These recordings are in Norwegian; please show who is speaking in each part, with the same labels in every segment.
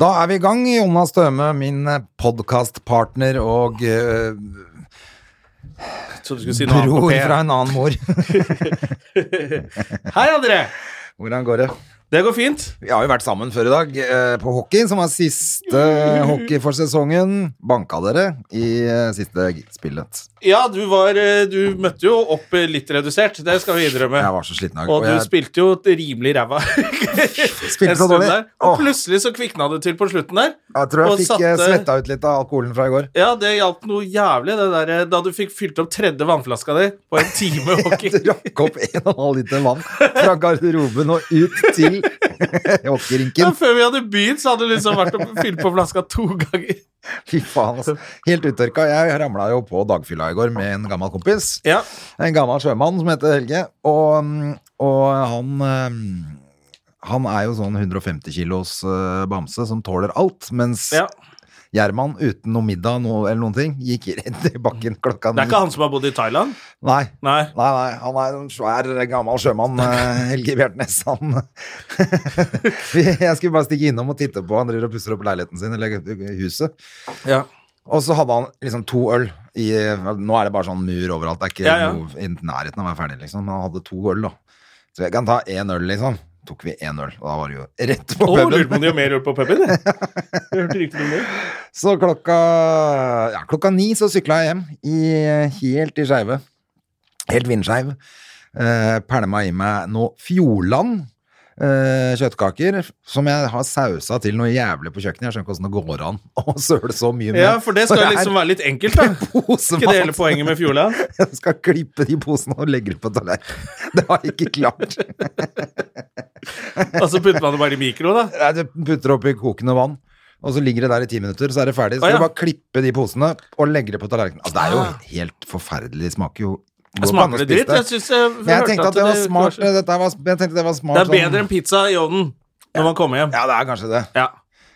Speaker 1: Da er vi i gang, Jonas Støme, min podkastpartner og eh,
Speaker 2: Jeg trodde du skulle si noe annet.
Speaker 1: bror
Speaker 2: på P.
Speaker 1: fra en annen mor.
Speaker 2: Hei, André!
Speaker 1: Hvordan går det?
Speaker 2: Det går fint.
Speaker 1: Vi har jo vært sammen før i dag eh, på hockey, som var siste eh, hockey for sesongen. Banka dere i eh, siste spillet.
Speaker 2: Ja, du var eh, Du møtte jo opp eh, litt redusert, det skal vi innrømme.
Speaker 1: Jeg var så sliten i dag.
Speaker 2: Og du
Speaker 1: jeg
Speaker 2: spilte jo et rimelig ræva.
Speaker 1: spilte
Speaker 2: En
Speaker 1: så
Speaker 2: stund
Speaker 1: dårlig.
Speaker 2: der.
Speaker 1: Åh,
Speaker 2: Og plutselig så kvikna det til på slutten der.
Speaker 1: jeg tror
Speaker 2: og
Speaker 1: jeg fikk eh,
Speaker 2: satte-
Speaker 1: svetta ut litt av alkoholen fra i går.
Speaker 2: Ja, det hjalp noe jævlig, det der eh, da du fikk fylt opp tredje vannflaska di på en time hockey.
Speaker 1: Jeg drakk opp 1,5 liter vann fra garderoben og ut til
Speaker 2: Ja,
Speaker 1: hockeyrinken.
Speaker 2: før vi hadde begynt, så hadde du liksom vært og fylt på flaska to ganger.
Speaker 1: Fy faen, altså. Helt uttørka. Jeg ramla jo på dagfylla i går med en gammel kompis.
Speaker 2: Ja,
Speaker 1: En gammel sjømann som heter Helge. Og, og han eh, Han er jo sånn 150 kilos eh, bamse som tåler alt. Mens
Speaker 2: ja.
Speaker 1: Gjerman uten noe middag noe, eller noen ting gikk rett i bakken klokka
Speaker 2: Det er
Speaker 1: ni.
Speaker 2: ikke han som har bodd i Thailand?
Speaker 1: Nei.
Speaker 2: Nei.
Speaker 1: Nei, nei, han er en svær, gammel sjømann, eh, Helge Bjertnæs. Han Vi- Jeg skulle bare stikke innom og titte på. Han driver og pusser opp leiligheten sin, eller huset.
Speaker 2: Ja.
Speaker 1: Og så hadde han liksom to øl i Nå er det bare sånn mur overalt. Det er ikke
Speaker 2: Ja, ja.
Speaker 1: noe i nærheten av å være ferdig, liksom. Men han hadde to øl, da. Så jeg kan ta én øl, liksom. Tok vi én øl, og da var det jo rett på
Speaker 2: Å, lurte på
Speaker 1: puben.
Speaker 2: om de har mer øl på puben? jeg. Jeg hørte rykter om det.
Speaker 1: Så klokka ja, klokka ni så sykla jeg hjem, i, helt i skeive. Helt vindskeiv. Eh, Pælma i meg noe Fjordland. Eh, kjøttkaker som jeg har sausa til noe jævlig på kjøkkenet. Jeg skjønner ikke åssen det går an å søle så mye med.
Speaker 2: Ja, for det skal
Speaker 1: Når
Speaker 2: jo liksom være litt enkelt, da.
Speaker 1: er
Speaker 2: Ikke det hele
Speaker 1: posemat.
Speaker 2: poenget med Fjordland?
Speaker 1: Jeg skal klippe de posene og legge dem på tallerkenen. Det har jeg ikke klart.
Speaker 2: Og så Altså, putter man det bare i mikro, da.
Speaker 1: Nei, Du putter oppi kokende vann, og så ligger det der i ti minutter, så er det ferdig. Så
Speaker 2: Å, ja. Ah.
Speaker 1: skal du bare klippe de posene og legge det på tallerkenen. Altså, det er jo helt forferdelig. Det smaker jo går
Speaker 2: Det
Speaker 1: ikke an å
Speaker 2: smaker det
Speaker 1: spise
Speaker 2: dritt. Jeg synes jeg
Speaker 1: Men jeg
Speaker 2: hørte
Speaker 1: tenkte at det var smart. Dette var, jeg tenkte det var smart.
Speaker 2: Det er bedre
Speaker 1: sånn-
Speaker 2: enn pizza i ovnen når man kommer hjem.
Speaker 1: Ja, det er kanskje det.
Speaker 2: Ja.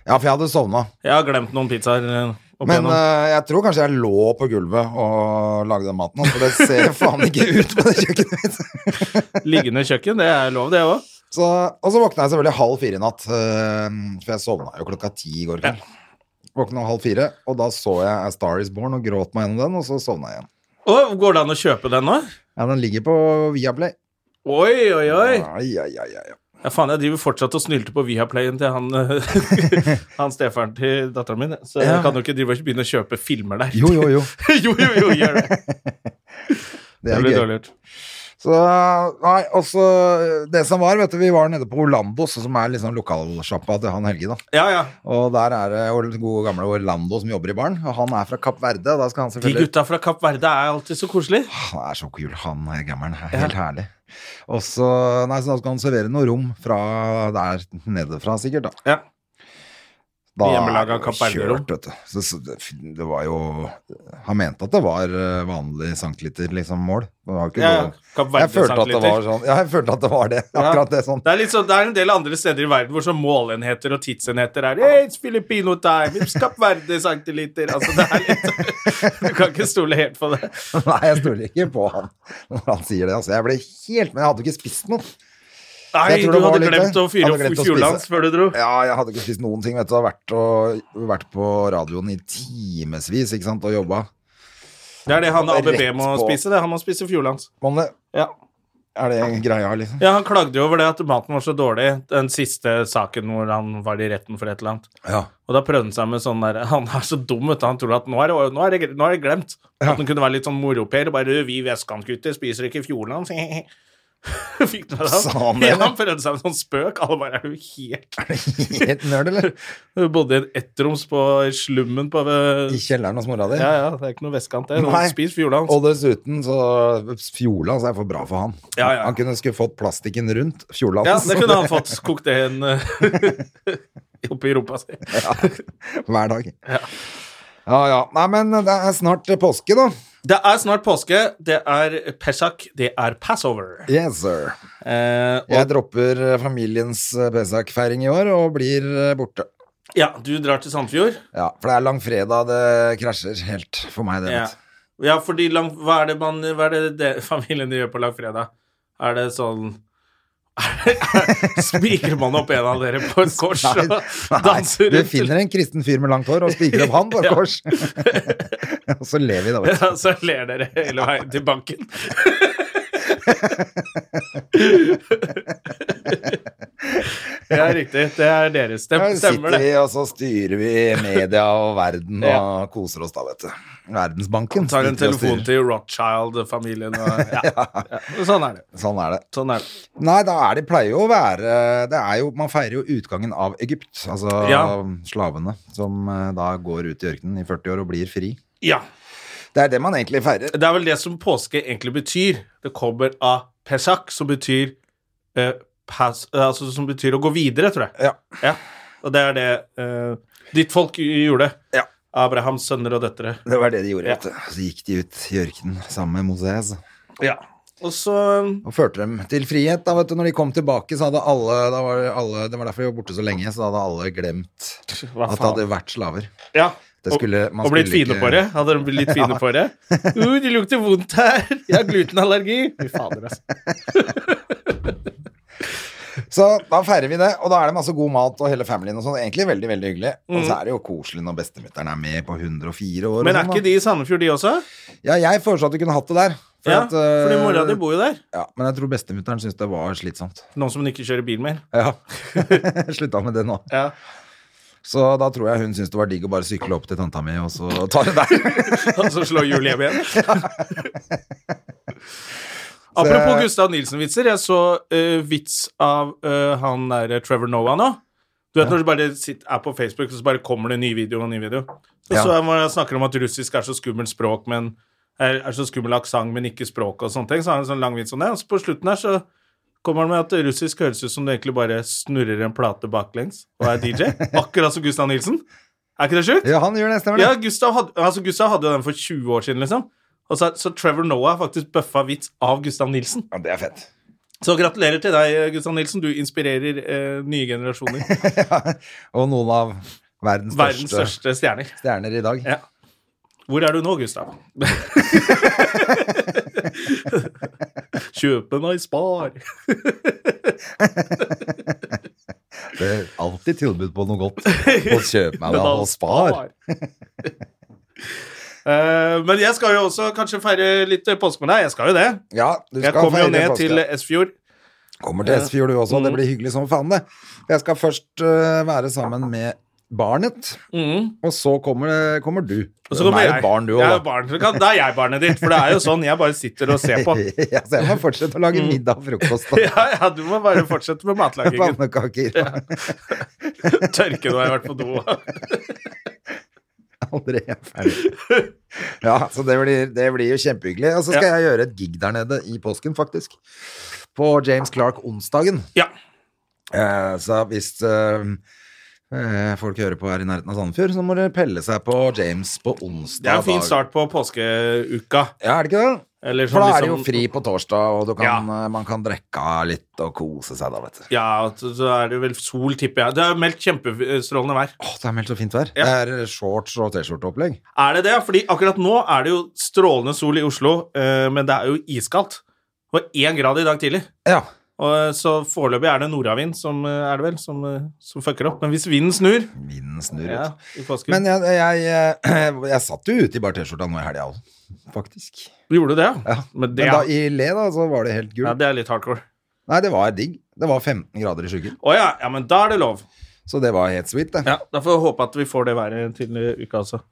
Speaker 1: Ja, for jeg hadde sovna.
Speaker 2: Jeg har glemt noen pizzaer eh, opp
Speaker 1: Men
Speaker 2: igjennom.
Speaker 1: eh, jeg tror kanskje jeg lå på gulvet og lagde den maten, for det ser faen ikke ut på det kjøkkenet mitt. eh,
Speaker 2: Liggende kjøkken, det er lov, det òg.
Speaker 1: Så, og så våkna jeg selvfølgelig halv fire i natt, eh, for jeg sovna jo klokka ti i går kveld. Våkna halv fire, og da så jeg A Star Is Born og gråt meg gjennom den, og så sovna jeg igjen.
Speaker 2: Og går det an å kjøpe den nå?
Speaker 1: Ja, den ligger på Viaplay.
Speaker 2: Oi, oi, oi.
Speaker 1: Ai, ai, ai, ai.
Speaker 2: Ja, faen, jeg driver fortsatt og snylter på Viaplayen til han, eh, han stefaren til datteren min. Så jeg
Speaker 1: Ja.
Speaker 2: kan jo ikke drive og begynne å kjøpe filmer der.
Speaker 1: Jo, jo, jo.
Speaker 2: jo, jo, jo, gjør det.
Speaker 1: Det
Speaker 2: Det
Speaker 1: er
Speaker 2: blir
Speaker 1: gøy.
Speaker 2: dårlig gjort.
Speaker 1: Så, nei, og så Det som var, vet du, vi var nede på Orlandos, som er liksom lokalsjappa til han Helge, da.
Speaker 2: Ja, ja.
Speaker 1: Og der er det Or- gode gamle Orlando som jobber i baren, og han er fra Kapp Verde, og da skal han
Speaker 2: De
Speaker 1: selvfølgelig
Speaker 2: gutta fra Kapp Verde er alltid så koselige.
Speaker 1: Han er så kul, han er gammelen. er Helt herlig. Og så, nei, så da skal han servere noe rom fra der nede fra, sikkert. Da,
Speaker 2: Ja.
Speaker 1: da
Speaker 2: Hjemmelaga
Speaker 1: er det jo
Speaker 2: Kapp Verde-rom.
Speaker 1: kjørt, vet du. Så, så det, det var jo Han mente at det var eh, vanlig centiliter, liksom, mål. Det var jo ikke
Speaker 2: Ja,
Speaker 1: noe-
Speaker 2: Kapp
Speaker 1: jeg
Speaker 2: Verde
Speaker 1: følte at det var
Speaker 2: centiliter.
Speaker 1: sånn. Ja, jeg følte at det var det. Akkurat det sånn.
Speaker 2: Det er, litt sånn- det er en del andre steder i verden hvor sånn målenheter og tidsenheter er hey, It's Filipino time, it's Kapp Verde centiliter Altså, det er litt sånn. Du kan ikke stole helt på det.
Speaker 1: Nei, jeg stoler ikke på han når han sier det. Altså, jeg ble helt Men jeg hadde jo ikke spist noe.
Speaker 2: Nei,
Speaker 1: Jeg
Speaker 2: du
Speaker 1: tror det var
Speaker 2: hadde
Speaker 1: litt
Speaker 2: glemt
Speaker 1: det.
Speaker 2: å fyre
Speaker 1: Hadde
Speaker 2: opp
Speaker 1: glemt å
Speaker 2: Fjordlands
Speaker 1: spise.
Speaker 2: før du dro.
Speaker 1: Ja, jeg hadde ikke spist noen ting, vet du. Jeg har vært, og, vært på radioen i timevis, ikke sant, og jobba.
Speaker 2: Det er det han
Speaker 1: Rett
Speaker 2: ABB må
Speaker 1: på.
Speaker 2: spise. det Han må spise Fjordlands.
Speaker 1: Men det,
Speaker 2: Ja.
Speaker 1: er det greia, liksom?
Speaker 2: ja, han klagde jo over det at maten var så dårlig, den siste saken hvor han var i retten for et eller annet.
Speaker 1: Ja.
Speaker 2: Og da prøvde han seg med sånn der Han er så dum, vet du. Han tror at nå er det, nå er det, nå er det glemt.
Speaker 1: Ja.
Speaker 2: At han kunne være litt sånn moroper. Bare vi vestkantgutter spiser ikke Fjordland. Fikk du det?
Speaker 1: Sa han det,
Speaker 2: ja,
Speaker 1: eller?
Speaker 2: han prøvde seg med sånn spøk. Alle bare Er du helt
Speaker 1: Helt nerd, eller?
Speaker 2: Du bodde i en ettroms på slummen på
Speaker 1: I kjelleren hos mora di?
Speaker 2: Ja, ja, det er ikke noe vestkant, det.
Speaker 1: Nei.
Speaker 2: Spis Fjordland.
Speaker 1: Og dessuten så Fjordlands er for bra for han.
Speaker 2: Ja, ja.
Speaker 1: Han kunne skulle fått plastikken rundt
Speaker 2: Ja,
Speaker 1: Fjordlands.
Speaker 2: det kunne han fått. Kokt det eh, i en, oppi rumpa si.
Speaker 1: Hver dag. Ja. ja Nei, men det er snart påske, da.
Speaker 2: Det er snart påske. Det er Pesach. Det er Passover.
Speaker 1: Yes, sir.
Speaker 2: Eh, og,
Speaker 1: Jeg dropper familiens Besak-feiring i år og blir borte.
Speaker 2: ja, du drar til Sandfjord.
Speaker 1: Ja, for det er langfredag det krasjer helt for meg, det.
Speaker 2: Ja,
Speaker 1: vet du.
Speaker 2: ja fordi lang, hva er det, man, hva er det, det familien gjør på langfredag? Er det sånn Spikrer man opp en av dere på et kors og
Speaker 1: Nei, nei,
Speaker 2: danser
Speaker 1: du
Speaker 2: rundt?
Speaker 1: finner en kristen fyr med langt hår og spiker opp han på et
Speaker 2: Ja.
Speaker 1: kors. og så ler vi, da. Vet du.
Speaker 2: Ja, så ler dere hele veien til banken. ja, riktig. Det er deres. Det
Speaker 1: Ja,
Speaker 2: stemmer,
Speaker 1: sitter vi,
Speaker 2: det.
Speaker 1: og så styrer vi media og verden
Speaker 2: Ja.
Speaker 1: og koser oss da, vet du. Verdensbanken.
Speaker 2: Tar en
Speaker 1: sitter vi og
Speaker 2: telefon
Speaker 1: styrer.
Speaker 2: til Rothschild-familien og ja. ja. Sånn er det.
Speaker 1: Sånn er det.
Speaker 2: Sånn er det.
Speaker 1: Nei, da er det pleier jo å være det er jo, Man feirer jo utgangen av Egypt, altså
Speaker 2: Ja.
Speaker 1: slavene, som eh, da går ut i ørkenen i 40 år og blir fri.
Speaker 2: Ja.
Speaker 1: Det er det man egentlig feirer.
Speaker 2: Det er vel det som påske egentlig betyr. Det kommer av pesach, som betyr eh, pas, eh, Altså som betyr å gå videre, tror jeg.
Speaker 1: Ja.
Speaker 2: Og det er det eh, ditt folk gjorde.
Speaker 1: Ja.
Speaker 2: Abrahams sønner og døtre.
Speaker 1: Det var det de gjorde,
Speaker 2: Ja.
Speaker 1: vet du. Så gikk de ut i ørkenen sammen med Moses
Speaker 2: Ja. Og så
Speaker 1: og førte dem til frihet. da, vet du. Når de kom tilbake, så hadde alle, da var alle Det var derfor de var borte så lenge, så da hadde alle glemt
Speaker 2: Hva
Speaker 1: at det hadde vært slaver.
Speaker 2: Ja.
Speaker 1: Det skulle-
Speaker 2: og,
Speaker 1: man
Speaker 2: og blitt
Speaker 1: skulle
Speaker 2: fine
Speaker 1: ikke-
Speaker 2: på det. Hadde de blitt litt fine på det? Uh, det lukter vondt her! Jeg har glutenallergi! Fy fader, altså.
Speaker 1: Så da feirer vi det, og da er det masse god mat og hele familien og sånn. Egentlig veldig, veldig hyggelig. Og så er det jo koselig når bestemutteren er med på 104 år. og
Speaker 2: Mm. Men er
Speaker 1: sånn,
Speaker 2: ikke
Speaker 1: da.
Speaker 2: de i Sandefjord, de også?
Speaker 1: Ja, jeg foreslo at vi kunne hatt det der. For
Speaker 2: ja,
Speaker 1: at, eh,
Speaker 2: fordi mora di bor jo der.
Speaker 1: Ja, men jeg tror bestemutteren syntes det var slitsomt.
Speaker 2: Nå som hun ikke kjører bil mer.
Speaker 1: Ja. Slutta med det nå.
Speaker 2: Ja.
Speaker 1: Så da tror jeg hun syntes det var digg å bare sykle opp til tanta mi, og så ta det der.
Speaker 2: Og så slår hjulet hjem igjen. Apropos Gustav Nilsen-vitser. Jeg så eh, vits av eh, han derre Trevor Noah nå. Du vet når du bare sitter, er på Facebook, og så bare kommer det en ny video og en ny video. Og
Speaker 1: Ja.
Speaker 2: så er man- snakker de om at russisk er så skummelt språk, men er, er så skummel aksent, men ikke språk og sånne ting. Så har han en sånn lang vits om det. Og så på slutten her så kommer han med at russisk høres ut som du egentlig bare snurrer en plate baklengs og er DJ. Akkurat som Gustav Nilsen. Er ikke det sjukt?
Speaker 1: Ja, han gjør det, stemmer det?
Speaker 2: Ja, Gustav hadde, altså Gustav hadde jo den for 20 år siden, liksom. Og så, så Trevor Noah har faktisk bøffa vits av Gustav Nilsen.
Speaker 1: Ja, det er fett.
Speaker 2: Så gratulerer til deg, Gustav Nilsen. Du inspirerer eh, nye generasjoner.
Speaker 1: Og noen av verdens,
Speaker 2: Verdens
Speaker 1: største
Speaker 2: største stjerner.
Speaker 1: stjerner i dag.
Speaker 2: Ja. Hvor er du nå, Gustav? Kjøp en Spar.
Speaker 1: Det er alltid tilbud på noe godt. Og kjøp meg det, og spar.
Speaker 2: Eh, men jeg skal jo også kanskje feire litt påske med deg. Jeg skal jo det.
Speaker 1: Ja, du skal
Speaker 2: Jeg kommer jo
Speaker 1: feire
Speaker 2: ned
Speaker 1: påske.
Speaker 2: til Esfjord.
Speaker 1: Kommer til Esfjord du også,
Speaker 2: Mm.
Speaker 1: det blir hyggelig som faen det. Jeg skal først øh, være sammen med barnet, og så kommer, kommer du.
Speaker 2: Og så kommer
Speaker 1: er jo
Speaker 2: jeg.
Speaker 1: barn du
Speaker 2: jeg er
Speaker 1: også,
Speaker 2: jo barn. Så kan- Da er jeg barnet ditt, for det er jo sånn. Jeg bare sitter og ser
Speaker 1: da.
Speaker 2: på.
Speaker 1: ja, så jeg må fortsette å lage middag og frokost. Da.
Speaker 2: Mm. Ja, ja, du må bare fortsette med matlagingen.
Speaker 1: Pannekaker.
Speaker 2: Tørke når jeg har vært på do.
Speaker 1: Aldri er ferdig. Ja, så det blir, det blir jo kjempehyggelig. Og så skal
Speaker 2: Ja.
Speaker 1: jeg gjøre et gig der nede i påsken, faktisk. På James Clark onsdagen.
Speaker 2: Ja.
Speaker 1: Eh, så hvis eh, eh, folk hører på her i nærheten av Sandefjord, så må dere pelle seg på James på onsdag.
Speaker 2: Det er en fin
Speaker 1: dag.
Speaker 2: start på påskeuka.
Speaker 1: Ja, er det ikke det?
Speaker 2: Eller
Speaker 1: For
Speaker 2: sånn
Speaker 1: da er det jo
Speaker 2: liksom-
Speaker 1: fri på torsdag, og du kan, eh, man kan drikke av litt og kose seg da, vet du.
Speaker 2: Ja, så så er det vel sol, tipper jeg. Det er meldt kjempestrålende vær.
Speaker 1: Åh, det er meldt så fint vær.
Speaker 2: Ja.
Speaker 1: Det er shorts og T-skjorteopplegg.
Speaker 2: Er det det? Fordi akkurat nå er det jo strålende sol i Oslo, eh, men det er jo iskaldt. Det var én grad i dag tidlig.
Speaker 1: Ja.
Speaker 2: Og eh, Så foreløpig er det nordavind som eh, er det vel, som, eh, som fucker opp. Men hvis vinden snur
Speaker 1: Vinden snur
Speaker 2: ja,
Speaker 1: ut.
Speaker 2: i påsken,
Speaker 1: Men jeg, jeg, jeg, jeg satt jo ute i bare T-skjorta nå i helga òg, faktisk.
Speaker 2: Gjorde du det,
Speaker 1: Ja.
Speaker 2: Men det,
Speaker 1: Men da i le, da, så var det helt
Speaker 2: ja,
Speaker 1: gult.
Speaker 2: det er litt hardcore.
Speaker 1: Nei, det var digg. Det var 15 grader i skyggen,
Speaker 2: Å ja, ja, men da er det lov.
Speaker 1: så det var helt sweet, det.
Speaker 2: Ja, Da får vi håpe at vi får det været til eh, uka også.
Speaker 1: Åh,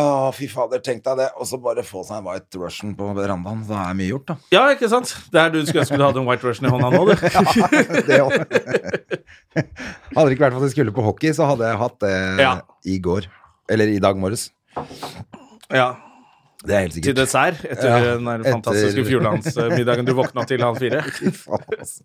Speaker 1: Ah, fy fader, tenk deg det. Og så bare få seg en White Russian på verandaen. Da er mye gjort, da.
Speaker 2: Ja, ikke sant? Det er du skulle ønske du hadde en White Russian i hånda nå, du.
Speaker 1: det òg. Hadde det ikke vært for at jeg skulle på hockey, så hadde jeg hatt det
Speaker 2: Ja.
Speaker 1: i går. Eller i dag morges.
Speaker 2: Ja.
Speaker 1: Det er helt
Speaker 2: til
Speaker 1: sikkert.
Speaker 2: dessert etter
Speaker 1: Ja,
Speaker 2: den der
Speaker 1: etter-
Speaker 2: fantastiske fjordlandsmiddagen du våkna til halv fire.
Speaker 1: Uff a altså.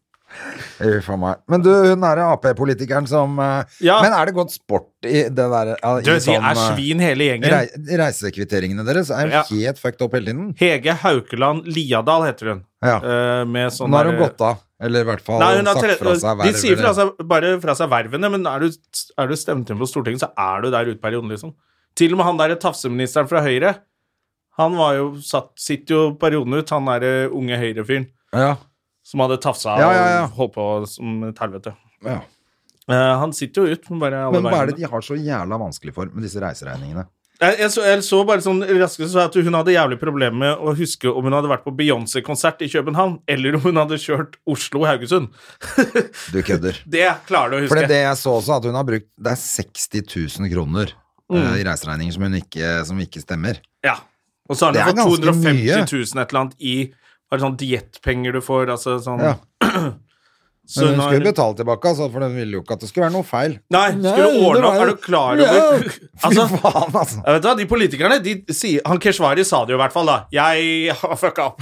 Speaker 1: meg. Men du, hun er Ap-politikeren som eh,
Speaker 2: Ja.
Speaker 1: Men er det godt sport i det der ja, i
Speaker 2: Du, de
Speaker 1: sånn,
Speaker 2: er
Speaker 1: eh,
Speaker 2: svin hele gjengen.
Speaker 1: rei- Reisekvitteringene deres er jo
Speaker 2: Ja.
Speaker 1: helt fucked opp hele tiden.
Speaker 2: Hege Haukeland Liadal heter hun.
Speaker 1: Ja.
Speaker 2: Eh, Med sånn
Speaker 1: Nå har hun
Speaker 2: der-
Speaker 1: gått av, eller i hvert fall
Speaker 2: Nei, hun har
Speaker 1: sagt
Speaker 2: tre,
Speaker 1: fra seg
Speaker 2: de
Speaker 1: verv,
Speaker 2: sier fra
Speaker 1: eller-
Speaker 2: seg, bare fra seg vervene, men er du, er du stemt inn på Stortinget, så er du der ute perioden, liksom. Til og med han der tafseministeren fra Høyre, han var jo satt, sitter jo perioden ut, han der eh, unge Høyre-fyren
Speaker 1: Ja.
Speaker 2: som hadde tafsa
Speaker 1: Ja, ja, ja.
Speaker 2: og holdt på som et helvete.
Speaker 1: ja.
Speaker 2: Eh, han sitter jo ut med bare alle
Speaker 1: Men hva er det
Speaker 2: vervene.
Speaker 1: de har så jævla vanskelig for med disse reiseregningene?
Speaker 2: Jeg, jeg, så, jeg så bare sånn raskest så at hun hadde jævlig problemer med å huske om hun hadde vært på Beyoncé-konsert i København, eller om hun hadde kjørt Oslo-Haugesund.
Speaker 1: Du kødder.
Speaker 2: det klarer du å huske.
Speaker 1: For det, er det jeg så også, at hun har brukt Det er 60 000 kroner
Speaker 2: Mm.
Speaker 1: eh, i reiseregninger som, hun ikke, som ikke stemmer.
Speaker 2: Ja. Og så har
Speaker 1: Det
Speaker 2: du
Speaker 1: er
Speaker 2: fått
Speaker 1: ganske
Speaker 2: 250
Speaker 1: mye.
Speaker 2: 000 et eller annet i bare sånn diettpenger du får, altså sånn
Speaker 1: Ja.
Speaker 2: Så
Speaker 1: Men hun
Speaker 2: nå er-
Speaker 1: skulle betale tilbake, altså, for hun ville jo ikke at det skulle være noe feil.
Speaker 2: Nei, skulle du ordne opp? Er du klar over
Speaker 1: Altså,
Speaker 2: Altså,
Speaker 1: faen, altså.
Speaker 2: jeg vet da, de politikerne, de sier Han Keshvari sa det jo i hvert fall, da. Jeg har fucka opp.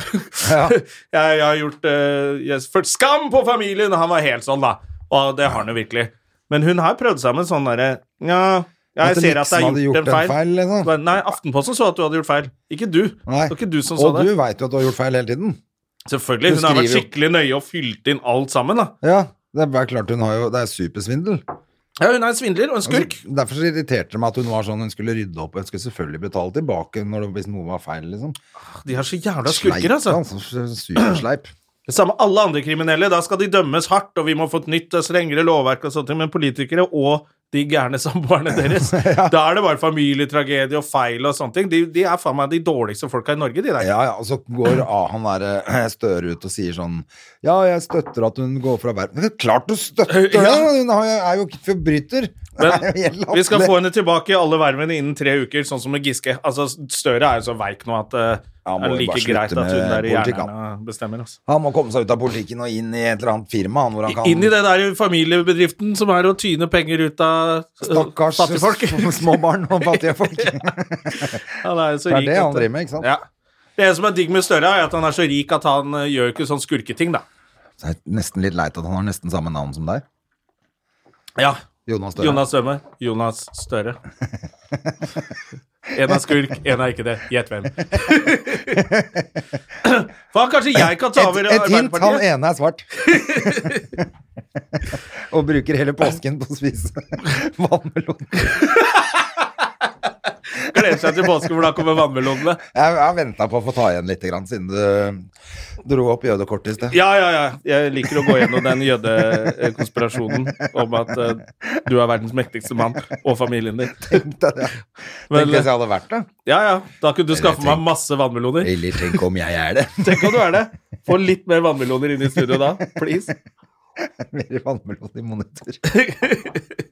Speaker 1: Ja.
Speaker 2: jeg, jeg har gjort eh, jeg har ført skam på familien! Og han var helt sånn, da. Og det har han jo virkelig. Men hun har prøvd seg med sånn derre Ja, jeg
Speaker 1: At
Speaker 2: ser at jeg
Speaker 1: Nixon
Speaker 2: har
Speaker 1: hadde
Speaker 2: gjort, en feil.
Speaker 1: liksom.
Speaker 2: Men Nei, Aftenposten så at du hadde gjort feil. Ikke du.
Speaker 1: Nei.
Speaker 2: Det var ikke du som sa
Speaker 1: Og
Speaker 2: det.
Speaker 1: du veit jo at du har gjort feil hele tiden.
Speaker 2: Selvfølgelig.
Speaker 1: Hun
Speaker 2: Hun har vært
Speaker 1: skriver jo-
Speaker 2: skikkelig nøye og fylt inn alt sammen. da.
Speaker 1: Ja, det er bare klart hun har jo Det er supersvindel.
Speaker 2: Ja, Hun er en svindler og en skurk.
Speaker 1: Altså, derfor så irriterte det meg at hun var sånn hun skulle rydde opp. Hun skulle selvfølgelig betale tilbake når det, hvis noe var feil, liksom.
Speaker 2: De er så jævla skurker, altså.
Speaker 1: Sleip, Supersleip.
Speaker 2: Det samme alle andre kriminelle. Da skal de dømmes hardt, og vi må få et nytt og strengere lovverk og sånt. Men politikere og de gærne samboerne deres, da er det bare familietragedie og feil og sånne ting. De, de er faen meg de dårligste folka i Norge, de der.
Speaker 1: Ja, ja, og så går ah, han der eh, Støre ut og sier sånn Ja, jeg støtter at hun går fra verden. Men Klart du støtter det!
Speaker 2: Ja.
Speaker 1: Hun har jo- er jo ikke forbryter. Det er jo helt
Speaker 2: Men vi skal
Speaker 1: latterlig.
Speaker 2: få henne tilbake i alle vervene innen tre uker, sånn som med Giske. Altså, Støre er jo så veik nå at eh,
Speaker 1: Ja,
Speaker 2: det
Speaker 1: må jo
Speaker 2: er
Speaker 1: bare
Speaker 2: like
Speaker 1: slutte
Speaker 2: greit at hun
Speaker 1: med
Speaker 2: der i
Speaker 1: politikk,
Speaker 2: hjernen bestemmer. altså.
Speaker 1: Han må komme seg ut av politikken og inn i et eller annet firma. Han, hvor han kan
Speaker 2: Inn i det der familiebedriften som er å tyne penger ut av øh,
Speaker 1: Stakkars
Speaker 2: fattigfolk.
Speaker 1: små barn og fattige folk.
Speaker 2: Han er jo så
Speaker 1: Det er
Speaker 2: rik
Speaker 1: det
Speaker 2: at-
Speaker 1: han driver med, ikke sant?
Speaker 2: Ja. Det som er digg med Støre, er at han er så rik at han øh, gjør ikke sånn skurketing, da.
Speaker 1: Det er nesten litt leit at han har nesten samme navn som deg.
Speaker 2: Ja.
Speaker 1: Jonas Støre.
Speaker 2: Jonas Støme. Jonas Støre. En er skurk, en er ikke det. Gjett hvem. Faen, kanskje jeg kan ta
Speaker 1: Et,
Speaker 2: over
Speaker 1: et hint, han
Speaker 2: Arbeiderpartiet?
Speaker 1: ene er svart. og bruker hele påsken på å spise vannmelon.
Speaker 2: Gleder seg til påske, for da kommer vannmelonene.
Speaker 1: Jeg har venta på å få ta igjen litt, grann, siden du dro opp jødekortet i sted.
Speaker 2: Ja, ja, ja. Jeg liker å gå gjennom den jødekonspirasjonen om at eh, du er verdens mektigste mann, og familien din.
Speaker 1: Tenkte jeg-
Speaker 2: Vel,
Speaker 1: Tenkte
Speaker 2: eh,
Speaker 1: hvis jeg hadde vært det.
Speaker 2: Ja, ja. Da kunne du skaffe
Speaker 1: tenk-
Speaker 2: meg masse vannmeloner.
Speaker 1: Eller tenk om jeg er det.
Speaker 2: Tenk om du er det. Få litt mer vannmeloner inn i studio da, please.
Speaker 1: Mer vannmelon i monitor.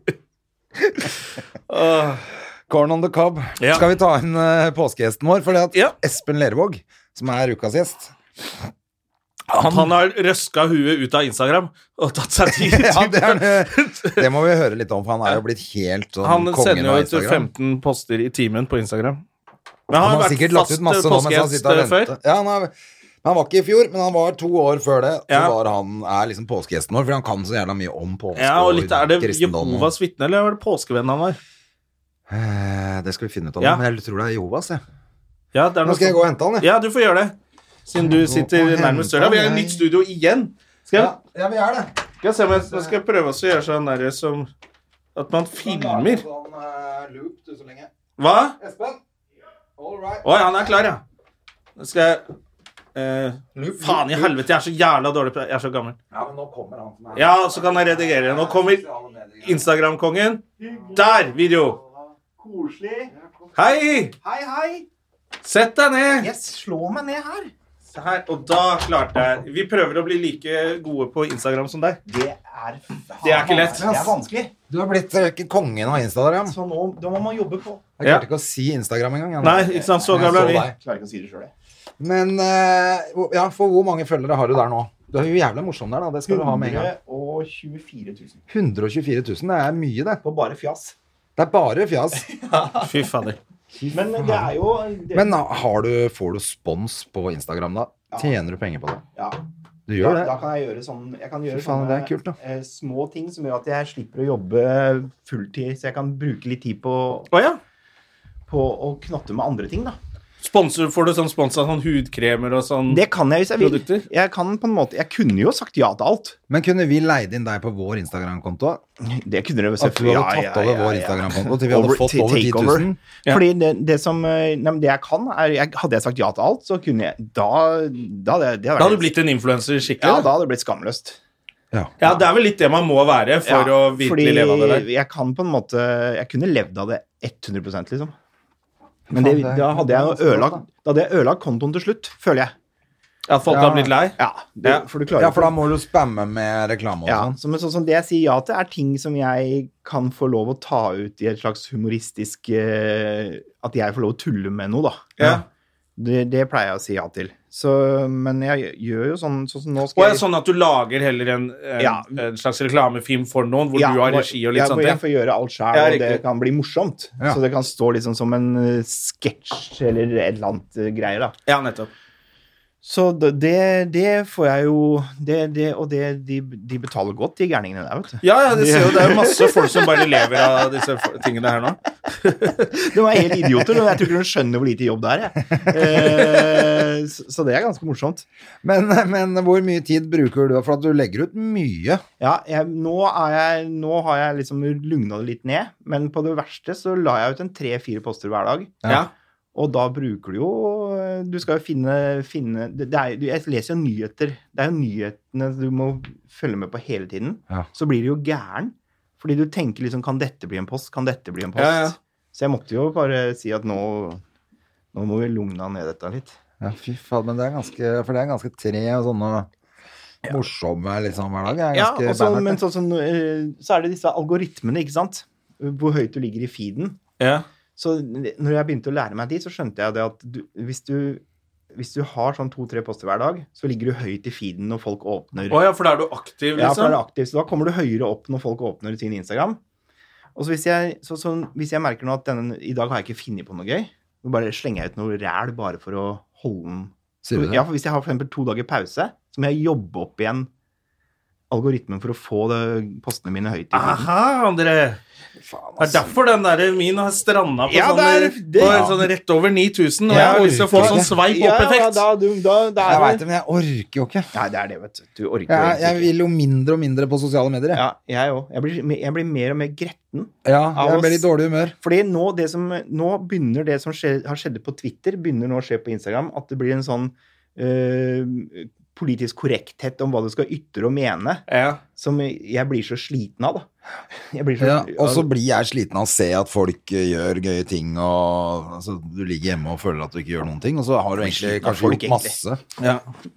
Speaker 1: Ah.
Speaker 2: Åh.
Speaker 1: Corn on the cob.
Speaker 2: Ja.
Speaker 1: Skal vi ta inn eh, påskegjesten vår? For det at
Speaker 2: Ja.
Speaker 1: Espen Lervåg, som er ukas gjest
Speaker 2: Han, har røska huet ut av Instagram og tatt seg tid.
Speaker 1: ja, det, er, det. det må vi høre litt om, for han er jo blitt helt sånn
Speaker 2: Han
Speaker 1: kongen
Speaker 2: sender
Speaker 1: av
Speaker 2: jo ut
Speaker 1: Instagram.
Speaker 2: 15 poster i timen på Instagram. Men
Speaker 1: Han har
Speaker 2: vært
Speaker 1: sikkert lagt ut
Speaker 2: fast eh,
Speaker 1: masse nå mens han sitter og
Speaker 2: påskegjest
Speaker 1: venter. Ja, han, er, han var ikke i fjor, men han var to år før det. Så
Speaker 2: Ja.
Speaker 1: var han, er liksom påskegjesten vår, for han kan så jævla mye om påske
Speaker 2: Ja, og litt, Er det
Speaker 1: kristendom og-
Speaker 2: Jehovas vitne, eller var det påskevenn han var?
Speaker 1: Eh, Det skal vi finne ut av,
Speaker 2: Ja.
Speaker 1: nå, men jeg tror det er Jehovas. Jeg.
Speaker 2: Ja, det er
Speaker 1: Nå
Speaker 2: noe
Speaker 1: skal jeg
Speaker 2: sånt.
Speaker 1: gå og hente han, jeg.
Speaker 2: Ja, du får gjøre det. Siden du sitter nærmest døra. Vi er i nytt studio igjen. Skal jeg,
Speaker 1: Ja, vi er det.
Speaker 2: skal jeg se om jeg nå skal jeg prøve også å gjøre sånn der som At man filmer.
Speaker 1: Sånn, eh, loop, du, så lenge.
Speaker 2: Hva?
Speaker 1: Espen? All right.
Speaker 2: Å ja, han er klar, ja. Nå skal jeg eh, Faen i helvete, jeg er så jævla dårlig på det. Jeg er så gammel.
Speaker 1: Ja, men nå kommer han som er
Speaker 2: Ja, så kan jeg redigere. Nå kommer
Speaker 1: sosiale medier.
Speaker 2: Instagram-kongen. Der! Video. Hei!
Speaker 3: Hei, hei!
Speaker 2: Sett deg ned.
Speaker 3: Jeg slår meg ned her.
Speaker 2: Se Her, og da klarte jeg Vi prøver å bli like gode på Instagram som deg.
Speaker 3: Det er
Speaker 2: Det er ikke lett.
Speaker 3: Det er vanskelig.
Speaker 1: Du har blitt eh, ikke kongen av Instagram.
Speaker 3: Så nå, da må man jobbe på.
Speaker 1: Jeg
Speaker 2: Ja.
Speaker 1: klarte ikke å si Instagram engang. jeg.
Speaker 2: Nei, ikke sant? Så
Speaker 1: Jeg
Speaker 2: gamle
Speaker 1: så
Speaker 2: er vi.
Speaker 1: deg.
Speaker 3: Klarer ikke å si det sjøl, jeg.
Speaker 1: Men eh, hvor- ja, for hvor mange følgere har du der nå? Du er jo jævla morsom der, da. Det skal du ha med en gang.
Speaker 3: 124 000.
Speaker 1: 124 000, det er mye, det.
Speaker 3: På bare fjas.
Speaker 1: Det er bare fjas.
Speaker 2: Fy fader.
Speaker 3: Men det er jo det,
Speaker 1: Men da har du, får du spons på Instagram, da?
Speaker 3: Ja.
Speaker 1: Tjener du penger på det?
Speaker 3: ja,
Speaker 1: Du gjør
Speaker 3: da, da
Speaker 1: det?
Speaker 3: kan jeg gjøre sånn Jeg kan gjøre
Speaker 1: Fy faen,
Speaker 3: sånne
Speaker 1: det er kult, da.
Speaker 3: eh, små ting som gjør at jeg slipper å jobbe fulltid, så jeg kan bruke litt tid på,
Speaker 2: Å ja.
Speaker 3: på å knotte med andre ting, da.
Speaker 2: Sponsor, får du sånn spons av sånn hudkremer og sånn
Speaker 3: Det kan jeg hvis jeg vil.
Speaker 2: Produkter?
Speaker 3: Jeg kan på en måte Jeg kunne jo sagt ja til alt.
Speaker 1: Men kunne vi leid inn deg på vår Instagram-konto?
Speaker 3: Det kunne
Speaker 1: At du
Speaker 3: det jo
Speaker 1: hadde
Speaker 3: selvfølgelig.
Speaker 1: tatt
Speaker 3: Ja, ja,
Speaker 1: over
Speaker 3: ja,
Speaker 1: vår
Speaker 3: ja.
Speaker 1: Instagram-konto til vi hadde
Speaker 3: Over-
Speaker 1: fått
Speaker 3: til
Speaker 1: over 10
Speaker 3: takeover.
Speaker 1: 000?
Speaker 2: Ja.
Speaker 3: Fordi det, det som eh, Nei, men det jeg kan, er jeg, Hadde jeg sagt ja til alt, så kunne jeg Da, da hadde jeg det
Speaker 2: Da hadde du blitt en influenser skikkelig?
Speaker 3: Ja,
Speaker 2: da.
Speaker 3: da hadde det blitt skamløst.
Speaker 2: Ja, det er vel litt det man må være for
Speaker 3: Ja,
Speaker 2: å virkelig
Speaker 3: fordi
Speaker 2: leve av det der.
Speaker 3: Jeg kan på en måte Jeg kunne levd av det 100 liksom. Men det,
Speaker 1: Faen, det er-
Speaker 3: da hadde jeg
Speaker 1: det
Speaker 3: jo
Speaker 1: er
Speaker 3: ødelagt Da hadde jeg ødelagt kontoen til slutt, føler jeg.
Speaker 2: At folk
Speaker 1: Ja.
Speaker 2: har blitt lei?
Speaker 3: Ja, det,
Speaker 2: Ja.
Speaker 3: for du klarer
Speaker 1: Ja, for da
Speaker 3: ikke-
Speaker 1: må du spamme med reklame og
Speaker 3: ja,
Speaker 1: sånn.
Speaker 3: så, men sånn som det jeg sier ja til, er ting som jeg kan få lov å ta ut i et slags humoristisk eh, At jeg får lov å tulle med noe, da.
Speaker 2: Ja.
Speaker 3: Det, det pleier jeg å si ja til. Så, men jeg gjør jo sånn sånn som nå
Speaker 2: Og
Speaker 3: skal
Speaker 2: er det sånn at du lager heller en, en,
Speaker 3: Ja.
Speaker 2: en slags reklamefilm for noen, hvor
Speaker 3: Ja,
Speaker 2: du har
Speaker 3: hvor-
Speaker 2: regi og litt
Speaker 3: ja, hvor
Speaker 2: sånne
Speaker 3: Jeg
Speaker 2: ting?
Speaker 3: får gjøre alt sjøl,
Speaker 2: Ja,
Speaker 3: og det
Speaker 2: riktig.
Speaker 3: kan bli morsomt.
Speaker 1: Ja.
Speaker 3: Så det kan stå liksom som en eh, sketsj eller et eller annet eh, greier, da.
Speaker 2: Ja, nettopp.
Speaker 3: Så d- det, det får jeg jo det, det, Og det, de, de betaler godt, de gærningene der, vet du.
Speaker 2: Ja, ja, det, ser jo, det er jo masse folk som bare lever av disse f- tingene her nå.
Speaker 3: De er helt idioter, og jeg tror ikke de skjønner hvor lite jobb det er, jeg. Eh, så, så det er ganske morsomt.
Speaker 1: Men, eh, men hvor mye tid bruker du? For at du legger ut mye.
Speaker 3: Ja, jeg, nå, er jeg, nå har jeg liksom lugna det litt ned, men på det verste så la jeg ut en tre-fire poster hver dag.
Speaker 2: Ja.
Speaker 3: Og da bruker du jo Du skal jo finne, finne det det er, Jeg leser jo nyheter. Det er jo nyhetene du må følge med på hele tiden.
Speaker 1: Ja.
Speaker 3: Så blir du jo gæren. Fordi du tenker liksom Kan dette bli en post? Kan dette bli en post?
Speaker 2: Ja, ja.
Speaker 3: Så jeg måtte jo bare si at nå, nå må vi lugne ned dette litt.
Speaker 1: Ja, fy faen, men det er ganske For det er ganske tre og sånne morsomme liksom hver dag. Det er
Speaker 3: Ja,
Speaker 1: ganske
Speaker 3: og så-
Speaker 1: beinhardt,
Speaker 3: men
Speaker 1: det.
Speaker 3: sånn som, eh, så er det disse algoritmene, ikke sant? Hvor høyt du ligger i feeden.
Speaker 2: Ja.
Speaker 3: Så når jeg begynte å lære meg de, så skjønte jeg det at du, hvis, du, hvis du har sånn to-tre poster hver dag, så ligger du høyt i feeden når folk åpner.
Speaker 2: Å ja, for da er du aktiv,
Speaker 3: Ja, for da er
Speaker 2: liksom?
Speaker 3: det aktivt, så da kommer du høyere opp når folk åpner sin Instagram. Og så hvis jeg, så, sånn- hvis jeg merker nå at denne, i dag har jeg ikke funnet på noe gøy, så bare slenger jeg ut noe ræl bare for å holde den.
Speaker 1: Sier du det?
Speaker 3: Ja, for hvis jeg har for eksempel to dager pause, så må jeg jobbe opp igjen algoritmen for å få det, postene mine høyt i feeden.
Speaker 2: Aha, André. Det er derfor den der min har stranda på,
Speaker 3: altså. Ja,
Speaker 2: sånn,
Speaker 3: det er- det-
Speaker 2: på
Speaker 3: ja.
Speaker 2: sånn rett over 9000, og
Speaker 1: Jeg
Speaker 2: jeg har lyst til å få
Speaker 1: orker
Speaker 2: sånn
Speaker 1: ikke.
Speaker 2: sveip
Speaker 3: Ja, ja,
Speaker 2: opp-effekt.
Speaker 3: da, du, da, da
Speaker 1: Jeg
Speaker 3: er
Speaker 1: veit
Speaker 3: det.
Speaker 1: det, men jeg orker jo ikke.
Speaker 3: Nei, det er det, vet du. Du orker jo
Speaker 1: Jeg,
Speaker 3: egentlig
Speaker 1: jeg
Speaker 3: ikke.
Speaker 1: vil jo mindre og mindre på sosiale medier. Jeg,
Speaker 3: Ja, jeg òg. Jeg, blir- jeg blir mer og mer gretten.
Speaker 1: ja,
Speaker 3: av
Speaker 1: jeg
Speaker 3: oss-
Speaker 1: blir i dårlig humør.
Speaker 3: Fordi nå, det som, nå begynner det som skje, har skjedd på Twitter, begynner nå å skje på Instagram, at det blir en sånn øh, politisk korrekthet om hva du skal ytre og mene,
Speaker 2: Ja.
Speaker 3: som jeg blir så sliten av, da. Jeg blir så,
Speaker 1: Ja, og så blir jeg sliten av å se at folk eh, gjør gøye ting, og altså, du ligger hjemme og føler at du ikke gjør noen ting, og så har du egentlig
Speaker 3: sliten av
Speaker 1: kanskje
Speaker 3: folk,
Speaker 1: gjort
Speaker 3: egentlig.
Speaker 1: masse.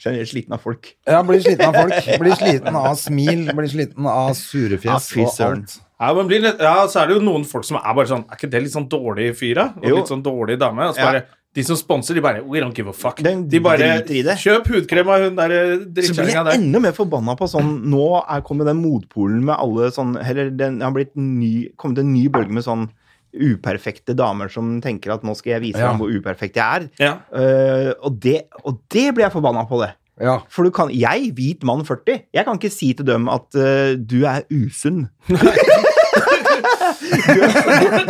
Speaker 3: Generelt sliten av folk.
Speaker 1: Ja, blir sliten av folk. Blir sliten av smil, blir sliten av sure
Speaker 3: Ja,
Speaker 1: fjes
Speaker 3: fy
Speaker 1: og
Speaker 3: søren.
Speaker 1: alt.
Speaker 2: Ja, men blir litt, ja, så er det jo noen folk som er bare sånn Er ikke det litt sånn dårlig fyr, da? Og
Speaker 3: Jo.
Speaker 2: litt sånn dårlig dame? Og så
Speaker 3: Ja.
Speaker 2: bare, De som sponser, de bare We don't give a fuck.
Speaker 3: Den
Speaker 2: de bare
Speaker 3: driter i det.
Speaker 2: Kjøp hudkrem av hun der eh,
Speaker 3: Så blir
Speaker 2: drittkjerringa
Speaker 3: jeg
Speaker 2: der.
Speaker 3: enda mer forbanna på sånn Nå er kommet den motpolen med alle sånn Eller den det har blitt ny, kommet en ny bølge med sånn uperfekte damer som tenker at nå skal jeg vise
Speaker 1: Ja.
Speaker 3: dem hvor uperfekt jeg er.
Speaker 2: Ja.
Speaker 3: Eh, og, det, og det blir jeg forbanna på, det.
Speaker 1: Ja.
Speaker 3: For du kan, jeg, hvit mann 40, jeg kan ikke si til dem at eh, du er usunn. du, er,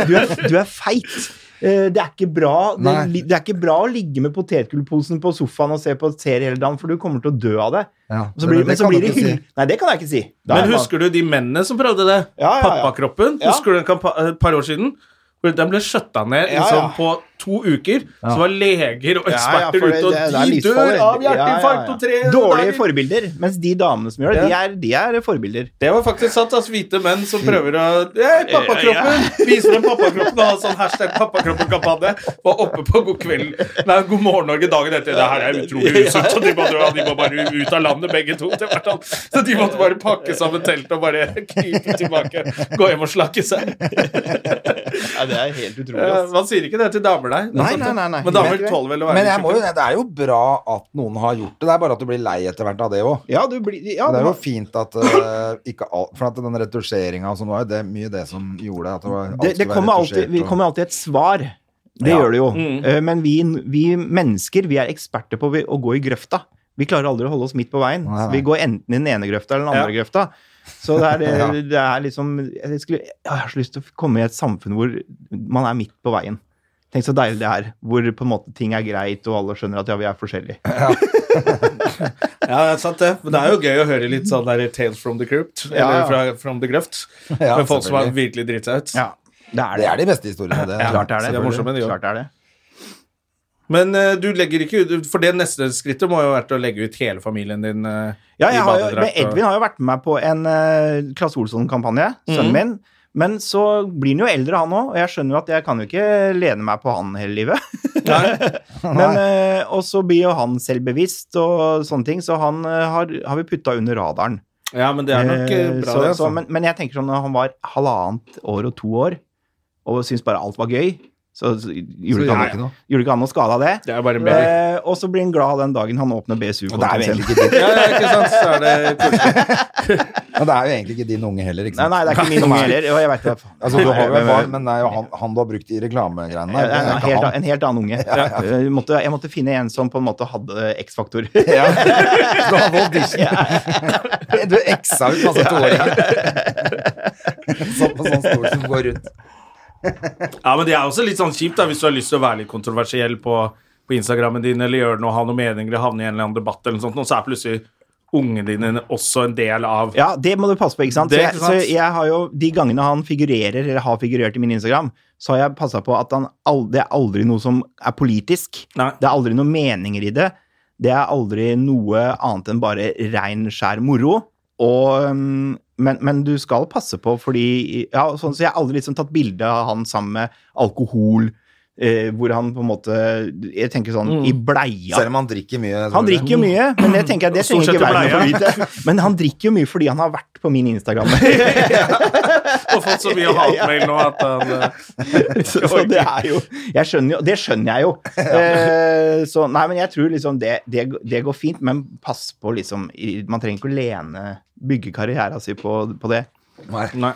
Speaker 3: du, er, du er feit. Eh, det, er ikke bra, det,
Speaker 1: Nei.
Speaker 3: li- det er ikke bra å ligge med potetgullposen på sofaen og se på serie hele dagen, for du kommer til å dø av det.
Speaker 1: Ja,
Speaker 3: Og så blir,
Speaker 1: det-
Speaker 3: men
Speaker 1: det
Speaker 3: så
Speaker 1: kan
Speaker 3: blir
Speaker 1: du
Speaker 3: det
Speaker 1: ikke
Speaker 3: hyll.
Speaker 1: si.
Speaker 3: Nei, det kan jeg ikke si. Da er
Speaker 2: Men
Speaker 3: man-
Speaker 2: husker du de mennene som prøvde det?
Speaker 3: Ja, ja, ja.
Speaker 2: Pappakroppen.
Speaker 3: Ja.
Speaker 2: Husker du en kampa eh, et par år siden? Hvor Den ble skjøtta ned
Speaker 3: Ja,
Speaker 2: liksom,
Speaker 3: ja.
Speaker 2: på to uker. Så var leger og
Speaker 3: Ja, ja,
Speaker 2: eksperter
Speaker 3: for det-
Speaker 2: ute, og
Speaker 3: det- det er
Speaker 2: de
Speaker 3: livsfarlig.
Speaker 2: dør av
Speaker 3: Ja, ja,
Speaker 2: hjerteinfarkt
Speaker 3: ja.
Speaker 2: og tre
Speaker 3: Dårlige
Speaker 2: dager.
Speaker 3: forbilder, mens de damene som gjør det,
Speaker 2: Ja.
Speaker 3: de, er, de er forbilder.
Speaker 2: Det var faktisk sant, altså hvite menn som prøver å Hei, pappakroppen! Viser dem pappakroppen og har sånn hashtag pappakroppen-kampanje. Var oppe på God kveld Nei, God morgen Norge dagen etter. Det her er utrolig usunt, og de må, dra, de må bare ut av landet, begge to. Det var sånn. Så de måtte bare pakke sammen teltet og bare krype tilbake. Gå hjem og slakke seg.
Speaker 3: Ja, det er helt utrolig.
Speaker 2: Eh, Man sier ikke det til damer, nei. Det er
Speaker 3: Nei,
Speaker 2: sant,
Speaker 3: nei, nei, nei.
Speaker 2: Men damer tåler vel å være
Speaker 1: Men jeg må jo,
Speaker 2: uskyldige.
Speaker 1: det er jo bra at noen har gjort det, det er bare at du blir lei etter hvert av det òg.
Speaker 3: Ja, du blir ja,
Speaker 1: Det er
Speaker 3: du-
Speaker 1: jo fint at eh, ikke alt For at den retusjeringa og sånn var jo det mye det som gjorde at det var alt
Speaker 3: det, det
Speaker 1: skulle være
Speaker 3: kommer alltid,
Speaker 1: retusjert
Speaker 3: vi
Speaker 1: og-
Speaker 3: kommer alltid et svar. Det
Speaker 1: Ja.
Speaker 3: gjør det jo. Eh, Men vi, vi mennesker vi er eksperter på vi- å gå i grøfta. Vi klarer aldri å holde oss midt på veien.
Speaker 1: Nei,
Speaker 3: Så
Speaker 1: nei.
Speaker 3: vi går enten i den ene grøfta eller den andre grøfta. Så det er, det, det er liksom jeg, skulle, jeg har så lyst til å komme i et samfunn hvor man er midt på veien. Tenk så deilig det er. Hvor på en måte ting er greit, og alle skjønner at ja, vi er forskjellige.
Speaker 2: Ja, det er sant det. Men det er jo gøy å høre litt sånn der Tales from the Crypt, eller
Speaker 3: Ja, ja.
Speaker 2: Fra, From the Grøft,
Speaker 1: Ja,
Speaker 2: med folk som har
Speaker 1: selvfølgelig.
Speaker 2: virkelig driti seg ut.
Speaker 3: Ja, det er
Speaker 1: Det
Speaker 3: det.
Speaker 1: er de beste historiene. Det,
Speaker 3: Klart det er det.
Speaker 2: Det er morsomt, men det gjør.
Speaker 3: Klart det er det.
Speaker 2: Men eh, du legger ikke ut For det neste skrittet må jo ha vært å legge ut hele familien din eh,
Speaker 3: Ja,
Speaker 2: i
Speaker 3: jeg har jo, men
Speaker 2: badedrakt. og-
Speaker 3: Edvin har jo vært med meg på en uh, Klasse Olsson-kampanje,
Speaker 2: Mhm.
Speaker 3: sønnen min. Men så blir han jo eldre, han òg, og jeg skjønner jo at jeg kan jo ikke lene meg på han hele livet. men, eh, og så blir jo han selvbevisst og sånne ting, så han eh, har, har vi putta under radaren.
Speaker 2: Ja, men det er nok eh,
Speaker 3: Eh,
Speaker 2: bra,
Speaker 3: så,
Speaker 2: det.
Speaker 3: så,
Speaker 2: Altså.
Speaker 3: men, men jeg tenker sånn når han var halvannet år og to år og syntes bare alt var gøy, så, så gjorde
Speaker 1: Så
Speaker 3: det ikke
Speaker 1: gjør
Speaker 3: han-
Speaker 1: det ikke noe.
Speaker 3: gjorde ikke han noe skade av det.
Speaker 2: det er bare mer.
Speaker 3: Eh, og så blir han glad den dagen han åpner
Speaker 1: Og det er jo
Speaker 3: BSU-kontoen sin.
Speaker 1: egentlig ikke din,
Speaker 2: Ja, ja, ikke sant? Så er det koselig.
Speaker 1: og det er jo egentlig ikke din unge heller, ikke
Speaker 3: Nei,
Speaker 1: sant?
Speaker 3: nei, det er ikke min unge heller. og Jeg vet det.
Speaker 1: Altså, du har jo en far, men det er jo han, han du har brukt i reklamegreiene.
Speaker 3: Jeg er en,
Speaker 1: det er
Speaker 3: helt,
Speaker 1: ikke
Speaker 3: an-
Speaker 1: han.
Speaker 3: en helt annen unge. Jeg, måtte, jeg måtte finne en som på en måte hadde X-faktor.
Speaker 1: Ja. Så han audition. Du eksa ut masse toåringer. Sånn på sånn stol som går rundt.
Speaker 2: Ja, men det er også litt sånn kjipt da, hvis du har lyst til å være litt kontroversiell på, på Instagrammen din, eller gjøre noe, ha noen meninger, eller havne i en eller annen debatt, eller noe sånt, og så er plutselig ungene dine også en del av
Speaker 3: Ja, det må du passe på, ikke sant?
Speaker 2: Det er
Speaker 3: Så jeg,
Speaker 2: ikke
Speaker 3: så
Speaker 2: sant.
Speaker 3: jeg har jo, De gangene han figurerer, eller har figurert i min Instagram, så har jeg passa på at han al- det er aldri noe som er politisk.
Speaker 2: Nei.
Speaker 3: Det er aldri noen meninger i det. Det er aldri noe annet enn bare rein, skjær moro. Og, um, men, men du skal passe på, fordi ja, sånn, Så jeg har aldri liksom tatt bilde av han sammen med alkohol, eh, hvor han på en måte Jeg tenker sånn i
Speaker 2: Mm.
Speaker 3: bleia.
Speaker 1: Selv om han drikker mye.
Speaker 3: Han drikker jo mye, men jeg tenker at det
Speaker 2: Stort
Speaker 3: trenger ikke
Speaker 2: sett i
Speaker 3: være noe for lite. Men han drikker jo mye fordi han har vært på min Instagram.
Speaker 2: Og fått så mye hatmail nå at han eh,
Speaker 3: Så så det er jo Jeg skjønner jo Det skjønner jeg jo. Eh, Så nei, men jeg tror liksom det, det, det går fint, men pass på liksom i- Man trenger ikke å lene Bygge karrieren sin på, på det.
Speaker 1: Nei.
Speaker 2: Nei.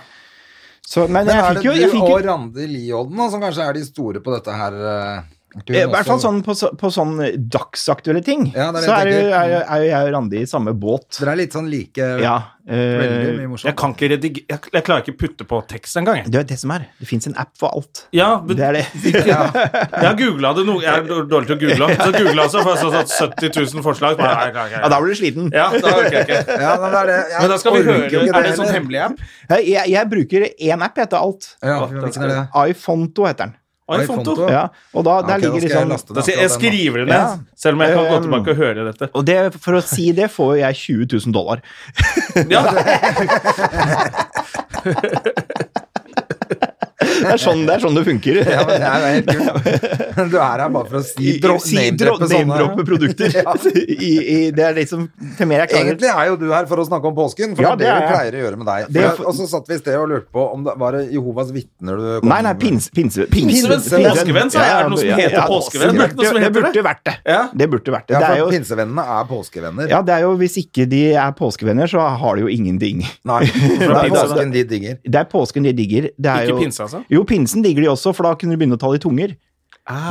Speaker 3: Så, men,
Speaker 1: Men
Speaker 3: jeg
Speaker 1: er
Speaker 3: fikk jo,
Speaker 1: det
Speaker 3: jeg
Speaker 1: du
Speaker 3: fikk jo
Speaker 1: og Randi Liodden da, som kanskje er de store på dette her? eh,
Speaker 3: I
Speaker 1: turen
Speaker 3: hvert fall
Speaker 1: også?
Speaker 3: sånn på, så- på sånn dagsaktuelle ting.
Speaker 1: Ja, det er det
Speaker 3: så er
Speaker 1: jeg
Speaker 3: jo
Speaker 1: tenker.
Speaker 3: er jo- er jo jeg og Randi i samme båt.
Speaker 1: Dere er litt sånn like
Speaker 3: Ja.
Speaker 1: Veldig
Speaker 3: eh,
Speaker 1: mye
Speaker 2: Jeg
Speaker 1: morsomt.
Speaker 2: kan ikke redigere jeg, jeg klarer ikke putte på tekst engang. jeg.
Speaker 3: Det er det som er. Det fins en app for alt.
Speaker 2: Ja, men
Speaker 3: Det er det.
Speaker 2: jeg har googla det noe Jeg er dår- dårlig til å google. Så googla jeg så får jeg sånn sånn 70 000 forslag. Bare, nei, nei,
Speaker 3: Ja,
Speaker 2: nei,
Speaker 3: da blir du sliten.
Speaker 2: Ja, da orker jeg ikke.
Speaker 1: Ja, men, det er det. Jeg
Speaker 2: Men da skal vi
Speaker 1: orker
Speaker 2: høre
Speaker 1: jo ikke
Speaker 2: Er det en sånn
Speaker 1: heller.
Speaker 2: hemmelig app?
Speaker 3: Hei, Jeg, jeg bruker én app etter alt.
Speaker 1: Ja, hvilken er det?
Speaker 3: iFonto heter den.
Speaker 2: iPhone
Speaker 1: iPhone to.
Speaker 3: Ja, og da, der
Speaker 1: Ok, da skal
Speaker 3: ligger
Speaker 1: jeg
Speaker 3: liksom
Speaker 1: laste
Speaker 2: Da
Speaker 1: ned
Speaker 2: sier jeg, jeg
Speaker 1: akkurat den, da.
Speaker 2: skriver det ned,
Speaker 3: Ja.
Speaker 2: selv om jeg kan gå
Speaker 3: Um,
Speaker 2: tilbake og høre dette.
Speaker 3: og det, For å si det får jo jeg 20 000 dollar.
Speaker 2: Ja, det,
Speaker 3: Det er sånn det, er sånn det funker.
Speaker 1: Ja, men det er jo helt kult. Men Du er her bare for å si
Speaker 3: I-
Speaker 1: dro-
Speaker 3: si- dro-
Speaker 1: name-droppe
Speaker 3: name-droppe
Speaker 1: sånne.
Speaker 3: produkter. I, i, det er liksom Til mer jeg klarer
Speaker 1: Egentlig er jo du her for å snakke om påsken, for
Speaker 3: Ja,
Speaker 1: det er det vi
Speaker 3: det er jeg.
Speaker 1: pleier å gjøre med deg.
Speaker 3: Det er
Speaker 1: For-
Speaker 3: for-
Speaker 1: Og så satt vi i sted og lurte på om det var det Jehovas vitner du kom
Speaker 3: Nei, nei, pinse. Pinse,
Speaker 1: Pinsevenn,
Speaker 2: påskevenn, sa jeg. Er det noe som heter påskevenn?
Speaker 3: Det
Speaker 2: Er det noe som
Speaker 3: burde,
Speaker 2: heter
Speaker 3: det
Speaker 2: det?
Speaker 3: burde vært det.
Speaker 2: Ja.
Speaker 3: Det burde vært det.
Speaker 1: Ja,
Speaker 3: Det er
Speaker 1: for
Speaker 3: jo,
Speaker 1: pinsevennene er påskevenner.
Speaker 3: ja, det er jo Hvis ikke de er påskevenner, så har de jo ingenting.
Speaker 1: Nei, det
Speaker 2: Fra
Speaker 1: er
Speaker 2: pinsevenn.
Speaker 1: påsken de digger.
Speaker 3: Det er påsken de digger. Det er
Speaker 2: Ikke
Speaker 3: jo,
Speaker 2: pinse, altså?
Speaker 3: Jo, pinsen digger de også, for da kunne de begynne å tale i tunger.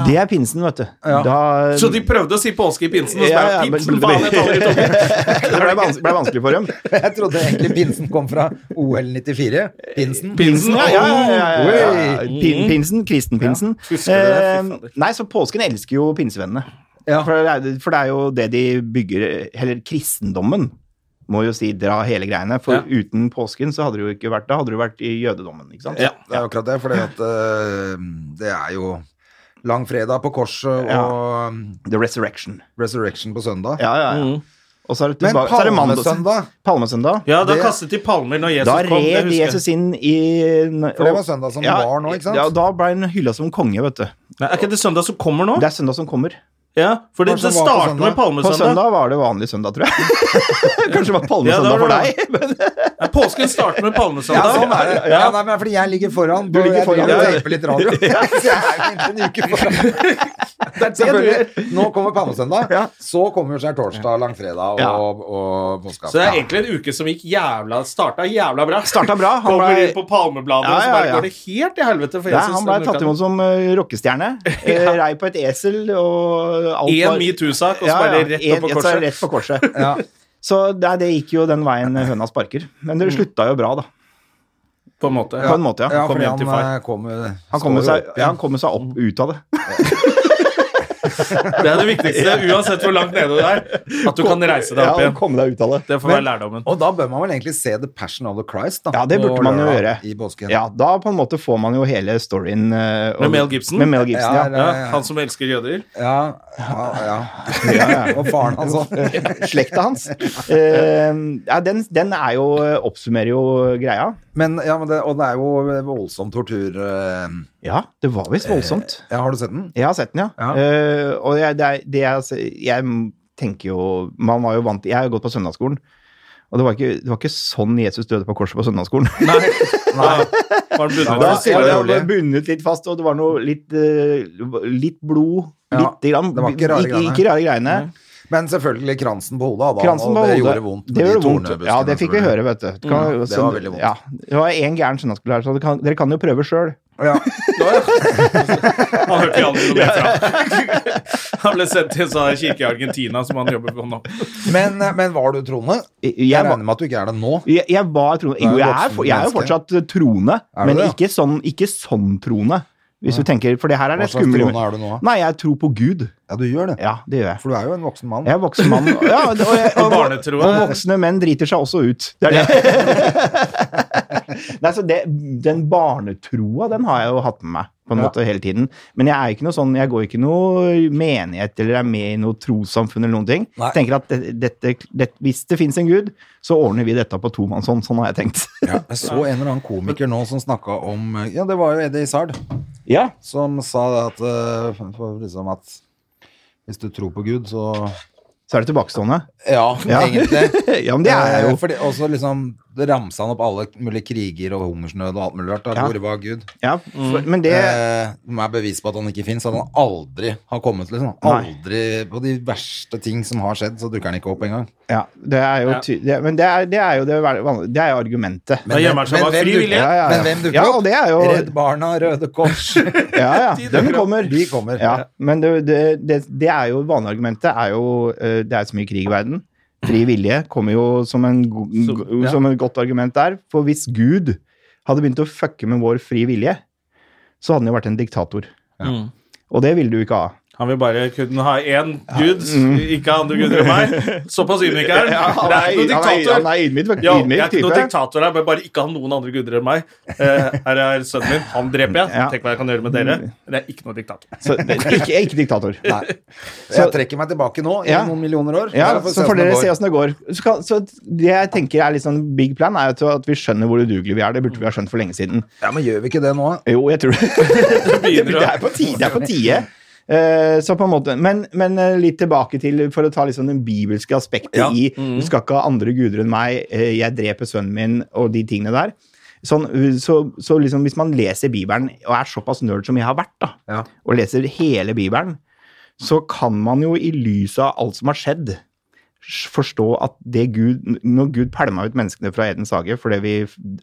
Speaker 3: Det er pinsen, vet du.
Speaker 1: Ja.
Speaker 3: Da,
Speaker 2: Ah. så de prøvde å si påske i pinsen, og så
Speaker 3: Ja,
Speaker 2: er
Speaker 3: ja,
Speaker 2: det
Speaker 3: men-
Speaker 2: pinsen faen jeg taler i tunga.
Speaker 3: det ble, vans ble vanskelig for dem.
Speaker 1: Jeg trodde egentlig pinsen kom fra OL 94. Pinsen.
Speaker 2: Pinsen,
Speaker 3: Ja, ja, ja, ja, ja.
Speaker 1: Oi.
Speaker 3: Pin, pinsen, kristenpinsen.
Speaker 2: Husker du det? Fy fader.
Speaker 3: Eh, nei, så påsken elsker jo pinsevennene.
Speaker 1: Ja.
Speaker 3: For, det er, for det er jo det de bygger Eller kristendommen må jo si dra hele greiene. For
Speaker 2: Ja.
Speaker 3: uten påsken så hadde det jo ikke vært Da hadde det jo vært i jødedommen, ikke sant?
Speaker 2: Ja.
Speaker 1: Det er jo akkurat det, for det er jo langfredag på korset og mm,
Speaker 3: The resurrection.
Speaker 1: resurrection på søndag.
Speaker 3: Ja, ja, ja. Og så er det,
Speaker 1: Men
Speaker 3: tilba- så er det mandag-
Speaker 1: palmesøndag?
Speaker 3: Palmesøndag.
Speaker 2: Mm. Ja, da
Speaker 1: Det-
Speaker 2: kastet de palmer når Jesus
Speaker 3: Da
Speaker 2: kom. det
Speaker 3: rev
Speaker 2: husker jeg.
Speaker 3: Jesus inn i
Speaker 1: For det var søndag som var nå, ikke sant?
Speaker 3: Ja, da ble han hylla som konge, vet du.
Speaker 2: Nei, er ikke det søndag som kommer nå?
Speaker 3: Det er søndag som kommer.
Speaker 2: Ja, for det,
Speaker 1: Kanskje det var
Speaker 2: det
Speaker 1: på
Speaker 2: starter med
Speaker 1: søndag.
Speaker 3: På
Speaker 2: palmesøndag.
Speaker 3: søndag var det vanlig søndag, tror jeg. Kanskje det
Speaker 2: Ja,
Speaker 3: var
Speaker 2: da
Speaker 3: palmesøndag
Speaker 2: var
Speaker 3: for
Speaker 2: det-
Speaker 3: deg.
Speaker 2: Nei, påsken starter med
Speaker 1: Ja,
Speaker 2: palmesøndag.
Speaker 1: sånn er det. Ja, nei, men fordi jeg ligger foran.
Speaker 3: Du ligger
Speaker 1: og jeg
Speaker 3: foran,
Speaker 1: driver og
Speaker 3: ja.
Speaker 1: teiper litt radio. Så jeg er jo inntil en uke foran.
Speaker 2: Det er det du gjør.
Speaker 1: Selvfølgelig. Nå kommer Palmesøndag,
Speaker 3: Ja.
Speaker 1: så kommer jo skjærtorsdag, langfredag
Speaker 3: Ja.
Speaker 1: og, og påske.
Speaker 2: Så det er egentlig en uke som gikk jævla Starta jævla bra.
Speaker 3: Starta bra, han
Speaker 2: Kommer
Speaker 3: ble-
Speaker 2: inn på palmebladet,
Speaker 3: Ja,
Speaker 2: og så
Speaker 3: ja,
Speaker 2: bare
Speaker 3: ja.
Speaker 2: går det helt til helvete for
Speaker 3: Nei,
Speaker 2: Jesus.
Speaker 3: han ble
Speaker 2: denne
Speaker 3: tatt
Speaker 2: uka.
Speaker 3: imot som eh, rockestjerne. Eh, Rei på et esel og alt
Speaker 2: Én
Speaker 3: var-
Speaker 2: metoo-sak, og så bare rett
Speaker 3: en-
Speaker 2: opp på
Speaker 3: ja, så er det
Speaker 2: korset.
Speaker 3: Rett på korset. Så det, det gikk jo den veien høna sparker. Men
Speaker 2: Mm.
Speaker 3: det slutta jo bra, da.
Speaker 2: På en måte.
Speaker 3: På en måte, ja.
Speaker 1: Ja,
Speaker 2: Kom
Speaker 1: fordi
Speaker 2: hjem
Speaker 1: han
Speaker 2: til far.
Speaker 1: eh, kom, eh,
Speaker 3: Han
Speaker 1: står
Speaker 3: kommer
Speaker 1: jo
Speaker 3: seg,
Speaker 1: opp igjen.
Speaker 3: ja, han kommer seg opp ut av det.
Speaker 2: Det er det viktigste, uansett hvor langt nede du er, at du kan reise deg opp
Speaker 3: Ja,
Speaker 2: igjen.
Speaker 3: komme deg ut av det.
Speaker 2: Det får være lærdommen.
Speaker 1: Og da bør man vel egentlig se The Passion of the Christ, da.
Speaker 3: Ja, det burde
Speaker 1: på
Speaker 3: man jo
Speaker 1: lørdag
Speaker 3: gjøre.
Speaker 1: I påsken.
Speaker 3: Ja, da på en måte får man jo hele storyen eh, og-
Speaker 2: Med Mel Gibson?
Speaker 3: Med Mel Gibson, ja.
Speaker 1: Ja,
Speaker 2: Ja,
Speaker 1: ja.
Speaker 2: han som elsker jøder.
Speaker 1: Ja, ja, ja. Og faren altså. hans òg.
Speaker 3: Slekta hans. Eh, ja, den, den er jo Oppsummerer jo greia.
Speaker 1: Men, ja, men det, og det er jo voldsom tortur. eh,
Speaker 3: Ja, det var visst voldsomt.
Speaker 1: Ja, har du sett den?
Speaker 3: Jeg har sett den, ja.
Speaker 1: Ja.
Speaker 3: Eh, og jeg, det er, det er, altså- jeg tenker jo Man var jo vant Jeg har jo gått på søndagsskolen. Og det var, ikke, det var ikke sånn Jesus døde på korset på søndagsskolen.
Speaker 2: Nei. Var han bundet
Speaker 1: Da
Speaker 3: Da
Speaker 1: var
Speaker 2: fast?
Speaker 1: det stille
Speaker 3: var det
Speaker 1: og rolig.
Speaker 3: alle bundet litt fast, og det var noe litt, eh, litt blod.
Speaker 1: Ja,
Speaker 3: Litt grann.
Speaker 1: det var ikke rare
Speaker 3: ikke,
Speaker 1: greiene.
Speaker 3: ikke rare greiene.
Speaker 1: Men selvfølgelig kransen på hodet hadde han,
Speaker 3: Kransen
Speaker 1: og
Speaker 3: på
Speaker 1: det
Speaker 3: hodet.
Speaker 1: gjorde vondt.
Speaker 3: Det
Speaker 1: med de
Speaker 3: gjorde vondt.
Speaker 1: tornebuskene
Speaker 3: Ja, det fikk vi
Speaker 1: som-
Speaker 3: høre, vet du. Det kan-
Speaker 1: det var veldig vondt.
Speaker 3: Ja, det var en gæren søndagsskolelærer, så det kan, dere kan jo prøve sjøl.
Speaker 1: Ja.
Speaker 2: Han hørte jo aldri noe mer fra. Han ble sendt til en sånn kirke i Argentina som han jobber på nå.
Speaker 1: Men, eh, men var du troende?
Speaker 3: Jeg,
Speaker 1: Jeg
Speaker 3: jeg,
Speaker 1: regner med at du ikke er det nå.
Speaker 3: Jeg, jeg var troende. Jo,
Speaker 1: jo
Speaker 3: jeg er,
Speaker 1: voksen
Speaker 3: for- jeg er jo
Speaker 1: menneske.
Speaker 3: fortsatt eh, troende,
Speaker 1: Er du
Speaker 3: men
Speaker 1: det?
Speaker 3: ikke sånn, ikke sånn troende. Hvis du tenker, for det her er
Speaker 1: Hva
Speaker 3: det
Speaker 1: slags
Speaker 3: skumle.
Speaker 1: troende er du nå?
Speaker 3: Nei, jeg tror på Gud.
Speaker 1: Ja, du gjør det.
Speaker 3: Ja, det gjør jeg.
Speaker 1: For du er jo en voksen mann.
Speaker 3: Jeg er voksen mann. Ja, og, jeg, og,
Speaker 2: barnetroende.
Speaker 3: og voksne menn driter seg også ut. Det er det. Nei, så det, den barnetroa, den har jeg jo hatt med meg på en måte hele tiden. Men jeg er ikke noe sånn, jeg går ikke noe menighet eller er med i noe trossamfunn eller noen ting.
Speaker 1: Nei.
Speaker 3: Tenker at det- dette, det, hvis det finnes en Gud, så ordner vi dette på tomannshånd. Sånn har jeg tenkt.
Speaker 1: Ja, jeg så en eller annen komiker nå som snakka om eh, Ja, det var jo Eddie Izzard
Speaker 3: Ja.
Speaker 1: som sa det at eh, for liksom at hvis du tror på Gud, så
Speaker 3: Så er det tilbakestående.
Speaker 1: Ja,
Speaker 3: Ja.
Speaker 1: egentlig.
Speaker 3: ja, men det er jeg
Speaker 1: Eh,
Speaker 3: jo.
Speaker 1: Fordi, og så liksom ramsa han opp alle mulige kriger og hungersnød og alt mulig rart. da.
Speaker 3: Ja.
Speaker 1: Hvor var Gud?
Speaker 3: Ja, for, men det
Speaker 1: Eh, Som er bevis på at han ikke fins. At han aldri har kommet. liksom Aldri På de verste ting som har skjedd, så dukker han ikke opp engang.
Speaker 3: Ja, det er jo
Speaker 2: Ja.
Speaker 3: ty det, Men det er, det er jo det, vanlige- det er jo argumentet.
Speaker 2: Da gjemmer han seg bak fri vilje.
Speaker 3: Ja, ja, ja.
Speaker 1: Men hvem dukker
Speaker 3: Ja, og
Speaker 1: opp?
Speaker 3: det er jo-
Speaker 1: Redd Barna, Røde Kors.
Speaker 3: Ja, ja, den kommer.
Speaker 1: De kommer.
Speaker 3: Ja, men det, det, det, det er jo vanlige argumentet er jo eh, Det er så mye krig i verden. Fri vilje kommer jo som, en, go- go-
Speaker 2: ja.
Speaker 3: som et godt argument der. For hvis Gud hadde begynt å fucke med vår fri vilje, så hadde han jo vært en diktator.
Speaker 2: Mm.
Speaker 3: Og det ville du ikke ha.
Speaker 2: Han vil bare kunne ha én gud,
Speaker 3: Mm.
Speaker 2: ikke andre guder enn meg. Såpass ydmyk er han. Det er ikke noen diktator.
Speaker 3: Han er ydmyk,
Speaker 2: Ja, jeg er
Speaker 3: ydmyk
Speaker 2: ikke noen
Speaker 3: type.
Speaker 2: diktator her, men bare ikke ha noen andre guder enn meg. Eh, her er sønnen min, han dreper jeg.
Speaker 3: Ja. Mm.
Speaker 2: Tenk hva jeg kan gjøre med dere. Det er ikke noen diktator.
Speaker 3: Så, ikke, ikke diktator.
Speaker 1: Nei. Jeg trekker meg tilbake nå i
Speaker 3: Ja.
Speaker 1: noen millioner år.
Speaker 3: Ja,
Speaker 1: Bare for å
Speaker 3: så
Speaker 1: se
Speaker 3: får
Speaker 1: hvordan
Speaker 3: dere
Speaker 1: det
Speaker 3: se
Speaker 1: går.
Speaker 3: åssen det går. Så, kan, så det jeg tenker er litt sånn big plan, er jo at vi skjønner hvor udugelige vi er. Det burde vi ha skjønt for lenge siden.
Speaker 1: Ja, men gjør vi ikke det nå?
Speaker 3: Jo, jeg tror det.
Speaker 2: Begynner
Speaker 3: Det er
Speaker 2: å-
Speaker 3: på tide. Det er på tide. Eh, så på en måte, men, men eh, litt tilbake til for å ta liksom den bibelske aspektet
Speaker 1: Ja.
Speaker 3: i Du skal ikke ha andre guder enn meg, eh, jeg dreper sønnen min og de tingene der. Sånn, eh, så, så liksom hvis man leser Bibelen og er såpass nerd som jeg har vært, da,
Speaker 1: Ja.
Speaker 3: og leser hele Bibelen, så kan man jo i lys av alt som har skjedd, s- forstå at det Gud, når Gud pælma ut menneskene fra Edens hage fordi vi,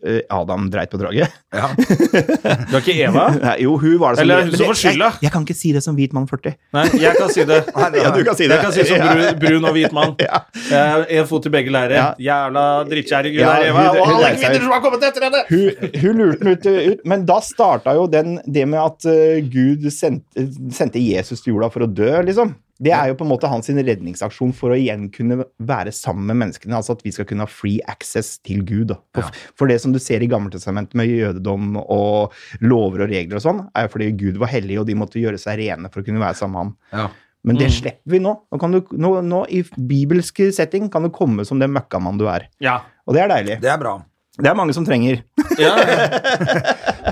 Speaker 3: eh, Adam dreit på draget
Speaker 1: Ja.
Speaker 2: Du er ikke Eva?
Speaker 3: Nei, Jo, hun var det
Speaker 2: Eller hun
Speaker 3: men
Speaker 2: som
Speaker 3: det-
Speaker 2: får skylda.
Speaker 3: Jeg, jeg kan ikke si det som hvit mann 40.
Speaker 2: Nei, jeg kan si det.
Speaker 3: Ja, du kan si det.
Speaker 2: Jeg kan si som
Speaker 3: Ja.
Speaker 2: brun, brun og hvit mann. Én fot i begge leirer. Jævla drittkjerring hun
Speaker 3: Ja,
Speaker 2: er Eva.
Speaker 3: hun-
Speaker 2: Og
Speaker 3: hun
Speaker 2: alle
Speaker 3: er seg-
Speaker 2: kvinner som har kommet etter henne!
Speaker 3: Hun, hun lurte den ut, ut, men da starta jo den, det med at eh, Gud sendte, sendte Jesus til jorda for å dø, liksom. Det er jo på en måte hans sin redningsaksjon for å igjen kunne være sammen med menneskene. Altså at vi skal kunne ha free access til Gud. Da. For, for det som du ser i Gammeltestamentet med jødedom og lover og regler og sånn, er jo fordi Gud var hellig, og de måtte gjøre seg rene for å kunne være sammen med ham.
Speaker 1: Ja.
Speaker 3: Men
Speaker 1: Mm.
Speaker 3: det slipper vi nå. Nå, kan du, nå, nå i bibelsk setting kan du komme som den møkkamann du er.
Speaker 2: Ja.
Speaker 3: Og det er deilig.
Speaker 1: Det er bra.
Speaker 3: Det er mange som trenger.
Speaker 2: ja.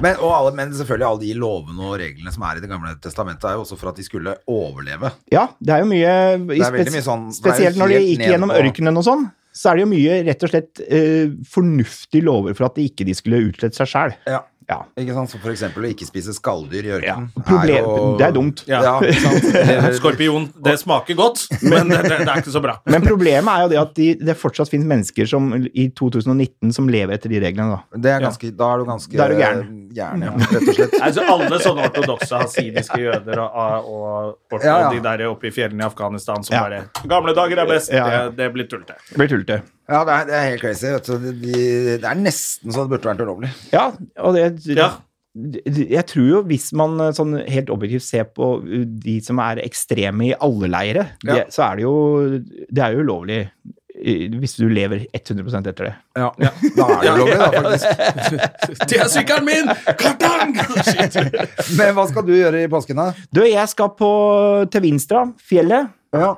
Speaker 1: Men, og alle, men selvfølgelig alle de lovene og reglene som er i Det gamle testamentet, er jo også for at de skulle overleve.
Speaker 3: Ja, det er jo mye,
Speaker 1: er veldig mye sånn- det er jo
Speaker 3: Spesielt når de
Speaker 1: helt
Speaker 3: gikk
Speaker 1: ned
Speaker 3: gjennom
Speaker 1: på-
Speaker 3: ørkenen og sånn, så er det jo mye rett og slett eh, fornuftige lover for at de ikke de skulle utslette seg sjæl.
Speaker 1: Ja.
Speaker 3: Ja.
Speaker 1: Ikke sant? Så for eksempel å ikke spise skalldyr i
Speaker 3: Ja.
Speaker 1: ørkenen
Speaker 3: Problem, det er dumt.
Speaker 1: Ja, ikke sant? Eller-
Speaker 2: Skorpion, det smaker godt, men det, det, det er ikke så bra.
Speaker 3: Men problemet er jo det at de, det fortsatt finnes mennesker som, i 2019 som lever etter de reglene. da.
Speaker 1: Det er ganske, Da er du ganske
Speaker 3: Da er du gæren.
Speaker 1: gæren, ja, rett og slett.
Speaker 2: Altså, alle sånne ortodokse hasidiske jøder og, og, og, og
Speaker 1: Ja, ja.
Speaker 2: de der oppe i fjellene i Afghanistan som
Speaker 3: Ja.
Speaker 2: bare Gamle dager er best.
Speaker 3: Ja, ja.
Speaker 2: Det, det blir tullete.
Speaker 3: Det blir tullete.
Speaker 1: Ja, det er, det er helt crazy. Vet du. Det- De, det er nesten så det burde vært ulovlig.
Speaker 3: Ja, og det
Speaker 2: Ja.
Speaker 3: Jeg tror jo hvis man eh, sånn helt objektivt ser på eh, de som er ekstreme i alle leire, det,
Speaker 1: Ja.
Speaker 3: så er det jo Det er jo ulovlig eh, hvis du lever 100 etter det.
Speaker 1: Ja. Da er det ulovlig, da, faktisk.
Speaker 2: T-sykkelen min! Kartang! Shit.
Speaker 1: Men hva skal du gjøre i påsken, da?
Speaker 3: Du, jeg skal på eh, til Vinstra, fjellet.
Speaker 1: Ja.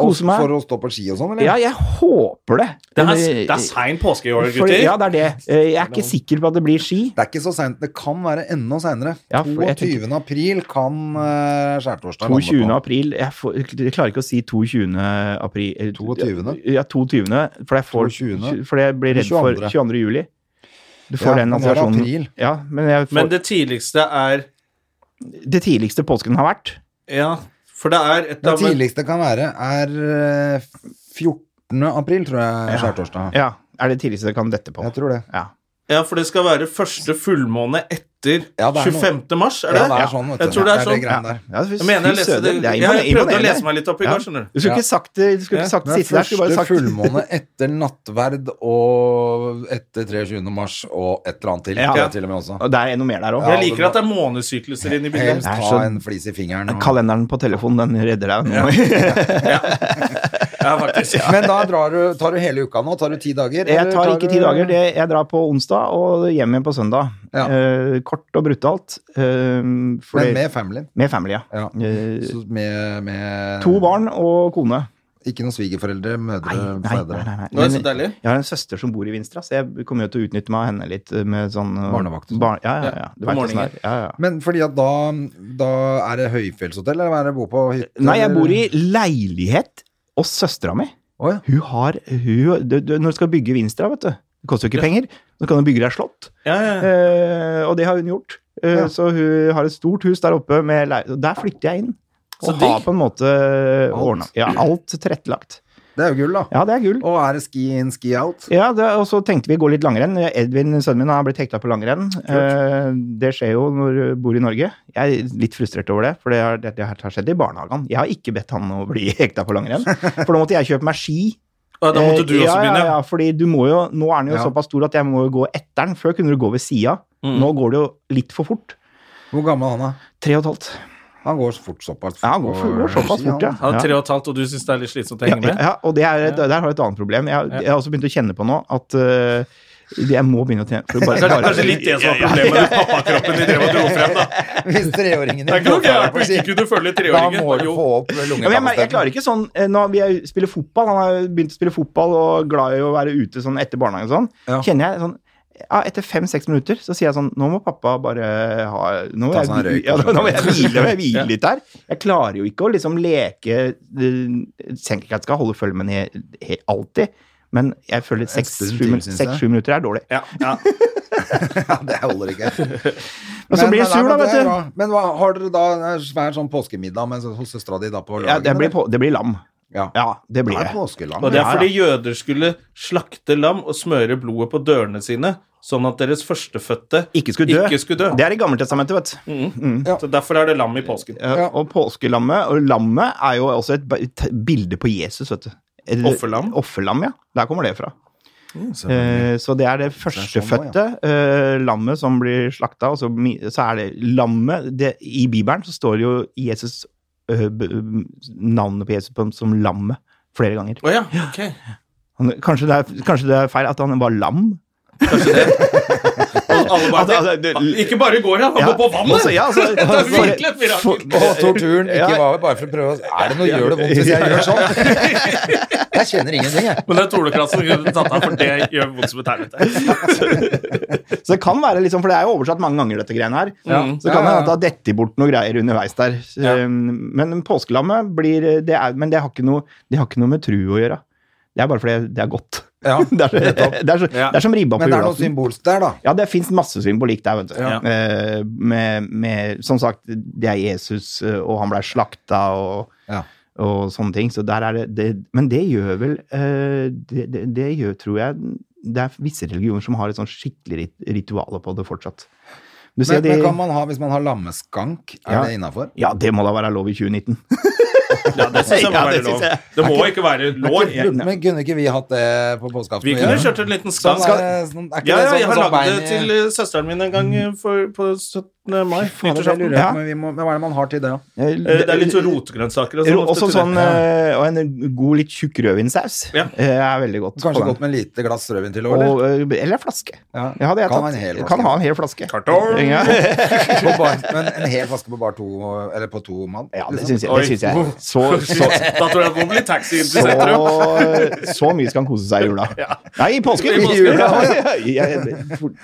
Speaker 1: Og
Speaker 3: Kose meg.
Speaker 1: for å stå på ski og sånn, eller?
Speaker 3: Ja, jeg håper det.
Speaker 2: Det er,
Speaker 3: Men, eh,
Speaker 2: det er sein påske i år,
Speaker 3: for-
Speaker 2: gutter.
Speaker 3: Ja, det er det. Eh, Jeg er ikke sikker på at det blir ski.
Speaker 1: Det er ikke så seint. Det kan være enda seinere.
Speaker 3: Ja, for jeg
Speaker 1: 22. april kan uh, skjærtorsdag
Speaker 3: 22. april Jeg, får, jeg klarer ikke å si 22. april. eller-
Speaker 1: 22..
Speaker 3: Ja, 22. For jeg, får,
Speaker 1: 22..
Speaker 3: For jeg blir redd for
Speaker 1: 22..
Speaker 3: 22. juli. Du får
Speaker 1: Ja,
Speaker 3: den
Speaker 1: men nå er det april.
Speaker 3: assosiasjonen. Ja, men jeg får,
Speaker 2: Men
Speaker 3: det,
Speaker 2: det tidligste er
Speaker 3: tidligste påsken har vært.
Speaker 2: Ja, for det er et
Speaker 1: Det
Speaker 2: av
Speaker 1: tidligste kan være er eh, 14. april, tror jeg, skjærtorsdag.
Speaker 3: Ja, er det tidligste det kan dette på.
Speaker 1: Jeg tror det.
Speaker 3: Ja.
Speaker 2: Ja, for det skal være første fullmåne etter
Speaker 1: Ja, det er noe-
Speaker 2: 25. mars, er
Speaker 1: Ja,
Speaker 2: det?
Speaker 1: det er sånn, vet du.
Speaker 2: Jeg tror det er
Speaker 1: Det er det
Speaker 2: sånn.
Speaker 1: greiene der.
Speaker 3: Ja, fy
Speaker 2: Jeg mener jeg leste
Speaker 3: søren,
Speaker 2: det. Ja,
Speaker 3: det er
Speaker 2: jeg prøvde å
Speaker 3: imponerende.
Speaker 2: lese meg litt opp i
Speaker 3: Ja.
Speaker 2: går, skjønner du.
Speaker 3: Du skulle
Speaker 1: Ja.
Speaker 3: ikke sagt det. Du skulle
Speaker 2: Ja,
Speaker 3: ikke sagt
Speaker 1: Det er
Speaker 3: siste der. Du skulle bare
Speaker 1: første
Speaker 3: sagt
Speaker 1: fullmåne etter nattverd og etter 23. mars og et eller annet til.
Speaker 3: Ja.
Speaker 1: Det er til og med også.
Speaker 3: Og Det er noe mer der òg.
Speaker 1: Ja,
Speaker 2: Jeg
Speaker 1: det
Speaker 2: liker at det er månesykluser inne i bildet.
Speaker 1: Helst
Speaker 3: Det er
Speaker 1: ta
Speaker 3: så-
Speaker 1: en flis i fingeren. og-
Speaker 3: Kalenderen på telefonen, den redder deg. nå.
Speaker 2: Ja, faktisk.
Speaker 1: Men da drar du, tar du hele uka nå? Tar du ti dager?
Speaker 3: Jeg
Speaker 1: eller
Speaker 3: tar ikke
Speaker 1: du-
Speaker 3: ti dager. Det, jeg drar på onsdag og hjem igjen på søndag.
Speaker 1: Ja.
Speaker 3: Eh, kort og brutalt. eh, fordi-
Speaker 1: Men med familien.
Speaker 3: med family, ja.
Speaker 1: Ja.
Speaker 3: Eh,
Speaker 1: Så med, med
Speaker 3: to barn og kone.
Speaker 1: Ikke noen svigerforeldre, mødre, fedre.
Speaker 2: Nå er det så deilig.
Speaker 3: jeg har en søster som bor i Vinstra, så jeg kommer jo til å utnytte meg av henne litt eh, med sånn eh,
Speaker 1: Barnevakt.
Speaker 3: Barn, ja, ja, ja. Du
Speaker 2: på
Speaker 3: vet hvordan
Speaker 2: morgenen.
Speaker 3: det er. Ja, ja.
Speaker 1: Men fordi at da, da er det høyfjellshotell, eller hva er det bo på hytte?
Speaker 3: Nei, jeg
Speaker 1: eller?
Speaker 3: bor i leilighet hos søstera mi.
Speaker 1: Å, ja.
Speaker 3: Hun har hun, du, du, Når du skal bygge Vinstra, vet du Det koster jo ikke penger. Nå kan du bygge deg slott.
Speaker 2: Ja, ja.
Speaker 3: Eh, og det har hun gjort. Eh,
Speaker 1: Ja.
Speaker 3: Så hun har et stort hus der oppe. Med lei- og der flytter jeg inn.
Speaker 2: Så
Speaker 3: Og har
Speaker 2: digg.
Speaker 3: på en måte ordna ja, alt tilrettelagt.
Speaker 1: Det er jo gull, da.
Speaker 3: Ja, det er gull.
Speaker 1: Og er det ski in, ski out?
Speaker 3: Ja, det, og så tenkte vi gå litt langrenn. Edvin, sønnen min, har blitt hekta på langrenn. Eh, det skjer jo når du bor i Norge. Jeg er litt frustrert over det, for det har, det det har skjedd i barnehagen. Jeg har ikke bedt han å bli hekta på langrenn, for da måtte jeg kjøpe meg ski.
Speaker 2: Ja, Da måtte du også
Speaker 3: Eh, ja, Ja,
Speaker 2: begynne.
Speaker 3: ja, fordi du må jo, nå er den jo
Speaker 1: Ja.
Speaker 3: såpass stor at jeg må jo gå etter den. Før kunne du gå ved sida.
Speaker 2: Mm.
Speaker 3: Nå går det jo litt for fort.
Speaker 1: Hvor gammel er han da?
Speaker 3: Tre og et halvt.
Speaker 1: Han går så fort såpass.
Speaker 3: Ja, han går, for, går såpass
Speaker 1: ski,
Speaker 3: fort, ja.
Speaker 2: Han er tre
Speaker 3: ja.
Speaker 2: og et halvt, og du syns det er litt slitsomt å
Speaker 3: Ja,
Speaker 2: henge med?
Speaker 3: ja, og det er, et- der har jeg et annet problem. Jeg, jeg har også begynt å kjenne på nå at eh, jeg må begynne å trene. for å bare-
Speaker 2: Det er
Speaker 3: bare-
Speaker 2: kanskje litt det som var problemet med pappakroppen de drev og dro frem, da.
Speaker 1: han. Hvis treåringen
Speaker 2: Det
Speaker 1: din
Speaker 2: er ikke noe gærent å
Speaker 1: på ski,
Speaker 2: ikke kunne følge
Speaker 1: da må
Speaker 2: treåringen.
Speaker 1: du
Speaker 2: Jo.
Speaker 1: få opp
Speaker 3: Ja, men jeg, mer- jeg klarer ikke sånn eh, Nå vi er, spiller fotball, han har begynt å spille fotball og glad i å være ute sånn etter barnehagen og sånn.
Speaker 1: Ja.
Speaker 3: Kjenner jeg sånn ja, Etter fem-seks minutter så sier jeg sånn Nå må pappa bare ha Nå må
Speaker 1: Ta
Speaker 3: jeg,
Speaker 1: seg en røyk,
Speaker 3: ja,
Speaker 1: og sånn.
Speaker 3: nå må jeg hvile, nå må jeg hvile litt her. Jeg klarer jo ikke å liksom leke eh, Tenker ikke at jeg skal holde følge med henne he- he- alltid, men jeg føler
Speaker 1: stund
Speaker 3: seks-sju
Speaker 1: til,
Speaker 3: min-
Speaker 1: synes
Speaker 3: seks,
Speaker 1: jeg.
Speaker 3: sju minutter er dårlig.
Speaker 2: Ja, ja.
Speaker 1: Ja, det holder ikke.
Speaker 3: Men så
Speaker 1: Men-
Speaker 3: blir jeg
Speaker 1: nei,
Speaker 3: sur,
Speaker 1: men
Speaker 3: da,
Speaker 1: det er
Speaker 3: vet du.
Speaker 1: bra. Men hva, har dere da en svær sånn påskemiddag med, hos søstera di da på lørdagen?
Speaker 3: Ja, det, blir
Speaker 1: eller?
Speaker 3: på, det blir lam.
Speaker 1: Ja.
Speaker 3: Ja, det
Speaker 1: Det
Speaker 3: blir
Speaker 1: er
Speaker 3: det.
Speaker 1: påskelam.
Speaker 2: Og det er
Speaker 3: Ja, ja.
Speaker 2: fordi jøder skulle slakte lam og smøre blodet på dørene sine, sånn at deres førstefødte
Speaker 3: Ikke skulle dø.
Speaker 2: Ikke skulle dø.
Speaker 3: Det er i Gammeltestamentet, vet du.
Speaker 2: Så derfor er det lam i påsken.
Speaker 3: Ja. Eh, Og påskelammet og lammet er jo også et ba- t- bilde på Jesus, vet du. Er det-
Speaker 2: Offerlam? Mm,
Speaker 3: Offerlam, ja. Der kommer det fra. Eh, så det er det
Speaker 2: sånn
Speaker 3: førstefødte eh, lammet som blir slakta, og så, mi- så er det lammet det, I Bibelen så står jo Jesus eh, b- navnet på Jesus på, som lammet flere ganger.
Speaker 2: Å ja, ok.
Speaker 3: Han, kanskje, det er, kanskje det er feil at han var lam?
Speaker 2: Og alle bare
Speaker 3: Altså, altså, det-
Speaker 2: "Ah, Ikke bare går han, han går på vannet!
Speaker 3: altså, ja, altså,
Speaker 2: det er
Speaker 3: for-
Speaker 2: virkelig et mirakel.
Speaker 3: for-
Speaker 1: Og torturen ikke
Speaker 3: Ja.
Speaker 1: var bare for å prøve å Er det noe gjør det vondt hvis jeg gjør sånn? Jeg kjenner ingenting, jeg.
Speaker 2: Men det er torneklassen kunne tatt av, for det gjør vondt som et helvete.
Speaker 3: Så det kan være liksom, for det er jo oversatt mange ganger, dette greiene her. Så det
Speaker 1: Ja, ja,
Speaker 3: kan hende
Speaker 1: ja.
Speaker 3: at det har dettet bort noen greier underveis der. Så,
Speaker 2: Ja.
Speaker 3: eh, um, Men påskelammet blir det er, Men det har, ikke noe, det har ikke noe med tru å gjøre. Det Det er bare fordi det er godt.
Speaker 1: Ja,
Speaker 3: det, er, det,
Speaker 1: nettopp.
Speaker 3: er, så-
Speaker 2: Ja.
Speaker 3: det er som ribba på
Speaker 1: Men det er noe
Speaker 3: julaften.
Speaker 1: symbolsk der, da.
Speaker 3: Ja, det fins masse symbolikk der, vet du.
Speaker 2: Ja.
Speaker 3: Eh, Med, med, som sagt, det er Jesus, eh, og han blei slakta, og,
Speaker 1: Ja.
Speaker 3: og sånne ting. Så der er det, det Men det gjør vel eh, det, det, det gjør, tror jeg Det er visse religioner som har et sånn skikkelig rit ritualer på det fortsatt. Du ser
Speaker 1: Men, men
Speaker 3: de-
Speaker 1: kan man ha, hvis man har lammeskank, er
Speaker 3: Ja.
Speaker 1: det innafor?
Speaker 3: Ja, det må da være lov i 2019.
Speaker 2: Ja, det syns jeg må
Speaker 3: Ja,
Speaker 2: være
Speaker 3: det synes
Speaker 2: lov.
Speaker 3: jeg.
Speaker 2: Det må ikke være lår.
Speaker 1: Men kunne ikke vi hatt det på påskeaften?
Speaker 2: Vi kunne kjørt en liten
Speaker 1: Sånn
Speaker 2: skank.
Speaker 1: er, det- sånn, er ikke
Speaker 2: Ja,
Speaker 1: det
Speaker 2: ja,
Speaker 1: sånn,
Speaker 2: jeg har
Speaker 1: sånn
Speaker 2: lagd
Speaker 1: bein
Speaker 2: det
Speaker 1: i-
Speaker 2: til eh, søsteren min en gang eh, for, på 17. mai.
Speaker 1: Ja, det
Speaker 2: nyttårsaften.
Speaker 1: lurer
Speaker 3: Ja.
Speaker 1: jeg på, men vi må- men Hva er det man har til det, da?
Speaker 3: Eh,
Speaker 2: Eh, Det er litt sånn rotgrønnsaker og
Speaker 3: Ro-
Speaker 2: sånn. ofte til
Speaker 3: Også
Speaker 2: det.
Speaker 3: sånn, eh, og en god, litt tjukk rødvinsaus
Speaker 2: Ja.
Speaker 3: eh, er veldig godt. på
Speaker 1: Kanskje
Speaker 3: den.
Speaker 1: godt med lite glass rødvin til, eller?
Speaker 3: Og, eh, eller en flaske.
Speaker 1: Ja.
Speaker 3: Ja, det er
Speaker 1: Kan
Speaker 3: tatt.
Speaker 1: ha en hel flaske.
Speaker 3: Kan ha en hel flaske.
Speaker 2: Kartong.
Speaker 3: Ja,
Speaker 1: På bar, men en hel flaske på bare to, eller på to mann?
Speaker 3: ja det
Speaker 1: liksom.
Speaker 3: syns jeg.
Speaker 2: Oi.
Speaker 3: Det synes jeg. Så, så,
Speaker 2: Da tror jeg det blir taxi inn til sentrum.
Speaker 3: så, så mye skal han kose seg i jula. Nei, i påsken!
Speaker 2: I påsken.
Speaker 3: Jeg,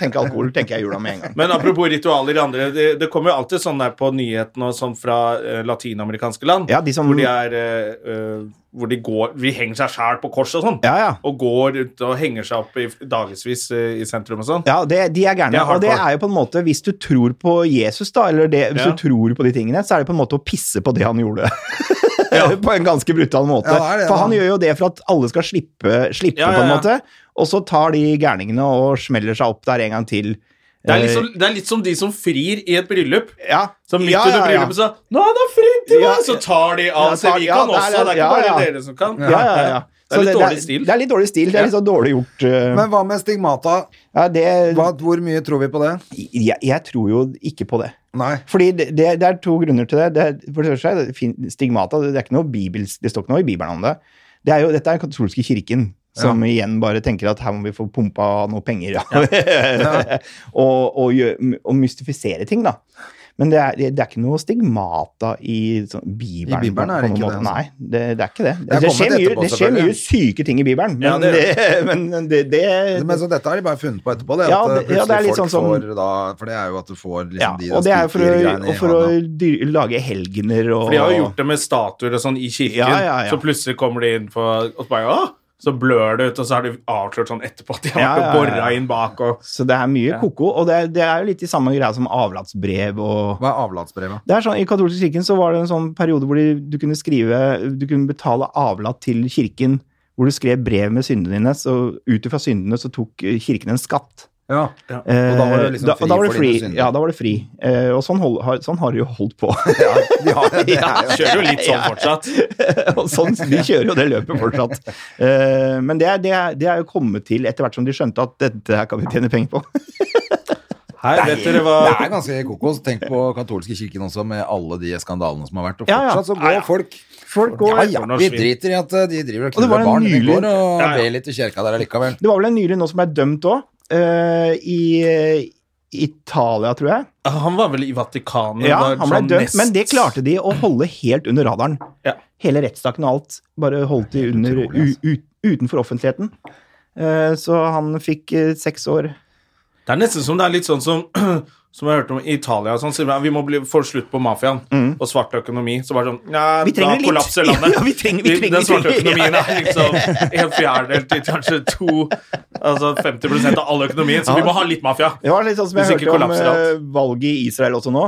Speaker 3: tenker alkohol, tenker jeg jula med en gang.
Speaker 2: Men apropos ritualer i andre, det, det kommer jo alltid sånn der på nyhetene og sånn fra eh, latinamerikanske land,
Speaker 3: Ja, de som
Speaker 2: hvor de er eh, eh, Hvor de går Vi henger seg sjæl på kors og sånn.
Speaker 3: Ja, ja.
Speaker 2: Og går ut og henger seg opp i dagevis eh, i sentrum og sånn.
Speaker 3: Ja, det, de er
Speaker 2: Det
Speaker 3: gærne.
Speaker 2: er
Speaker 3: Og det
Speaker 2: hardcore.
Speaker 3: er jo på en måte, hvis du tror på Jesus, da, eller det, hvis
Speaker 2: Ja.
Speaker 3: du tror på de tingene, så er det på en måte å pisse på det han gjorde. på en ganske brutal måte.
Speaker 1: Ja, det er det,
Speaker 3: for
Speaker 1: da.
Speaker 3: han gjør jo det for at alle skal slippe, slippe
Speaker 2: Ja, ja,
Speaker 3: på en
Speaker 2: ja.
Speaker 3: måte. Og så tar de gærningene og smeller seg opp der en gang til.
Speaker 2: Det, er litt
Speaker 3: Eh,
Speaker 2: som, det er litt som de som frir i et bryllup.
Speaker 3: Ja.
Speaker 2: Så midt
Speaker 3: Ja, ja,
Speaker 2: under
Speaker 3: ja.
Speaker 2: bryllupet så Nå er det fritt til
Speaker 3: Ja.
Speaker 2: meg! Så tar de av
Speaker 3: Ja,
Speaker 2: seg.
Speaker 3: tar-
Speaker 2: Vi
Speaker 3: ja,
Speaker 2: kan
Speaker 3: det er-
Speaker 2: også, det er ikke
Speaker 3: ja,
Speaker 2: bare
Speaker 3: ja.
Speaker 2: dere som kan.
Speaker 3: Ja, ja, ja.
Speaker 2: Det
Speaker 3: Så
Speaker 2: er litt
Speaker 3: det-
Speaker 2: dårlig stil.
Speaker 3: Det er litt dårlig stil. Det er litt sånn dårlig gjort. eh.
Speaker 1: Men hva med stigmata?
Speaker 3: ja, det,
Speaker 1: Hva, hvor mye tror vi på det?
Speaker 3: jeg, jeg tror jo ikke på det.
Speaker 1: Nei.
Speaker 3: Fordi det, det, det er to grunner til det. det for det første, er det fin- stigmata det, er ikke noe bibels, det står ikke noe i Bibelen om det. det er jo, dette er den katolske kirken, som igjen bare tenker at her må vi få pumpa noe penger. Ja. og, og, gjø- og mystifisere ting, da. Men det er, det er ikke noe stigmata i sånn, Bibelen.
Speaker 1: I Bibelen er det
Speaker 3: på noen
Speaker 1: ikke det,
Speaker 3: måte.
Speaker 1: altså.
Speaker 3: Nei, det, det er ikke det.
Speaker 1: Det er
Speaker 3: Det, skjer,
Speaker 1: kommet
Speaker 3: mye,
Speaker 1: etterpå,
Speaker 3: det skjer mye
Speaker 1: selvfølgelig.
Speaker 3: syke ting i Bibelen, men
Speaker 2: Ja, det
Speaker 3: det,
Speaker 2: er
Speaker 3: men det, det,
Speaker 1: Men så dette har de bare funnet på etterpå, det.
Speaker 3: Ja,
Speaker 1: at
Speaker 3: det- ja, det er
Speaker 1: plutselig
Speaker 3: litt
Speaker 1: folk
Speaker 3: sånn som-
Speaker 1: får da, For det er jo at du får liksom
Speaker 3: ja,
Speaker 1: de
Speaker 3: og det er for å,
Speaker 1: spirgreiene i
Speaker 3: og for å
Speaker 1: hånda.
Speaker 3: dy- lage helgener og
Speaker 2: For de har jo gjort det med statuer og sånn i kirken.
Speaker 3: Ja, ja, ja.
Speaker 2: Så plutselig kommer de inn på og så bare, «Åh!» Så blør det ut, og så har de avslørt sånn etterpå at de har
Speaker 3: Ja, ja, ja.
Speaker 2: borra inn bak og
Speaker 3: Så det er mye koko, og det er, det er jo litt i samme greia som avlatsbrev og
Speaker 1: Hva er avlatsbrevet?
Speaker 3: det er sånn, I katolske kirken så var det en sånn periode hvor de, du kunne skrive, du kunne betale avlat til kirken, hvor du skrev brev med syndene dine, så ut fra syndene så tok eh, kirken en skatt.
Speaker 1: Ja.
Speaker 3: Eh,
Speaker 1: Og da var du liksom
Speaker 3: og
Speaker 1: fri
Speaker 3: da var du
Speaker 1: for dine
Speaker 3: fri.
Speaker 1: synder.
Speaker 3: Ja, da var du fri. Eh, og sånn, hold, har, sånn har de jo holdt på.
Speaker 1: ja, de har det. det er jo.
Speaker 2: Kjører jo litt sånn fortsatt.
Speaker 3: og sånn, de kjører jo det løpet fortsatt. Eh, men det, er- det, er- det er jo kommet til etter hvert som de skjønte at dette her kan vi tjene penger på.
Speaker 2: Her, vet dere hva
Speaker 1: Det er ganske kokos. Tenk på katolske kirken også, med alle de skandalene som har vært. Og
Speaker 3: Ja, ja.
Speaker 1: fortsatt så går folk Ja,
Speaker 3: Folk går,
Speaker 1: ja,
Speaker 2: Går
Speaker 1: vi
Speaker 2: norsk vin.
Speaker 1: driter i at eh, de driver og
Speaker 3: Og det var
Speaker 1: knuller
Speaker 3: en
Speaker 1: barn. Vi
Speaker 3: nylig-
Speaker 1: går og
Speaker 2: Ja, ja.
Speaker 1: ber litt i kirka der allikevel.
Speaker 3: Det var vel en nylig nå som ble dømt òg. I eh, Italia, tror jeg.
Speaker 2: Han var vel i Vatikanet?
Speaker 3: Ja,
Speaker 2: var
Speaker 3: han ble
Speaker 2: sånn
Speaker 3: dømt,
Speaker 2: nest-
Speaker 3: Men det klarte de å holde helt under radaren.
Speaker 2: Ja.
Speaker 3: Hele rettssaken og alt. Bare holdt de under,
Speaker 1: utrolig,
Speaker 2: altså.
Speaker 3: u, ut, utenfor offentligheten. Eh, Så han fikk eh, seks år.
Speaker 2: Det er nesten som det er litt sånn som som jeg hørte om i Italia og sånn, sier man, vi må bli, få slutt på mafiaen og svart økonomi. Så var det sånn Nei,
Speaker 3: Mm. Vi
Speaker 2: da
Speaker 3: trenger litt.
Speaker 2: kollapser landet.
Speaker 3: Ja, vi trenger- vi trenger-
Speaker 2: Den svarte
Speaker 3: vi trenger-
Speaker 2: økonomien er liksom en fjerdedel til kanskje to Altså 50 av all økonomien, så vi må ha litt mafia.
Speaker 3: Det var litt sånn som jeg
Speaker 2: Hvis ikke
Speaker 3: hørte om
Speaker 2: kollapser alt. Mm.
Speaker 3: eh, valget i Israel også nå.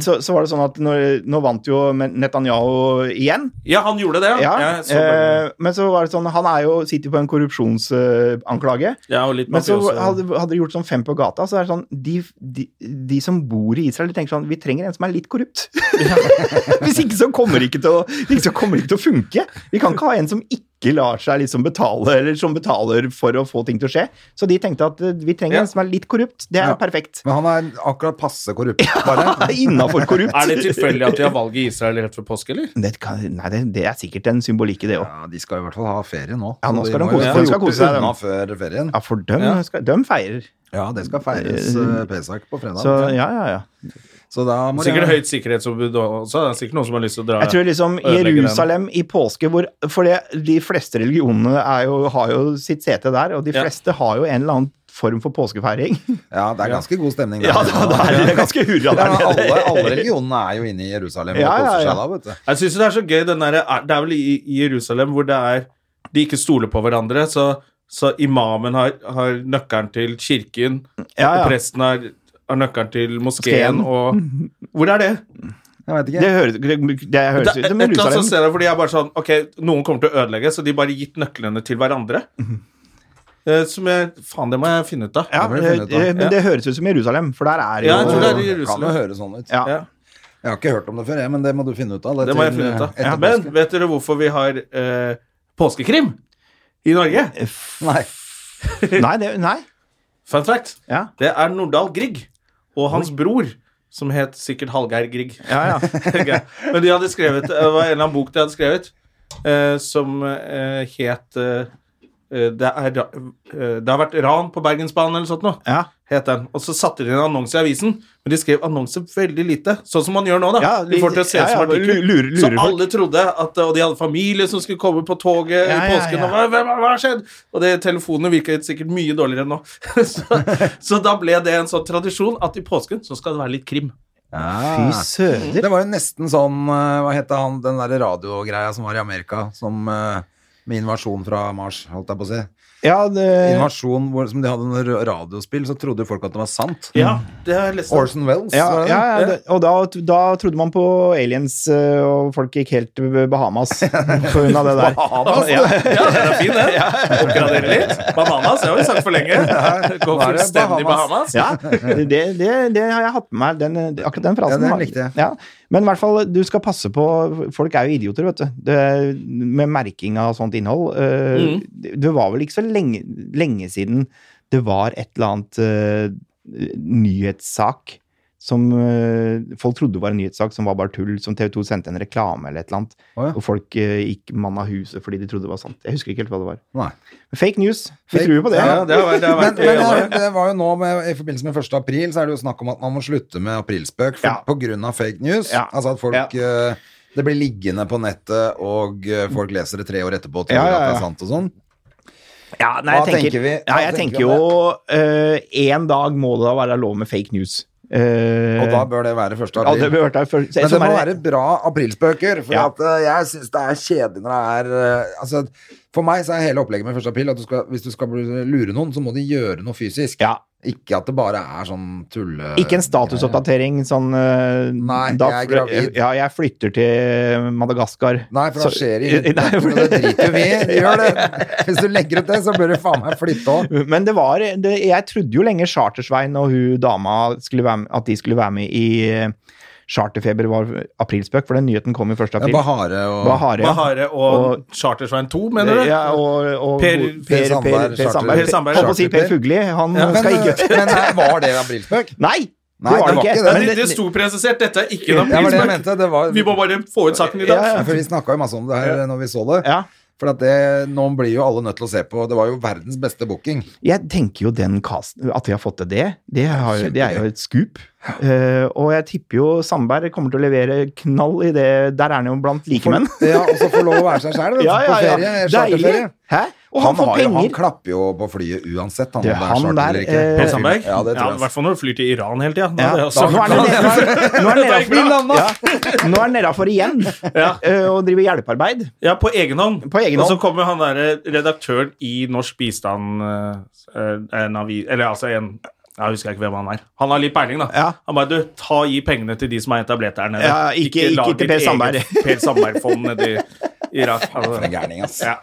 Speaker 3: Så, så var det sånn at nå, nå vant jo Netanyahu igjen.
Speaker 2: Ja, han gjorde det.
Speaker 3: Ja.
Speaker 2: Jeg så bare-
Speaker 3: eh, men så var det sånn Han er jo, sitter jo på en korrupsjonsanklage.
Speaker 2: ja og litt
Speaker 3: Men så
Speaker 2: mafioso.
Speaker 3: hadde, hadde de gjort sånn fem på gata, så er det sånn De, de, de som bor i Israel, de tenker sånn Vi trenger en som er litt korrupt. Hvis ikke så kommer det ikke til å, ikke så kommer det ikke til å funke. Vi kan ikke ha en som ikke lar seg liksom betale, eller som betaler for å få ting til å skje. Så de tenkte at eh, vi trenger
Speaker 2: Ja.
Speaker 3: en som er litt korrupt. Det er
Speaker 1: Ja.
Speaker 3: perfekt.
Speaker 1: Men han er akkurat passe korrupt, bare.
Speaker 3: Innafor korrupt.
Speaker 2: Er det tilfeldig at de har valget i Israel rett før påske, eller?
Speaker 3: Det kan, nei, det, det er sikkert en symbolikk i det òg.
Speaker 1: Ja, de skal i hvert fall ha ferie nå.
Speaker 3: Ja, nå
Speaker 1: Så de
Speaker 3: skal de
Speaker 1: må jo
Speaker 3: kose-
Speaker 1: få
Speaker 3: de skal
Speaker 1: gjort
Speaker 3: kose seg,
Speaker 1: det
Speaker 3: de.
Speaker 1: unna før ferien.
Speaker 3: Ja, for dem,
Speaker 2: Ja.
Speaker 3: skal, dem feirer.
Speaker 1: Ja, det skal feires eh, Pesach på fredag.
Speaker 3: Så ja, ja, ja.
Speaker 1: Så da må de-
Speaker 2: Sikkert høyt sikkerhetsombud også. Det er sikkert noen som har lyst til å dra
Speaker 3: Jeg tror liksom
Speaker 2: ødelegge den.
Speaker 3: Jerusalem i påske hvor, For det, de fleste religionene er jo, har jo sitt sete der, og de
Speaker 2: Ja.
Speaker 3: fleste har jo en eller annen form for påskefeiring.
Speaker 1: Ja, det er ganske god stemning der.
Speaker 3: Ja, da, da er det ganske hurra
Speaker 1: Ja,
Speaker 3: der
Speaker 1: men
Speaker 3: nede.
Speaker 1: alle, alle religionene er jo inne i Jerusalem og
Speaker 3: Ja, ja,
Speaker 1: koser
Speaker 3: ja.
Speaker 1: seg da, vet du.
Speaker 2: Jeg syns det er så gøy den derre Det er vel i, i Jerusalem hvor det er de ikke stoler på hverandre, så, så imamen har, har nøkkelen til kirken,
Speaker 3: Ja, ja.
Speaker 2: og presten har, har nøkkelen til
Speaker 3: Moskeen.
Speaker 2: moskeen, og Hvor er det?
Speaker 1: Jeg vet
Speaker 3: Det
Speaker 1: ikke.
Speaker 3: høres, det, det høres
Speaker 2: Det
Speaker 3: ut
Speaker 2: er et
Speaker 3: som
Speaker 2: eller annet som
Speaker 3: Jerusalem.
Speaker 2: ser det, fordi jeg er bare sånn Ok, noen kommer til å ødelegge, så de bare gitt nøklene til hverandre. Eh, Som jeg Faen, det må jeg finne ut av.
Speaker 3: Ja,
Speaker 1: Det blir funnet ut, da.
Speaker 3: eh, men det høres ut som Jerusalem, for der er jo
Speaker 2: Ja, jeg tror det er i
Speaker 1: kan jo
Speaker 2: Jerusalem.
Speaker 1: høre sånn ut.
Speaker 3: Ja.
Speaker 2: Ja,
Speaker 1: Jeg har ikke hørt om det før, jeg, men det må du finne ut av.
Speaker 2: det må jeg finne ut av.
Speaker 3: eh,
Speaker 1: etter
Speaker 2: Men
Speaker 1: påske.
Speaker 2: vet dere hvorfor vi har eh, påskekrim i Norge?
Speaker 1: Nei.
Speaker 3: Nei, det, nei.
Speaker 2: Fun fact.
Speaker 3: Ja,
Speaker 2: Det er Nordahl Grieg og hans bror, som het sikkert Hallgeir Grieg.
Speaker 3: ja, ja.
Speaker 2: Tenker jeg. Men de hadde skrevet Det var en eller annen bok de hadde skrevet eh, som eh, het eh, det, er, ra- eh, det har vært ran på Bergensbanen eller sånt noe.
Speaker 3: ja.
Speaker 2: Het den. Og så satte de inn annonse i avisen, men de skrev annonse veldig lite. Sånn som man gjør nå, da.
Speaker 3: Ja,
Speaker 2: de får til å se
Speaker 3: ja,
Speaker 2: som
Speaker 3: ja,
Speaker 2: artikkel.
Speaker 3: lurer- lurer
Speaker 2: så
Speaker 3: folk.
Speaker 2: alle trodde at Og de hadde familie som skulle komme på toget
Speaker 3: Ja,
Speaker 2: i
Speaker 3: ja,
Speaker 2: påsken.
Speaker 3: ja.
Speaker 2: Og hva, hva, hva har skjedd? Og det, telefonene virket sikkert mye dårligere enn nå. så, så da ble det en sånn tradisjon at i påsken så skal det være litt krim.
Speaker 3: Mm. Fy
Speaker 1: Ah.
Speaker 3: søder.
Speaker 1: Det var jo nesten sånn eh, Hva het han, den der radiogreia som var i Amerika, som eh, med invasjon fra Mars, holdt jeg på å si.
Speaker 3: Ja, det,
Speaker 1: Invasjon hvor, som de hadde en r- radiospill, så trodde jo folk at det var sant.
Speaker 2: Ja, det har jeg lest om.
Speaker 1: Orson Wells,
Speaker 3: ja,
Speaker 1: var det det?
Speaker 3: ja, ja det, og da, da trodde man på aliens, eh, og folk gikk helt til Bahamas på grunn av det der.
Speaker 1: Bahamas,
Speaker 3: Ja,
Speaker 2: Ja, den er fin, den. Oppgradere litt. Bananas, det har vi sagt for lenge. Gå
Speaker 1: Nå er det
Speaker 2: fullstendig Bahamas.
Speaker 3: Ja, det, det, det har jeg hatt med meg. Den, det- akkurat den frasen.
Speaker 1: Ja, den
Speaker 3: var-
Speaker 1: likte jeg.
Speaker 3: Ja. Men i hvert fall, du skal passe på Folk er jo idioter, vet du. Det, med merking av sånt innhold. Eh,
Speaker 2: Mm.
Speaker 3: det, det var vel ikke så lenge, lenge siden det var et eller annet eh, nyhetssak som eh, folk trodde var en nyhetssak som var bare tull, som TV 2 sendte en reklame eller et eller annet.
Speaker 1: Å ja.
Speaker 3: Og folk eh, gikk mann av huset fordi de trodde det var sant. Jeg husker ikke helt hva det var.
Speaker 1: Nei.
Speaker 3: Fake news. Vi
Speaker 1: Fake-
Speaker 3: tror jo på det.
Speaker 2: Ja, det har vært, det har
Speaker 1: Men,
Speaker 2: vært
Speaker 1: men det, det var jo nå med, I forbindelse med 1. april så er det jo snakk om at man må slutte med aprilspøk for,
Speaker 3: Ja.
Speaker 1: på grunn av fake news.
Speaker 3: Ja.
Speaker 1: Altså at folk
Speaker 3: Ja.
Speaker 1: eh, Det blir liggende på nettet, og eh, folk leser det tre år etterpå og tror
Speaker 3: Ja, ja,
Speaker 1: at det
Speaker 3: ja.
Speaker 1: er sant og sånn.
Speaker 3: Ja, nei, jeg
Speaker 1: Hva
Speaker 3: tenker,
Speaker 1: tenker vi?
Speaker 3: Ja,
Speaker 1: Hva tenker
Speaker 3: jeg tenker
Speaker 1: vi
Speaker 3: jo
Speaker 1: om
Speaker 3: én dag må det da være lov med fake news. Eh,
Speaker 1: Og da bør det være 1.
Speaker 3: ja, det
Speaker 1: april.
Speaker 3: bør vært der før. så-
Speaker 1: Men
Speaker 3: som
Speaker 1: det må
Speaker 3: er-
Speaker 1: være bra aprilspøker, for
Speaker 3: Ja.
Speaker 1: at, eh, jeg syns det er kjedelig når det er eh, altså, For meg så er hele opplegget med 1. april at du skal, hvis du skal lure noen, så må de gjøre noe fysisk.
Speaker 3: ja,
Speaker 1: Ikke at det bare er sånn tulle...
Speaker 3: ikke en statusoppdatering sånn eh,
Speaker 1: Nei, jeg er gravid.
Speaker 3: Ja, jeg flytter til Madagaskar.
Speaker 1: Nei, for da
Speaker 3: Så-
Speaker 1: skjer det i
Speaker 3: Nei, for-
Speaker 1: Det driter jo vi i. De Gjør det. Hvis du legger ut det, så bør du faen meg flytte òg.
Speaker 3: Men det var det, Jeg trodde jo lenge Chartersvein og hun dama skulle være med, at de skulle være med i eh, Charterfeber var aprilspøk, for den nyheten kom jo 1. april.
Speaker 1: Bahare og
Speaker 3: Bahare, ja.
Speaker 2: Bahare og
Speaker 3: Og-
Speaker 2: Chartersvein 2, mener du?
Speaker 3: Ja, og, og
Speaker 2: Per-
Speaker 1: Per
Speaker 3: Per,
Speaker 1: Sandberg,
Speaker 3: per, per Sandberg.
Speaker 2: Per Sandberg.
Speaker 3: Holdt på å si Per Fugli. Han
Speaker 1: Men,
Speaker 3: skal ikke
Speaker 1: men nei, var det aprilspøk?
Speaker 3: Nei!
Speaker 1: Nei, det var ikke det.
Speaker 2: Ja,
Speaker 3: Men
Speaker 2: det, det sto presisert. Dette er ikke en
Speaker 1: Det var det jeg
Speaker 2: aprilspøk.
Speaker 1: mente. Det var,
Speaker 2: Vi må bare få ut saken i dag.
Speaker 3: Ja, ja.
Speaker 1: for vi snakka jo masse om det her når vi så det.
Speaker 3: ja,
Speaker 1: For at det, nå blir jo alle nødt til å se på. Det var jo verdens beste booking.
Speaker 3: jeg tenker jo den casten At de har fått til det, det, har, jo- det er jo et skup. Eh, og jeg tipper jo Sandberg kommer til å levere knall i det. Der er han jo blant likemenn.
Speaker 1: Ja, Og så få lov å være seg sjæl
Speaker 3: Ja,
Speaker 1: på
Speaker 3: ja, ja.
Speaker 1: ferie.
Speaker 3: Deilig!
Speaker 1: Charterferie.
Speaker 3: Hæ? Og han, får
Speaker 1: har jo- han
Speaker 3: penger!
Speaker 1: klapper jo på flyet uansett, han, om
Speaker 3: Du,
Speaker 1: det er
Speaker 3: han
Speaker 1: charter
Speaker 3: der,
Speaker 1: eller ikke.
Speaker 3: eh,
Speaker 2: Per Sandberg?
Speaker 1: Ja, det tror
Speaker 2: I
Speaker 1: jeg.
Speaker 2: hvert fall når du flyr til Iran hele tida.
Speaker 3: Ja, da- nå er han nede- nå er han
Speaker 2: Dette gikk
Speaker 3: nedafor ja, Nå er han nedafor igjen
Speaker 2: Ja.
Speaker 3: eh, og driver hjelpearbeid.
Speaker 2: Ja, på egen hånd.
Speaker 3: På egen
Speaker 2: og så
Speaker 3: hånd.
Speaker 2: kommer han derre redaktøren i Norsk bistand eh, en avi, Eller altså en Jeg husker ikke hvem han er. Han har litt peiling, da.
Speaker 3: Ja.
Speaker 2: Han bare du, ta gi pengene til de som er etablert der nede.
Speaker 3: Ja, ikke- ikke
Speaker 2: lag
Speaker 3: til
Speaker 2: ditt
Speaker 3: Per
Speaker 2: eget
Speaker 3: Sandberg.
Speaker 2: Per Sandberg-fond nedi Irak. Altså.
Speaker 1: For en gærning, ass.
Speaker 2: Ja.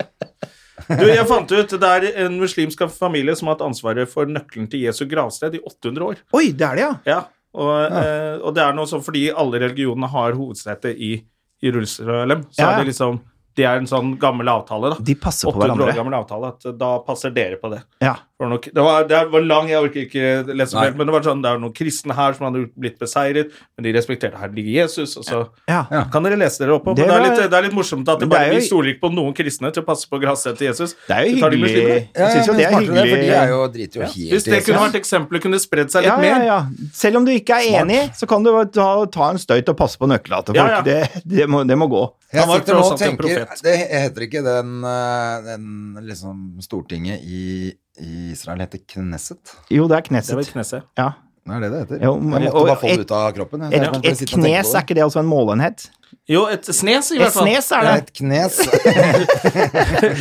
Speaker 2: Du, jeg fant ut det er en muslimsk familie som har hatt ansvaret for nøkkelen til Jesu gravsted i 800 år.
Speaker 3: Oi, det er det, ja!
Speaker 2: Ja, og, Eh, og det er noe sånn fordi alle religionene har hovedsete i i Jerusalem. Så
Speaker 3: Ja, ja.
Speaker 2: er det liksom Det er en sånn gammel avtale, da.
Speaker 3: De passer på
Speaker 2: 800 år
Speaker 3: hverandre.
Speaker 2: gammel avtale. At eh, da passer dere på det.
Speaker 3: Ja.
Speaker 2: Det var, nok, det, var, det var lang, jeg orker ikke lese om
Speaker 1: Nei.
Speaker 2: helt, men det var sånn, det var noen kristne her som hadde blitt beseiret, men de respekterte herlig Jesus, og så
Speaker 3: Ja.
Speaker 2: kan dere lese dere opp på.
Speaker 3: Det
Speaker 2: men det er,
Speaker 3: var-
Speaker 2: litt, det er litt morsomt at det
Speaker 3: Men det
Speaker 2: bare,
Speaker 3: er jo-
Speaker 2: vi stoler ikke på noen kristne til å passe på gravstedet til Jesus.
Speaker 3: Det er jo
Speaker 2: Vi tar de
Speaker 3: hyggelig.
Speaker 2: muslimene.
Speaker 1: Ja,
Speaker 3: Jeg syns jo
Speaker 1: men
Speaker 3: det er
Speaker 1: smartere,
Speaker 3: hyggelig.
Speaker 1: For de er jo driter jo helt
Speaker 2: Hvis det
Speaker 1: i
Speaker 2: kunne
Speaker 1: seg.
Speaker 2: vært eksempelet, kunne det spredd seg litt
Speaker 3: Ja,
Speaker 2: mer.
Speaker 3: ja, ja. Selv om du ikke er enig, så kan du bare ta, ta en støyt og passe på nøkkelen til folk.
Speaker 2: Ja, ja.
Speaker 3: Det, det, må, det må gå.
Speaker 1: Jeg
Speaker 2: Han var
Speaker 1: sitter nå og
Speaker 2: tross alt en
Speaker 1: tenker
Speaker 2: profet.
Speaker 1: Det heter ikke den, eh, den liksom Stortinget i, i Israel heter Knesset.
Speaker 3: Jo, det er
Speaker 2: Det var
Speaker 3: kneset.
Speaker 2: kneset.
Speaker 3: Ja.
Speaker 1: Det er det det heter.
Speaker 3: Jo,
Speaker 1: jeg måtte
Speaker 3: og
Speaker 1: bare få
Speaker 3: et-
Speaker 1: det ut av kroppen. jeg, så
Speaker 3: Et,
Speaker 1: jeg kan bare
Speaker 3: et
Speaker 1: sitte og tenke på
Speaker 3: knes,
Speaker 1: det.
Speaker 3: er ikke det også en målenhet?
Speaker 2: Jo, et snes, i
Speaker 3: Et
Speaker 2: hvert fall.
Speaker 3: snes er det.
Speaker 1: Et knes.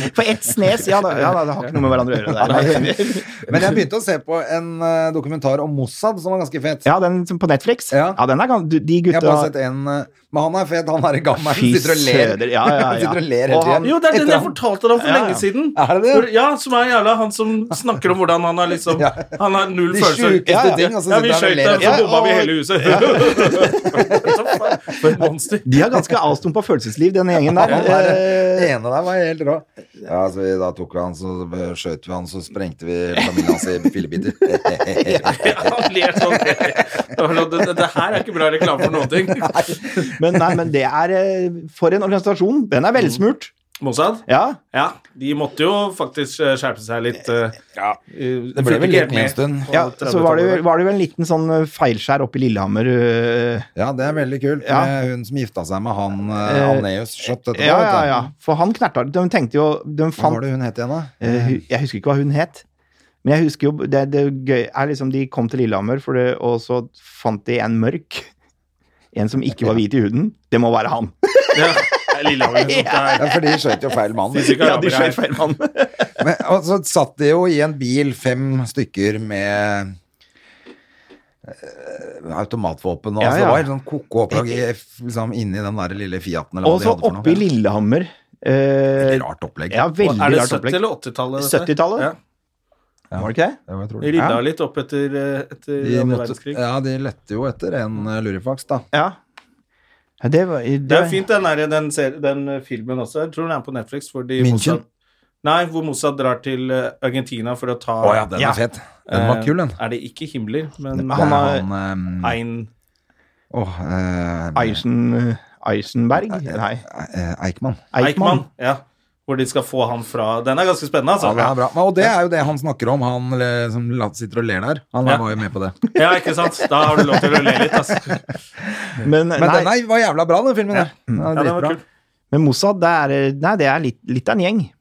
Speaker 3: For ett snes, ja da, ja, da det har ikke noe med hverandre å gjøre. Det. er-
Speaker 1: Men jeg begynte å se på en eh, dokumentar om Mossad som var ganske fet.
Speaker 3: Ja, den som på Netflix.
Speaker 1: Ja.
Speaker 3: Ja, den er gans- du- De
Speaker 1: Jeg har bare sett
Speaker 3: gutta
Speaker 1: en eh, Men han er fet, han er gammel.
Speaker 3: Fy
Speaker 1: Han sitter og ler.
Speaker 3: søder, ja, ja, ja.
Speaker 1: sitter og ler
Speaker 3: Og
Speaker 1: hele
Speaker 3: han-
Speaker 1: tiden.
Speaker 2: Jo, det er den
Speaker 1: Etter
Speaker 2: jeg
Speaker 1: han-
Speaker 2: fortalte deg om for
Speaker 3: Ja, ja.
Speaker 2: lenge siden.
Speaker 1: Er det det?
Speaker 2: Hvor- Ja, som er jævla han som snakker om hvordan han har liksom
Speaker 1: Ja.
Speaker 2: Han har null
Speaker 1: De
Speaker 2: følelser.
Speaker 1: sjukeste
Speaker 2: Ja, ja.
Speaker 1: ting, og så
Speaker 2: ja, vi
Speaker 1: sitter han og
Speaker 2: skøyt
Speaker 1: ler
Speaker 2: dem, så
Speaker 1: etterpå.
Speaker 2: bomba vi hele huset. Så faen, For et monster.
Speaker 3: De har ganske avstumpa følelsesliv, den gjengen der.
Speaker 1: Han der,
Speaker 3: Eh,
Speaker 1: eh, ene der var helt rå. Ja, så vi, da tok vi han, så eh, skjøt vi han, så sprengte vi familien hans i fillebiter.
Speaker 2: Han ler sånn. Det, det, det her er ikke bra reklame for noen ting.
Speaker 3: Men, nei, men det er eh, For en organisasjon. Den er velsmurt.
Speaker 2: Mossad?
Speaker 3: Ja.
Speaker 2: Ja, de måtte jo faktisk eh, skjerpe seg litt.
Speaker 1: Eh,
Speaker 2: Ja,
Speaker 1: Det ble vel litt med en stund.
Speaker 3: ja så var det, var det vel en liten sånn eh, feilskjær oppe i Lillehammer. eh,
Speaker 1: Ja, det er veldig kult.
Speaker 3: Ja.
Speaker 1: Med hun som gifta seg med han uh,
Speaker 3: Eh,
Speaker 1: Alneus kjapt etterpå.
Speaker 3: Ja,
Speaker 1: vet
Speaker 3: ja,
Speaker 1: du.
Speaker 3: ja. For han knerta De tenkte jo De
Speaker 1: Hva
Speaker 3: fant
Speaker 1: var det hun het igjen, da?
Speaker 3: Eh, hu- Jeg husker ikke hva hun het. Men jeg husker jo Det, det gøy er liksom De kom til Lillehammer, for det, og så fant de en mørk. En som ikke var hvit i huden. Det må være han!
Speaker 2: Ja, det er Lillehammer. liksom. Det er-
Speaker 1: Ja, for de skjøt jo feil mann.
Speaker 2: Fysikk.
Speaker 3: Ja, de skjøt feil mann.
Speaker 1: Men, og så satt de jo i en bil, fem stykker med eh, automatvåpen og
Speaker 3: Ja,
Speaker 1: altså,
Speaker 3: ja.
Speaker 1: Det var helt sånn koko opplag i- liksom, inni den der lille Fiaten. eller hva
Speaker 3: Og
Speaker 1: de
Speaker 3: så
Speaker 1: hadde for noe.
Speaker 3: oppe i Lillehammer eh,
Speaker 1: Veldig Rart opplegg.
Speaker 3: Ja, veldig
Speaker 2: Er det
Speaker 3: rart
Speaker 2: 70-
Speaker 3: opplegg.
Speaker 2: eller 80-tallet? dette?
Speaker 3: 70-tallet?
Speaker 2: Ja.
Speaker 3: Var det ikke det?
Speaker 1: Det var, jeg tror
Speaker 2: De
Speaker 1: det.
Speaker 2: Rydda
Speaker 1: Ja.
Speaker 2: litt opp etter, eh, etter
Speaker 1: De,
Speaker 2: andre
Speaker 1: måtte,
Speaker 2: verdenskrig.
Speaker 1: ja, de lette jo etter en eh, lurifaks, da.
Speaker 3: Ja. ja det var det,
Speaker 2: Det er fint, den, der, den, ser- den eh, filmen også. Jeg tror den er på Netflix. Hvor de
Speaker 1: München?
Speaker 2: Mossad- Nei, hvor Mossad drar til eh, Argentina for å ta
Speaker 1: Å ja, den
Speaker 3: Ja.
Speaker 1: er fet. Den var
Speaker 2: eh,
Speaker 1: kul, den.
Speaker 2: Er det ikke Himmler, men
Speaker 1: Det er
Speaker 3: han har-
Speaker 1: han, eh,
Speaker 2: Ein
Speaker 1: åh, eh,
Speaker 3: Eisen, Eisenberg? Nei,
Speaker 1: eh, Eichmann.
Speaker 3: Eichmann.
Speaker 2: Eichmann? Ja. Hvor de skal få han fra Den er ganske spennende, altså.
Speaker 1: Ja, det er bra. Men- Og det er jo det han snakker om, han eh, som la- sitter og ler der. Han
Speaker 2: Ja.
Speaker 1: var jo med på det.
Speaker 2: Ja, ikke sant? Da har du lov til å le litt, altså.
Speaker 3: Men,
Speaker 1: Men
Speaker 3: nei,
Speaker 1: den er- var jævla bra, den filmen. der. Den er
Speaker 2: Ja, det var
Speaker 1: dritbra.
Speaker 2: kult.
Speaker 3: men Mossad, det er, nei, det er litt, litt av en gjeng.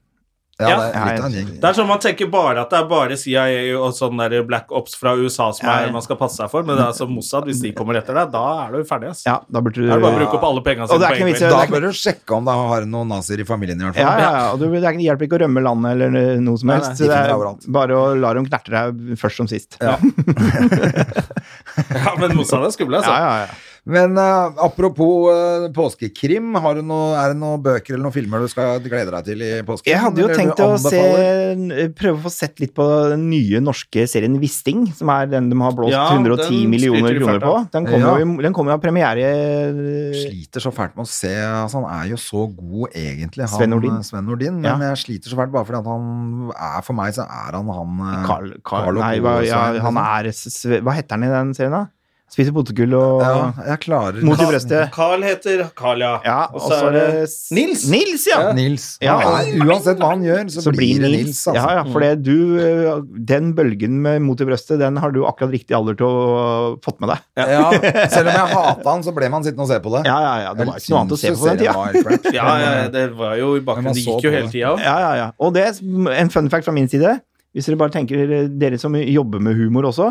Speaker 1: Ja,
Speaker 2: Ja.
Speaker 1: det er litt av en
Speaker 2: Det
Speaker 1: gjeng.
Speaker 2: er sånn Man tenker bare at det er bare CIA og sånn der Black Ops fra USA som er, man skal passe seg for, men det er altså Mossad, hvis de kommer etter deg, da er du ferdig. ass.
Speaker 3: Ja, da burde du
Speaker 2: Da er det bare å bruke opp alle pengene
Speaker 3: Og det
Speaker 2: sine
Speaker 3: er
Speaker 2: på
Speaker 3: ikke
Speaker 2: en
Speaker 3: vits i-
Speaker 2: gang.
Speaker 1: Da bør du sjekke om det har noen nazier i familien, i hvert
Speaker 3: Ja,
Speaker 1: fall.
Speaker 3: ja, ja. og du- Det er ikke- hjelper ikke å rømme landet eller eh, noe som
Speaker 1: Nei,
Speaker 3: helst.
Speaker 1: nei, de finner deg
Speaker 3: det er
Speaker 1: overalt.
Speaker 3: bare å la dem knerte deg først som sist. Ja,
Speaker 2: Ja, men Mossad er skumle, altså.
Speaker 3: ja, ja.
Speaker 1: Men eh, apropos eh, påskekrim, har du noe, er det noen bøker eller noen filmer du skal glede deg til i påsken?
Speaker 3: Jeg hadde jo
Speaker 1: eller du
Speaker 3: tenkt å
Speaker 1: anbefaler?
Speaker 3: se, prøve å få sett litt på den nye norske serien Wisting, som er den de har blåst
Speaker 2: Ja, den
Speaker 3: 110 millioner
Speaker 2: skryter de
Speaker 3: kroner
Speaker 2: fælt av.
Speaker 3: på. Den kommer
Speaker 1: Ja.
Speaker 3: jo i- den kommer jo av eh, premiere
Speaker 1: Sliter så fælt med å se altså, Han er jo så god, egentlig, han
Speaker 3: Sven Nordin.
Speaker 1: eh, Sven Nordin men jeg sliter så fælt bare fordi at han er For meg så er han han eh,
Speaker 3: Carl, Carl,
Speaker 1: Carlo
Speaker 3: Nei, hva,
Speaker 1: Kolsveien,
Speaker 3: ja, han
Speaker 1: liksom.
Speaker 3: er sve- Hva heter han i den serien, da? Spiser potetgull og
Speaker 1: Ja, jeg klarer
Speaker 3: Mot i
Speaker 1: Ka-
Speaker 3: brøstet.
Speaker 2: Carl heter Carl, ja.
Speaker 3: Ja,
Speaker 2: og så er det Nils.
Speaker 3: Nils, ja!
Speaker 1: Nils.
Speaker 3: Ja.
Speaker 1: Han er- uansett hva han gjør, så,
Speaker 3: så
Speaker 1: blir det Nils. altså.
Speaker 3: Ja, ja, for det du, eh, den bølgen med mot i brøstet, den har du akkurat riktig alder til å ha fått med deg.
Speaker 1: Mm. Ja, selv om jeg hata han, så ble man sittende og se på det.
Speaker 3: Ja, ja, ja, det var ikke noe annet å se på den tida.
Speaker 2: Ja, ja, det var jo i
Speaker 1: Men
Speaker 2: bakgrunnen.
Speaker 1: man
Speaker 2: Det
Speaker 1: så
Speaker 2: gikk jo
Speaker 1: på
Speaker 2: hele
Speaker 1: det.
Speaker 2: tida òg.
Speaker 3: Ja, ja, ja. Og det er en fun fact fra min side. Hvis dere bare tenker, eh, dere som jobber med humor også,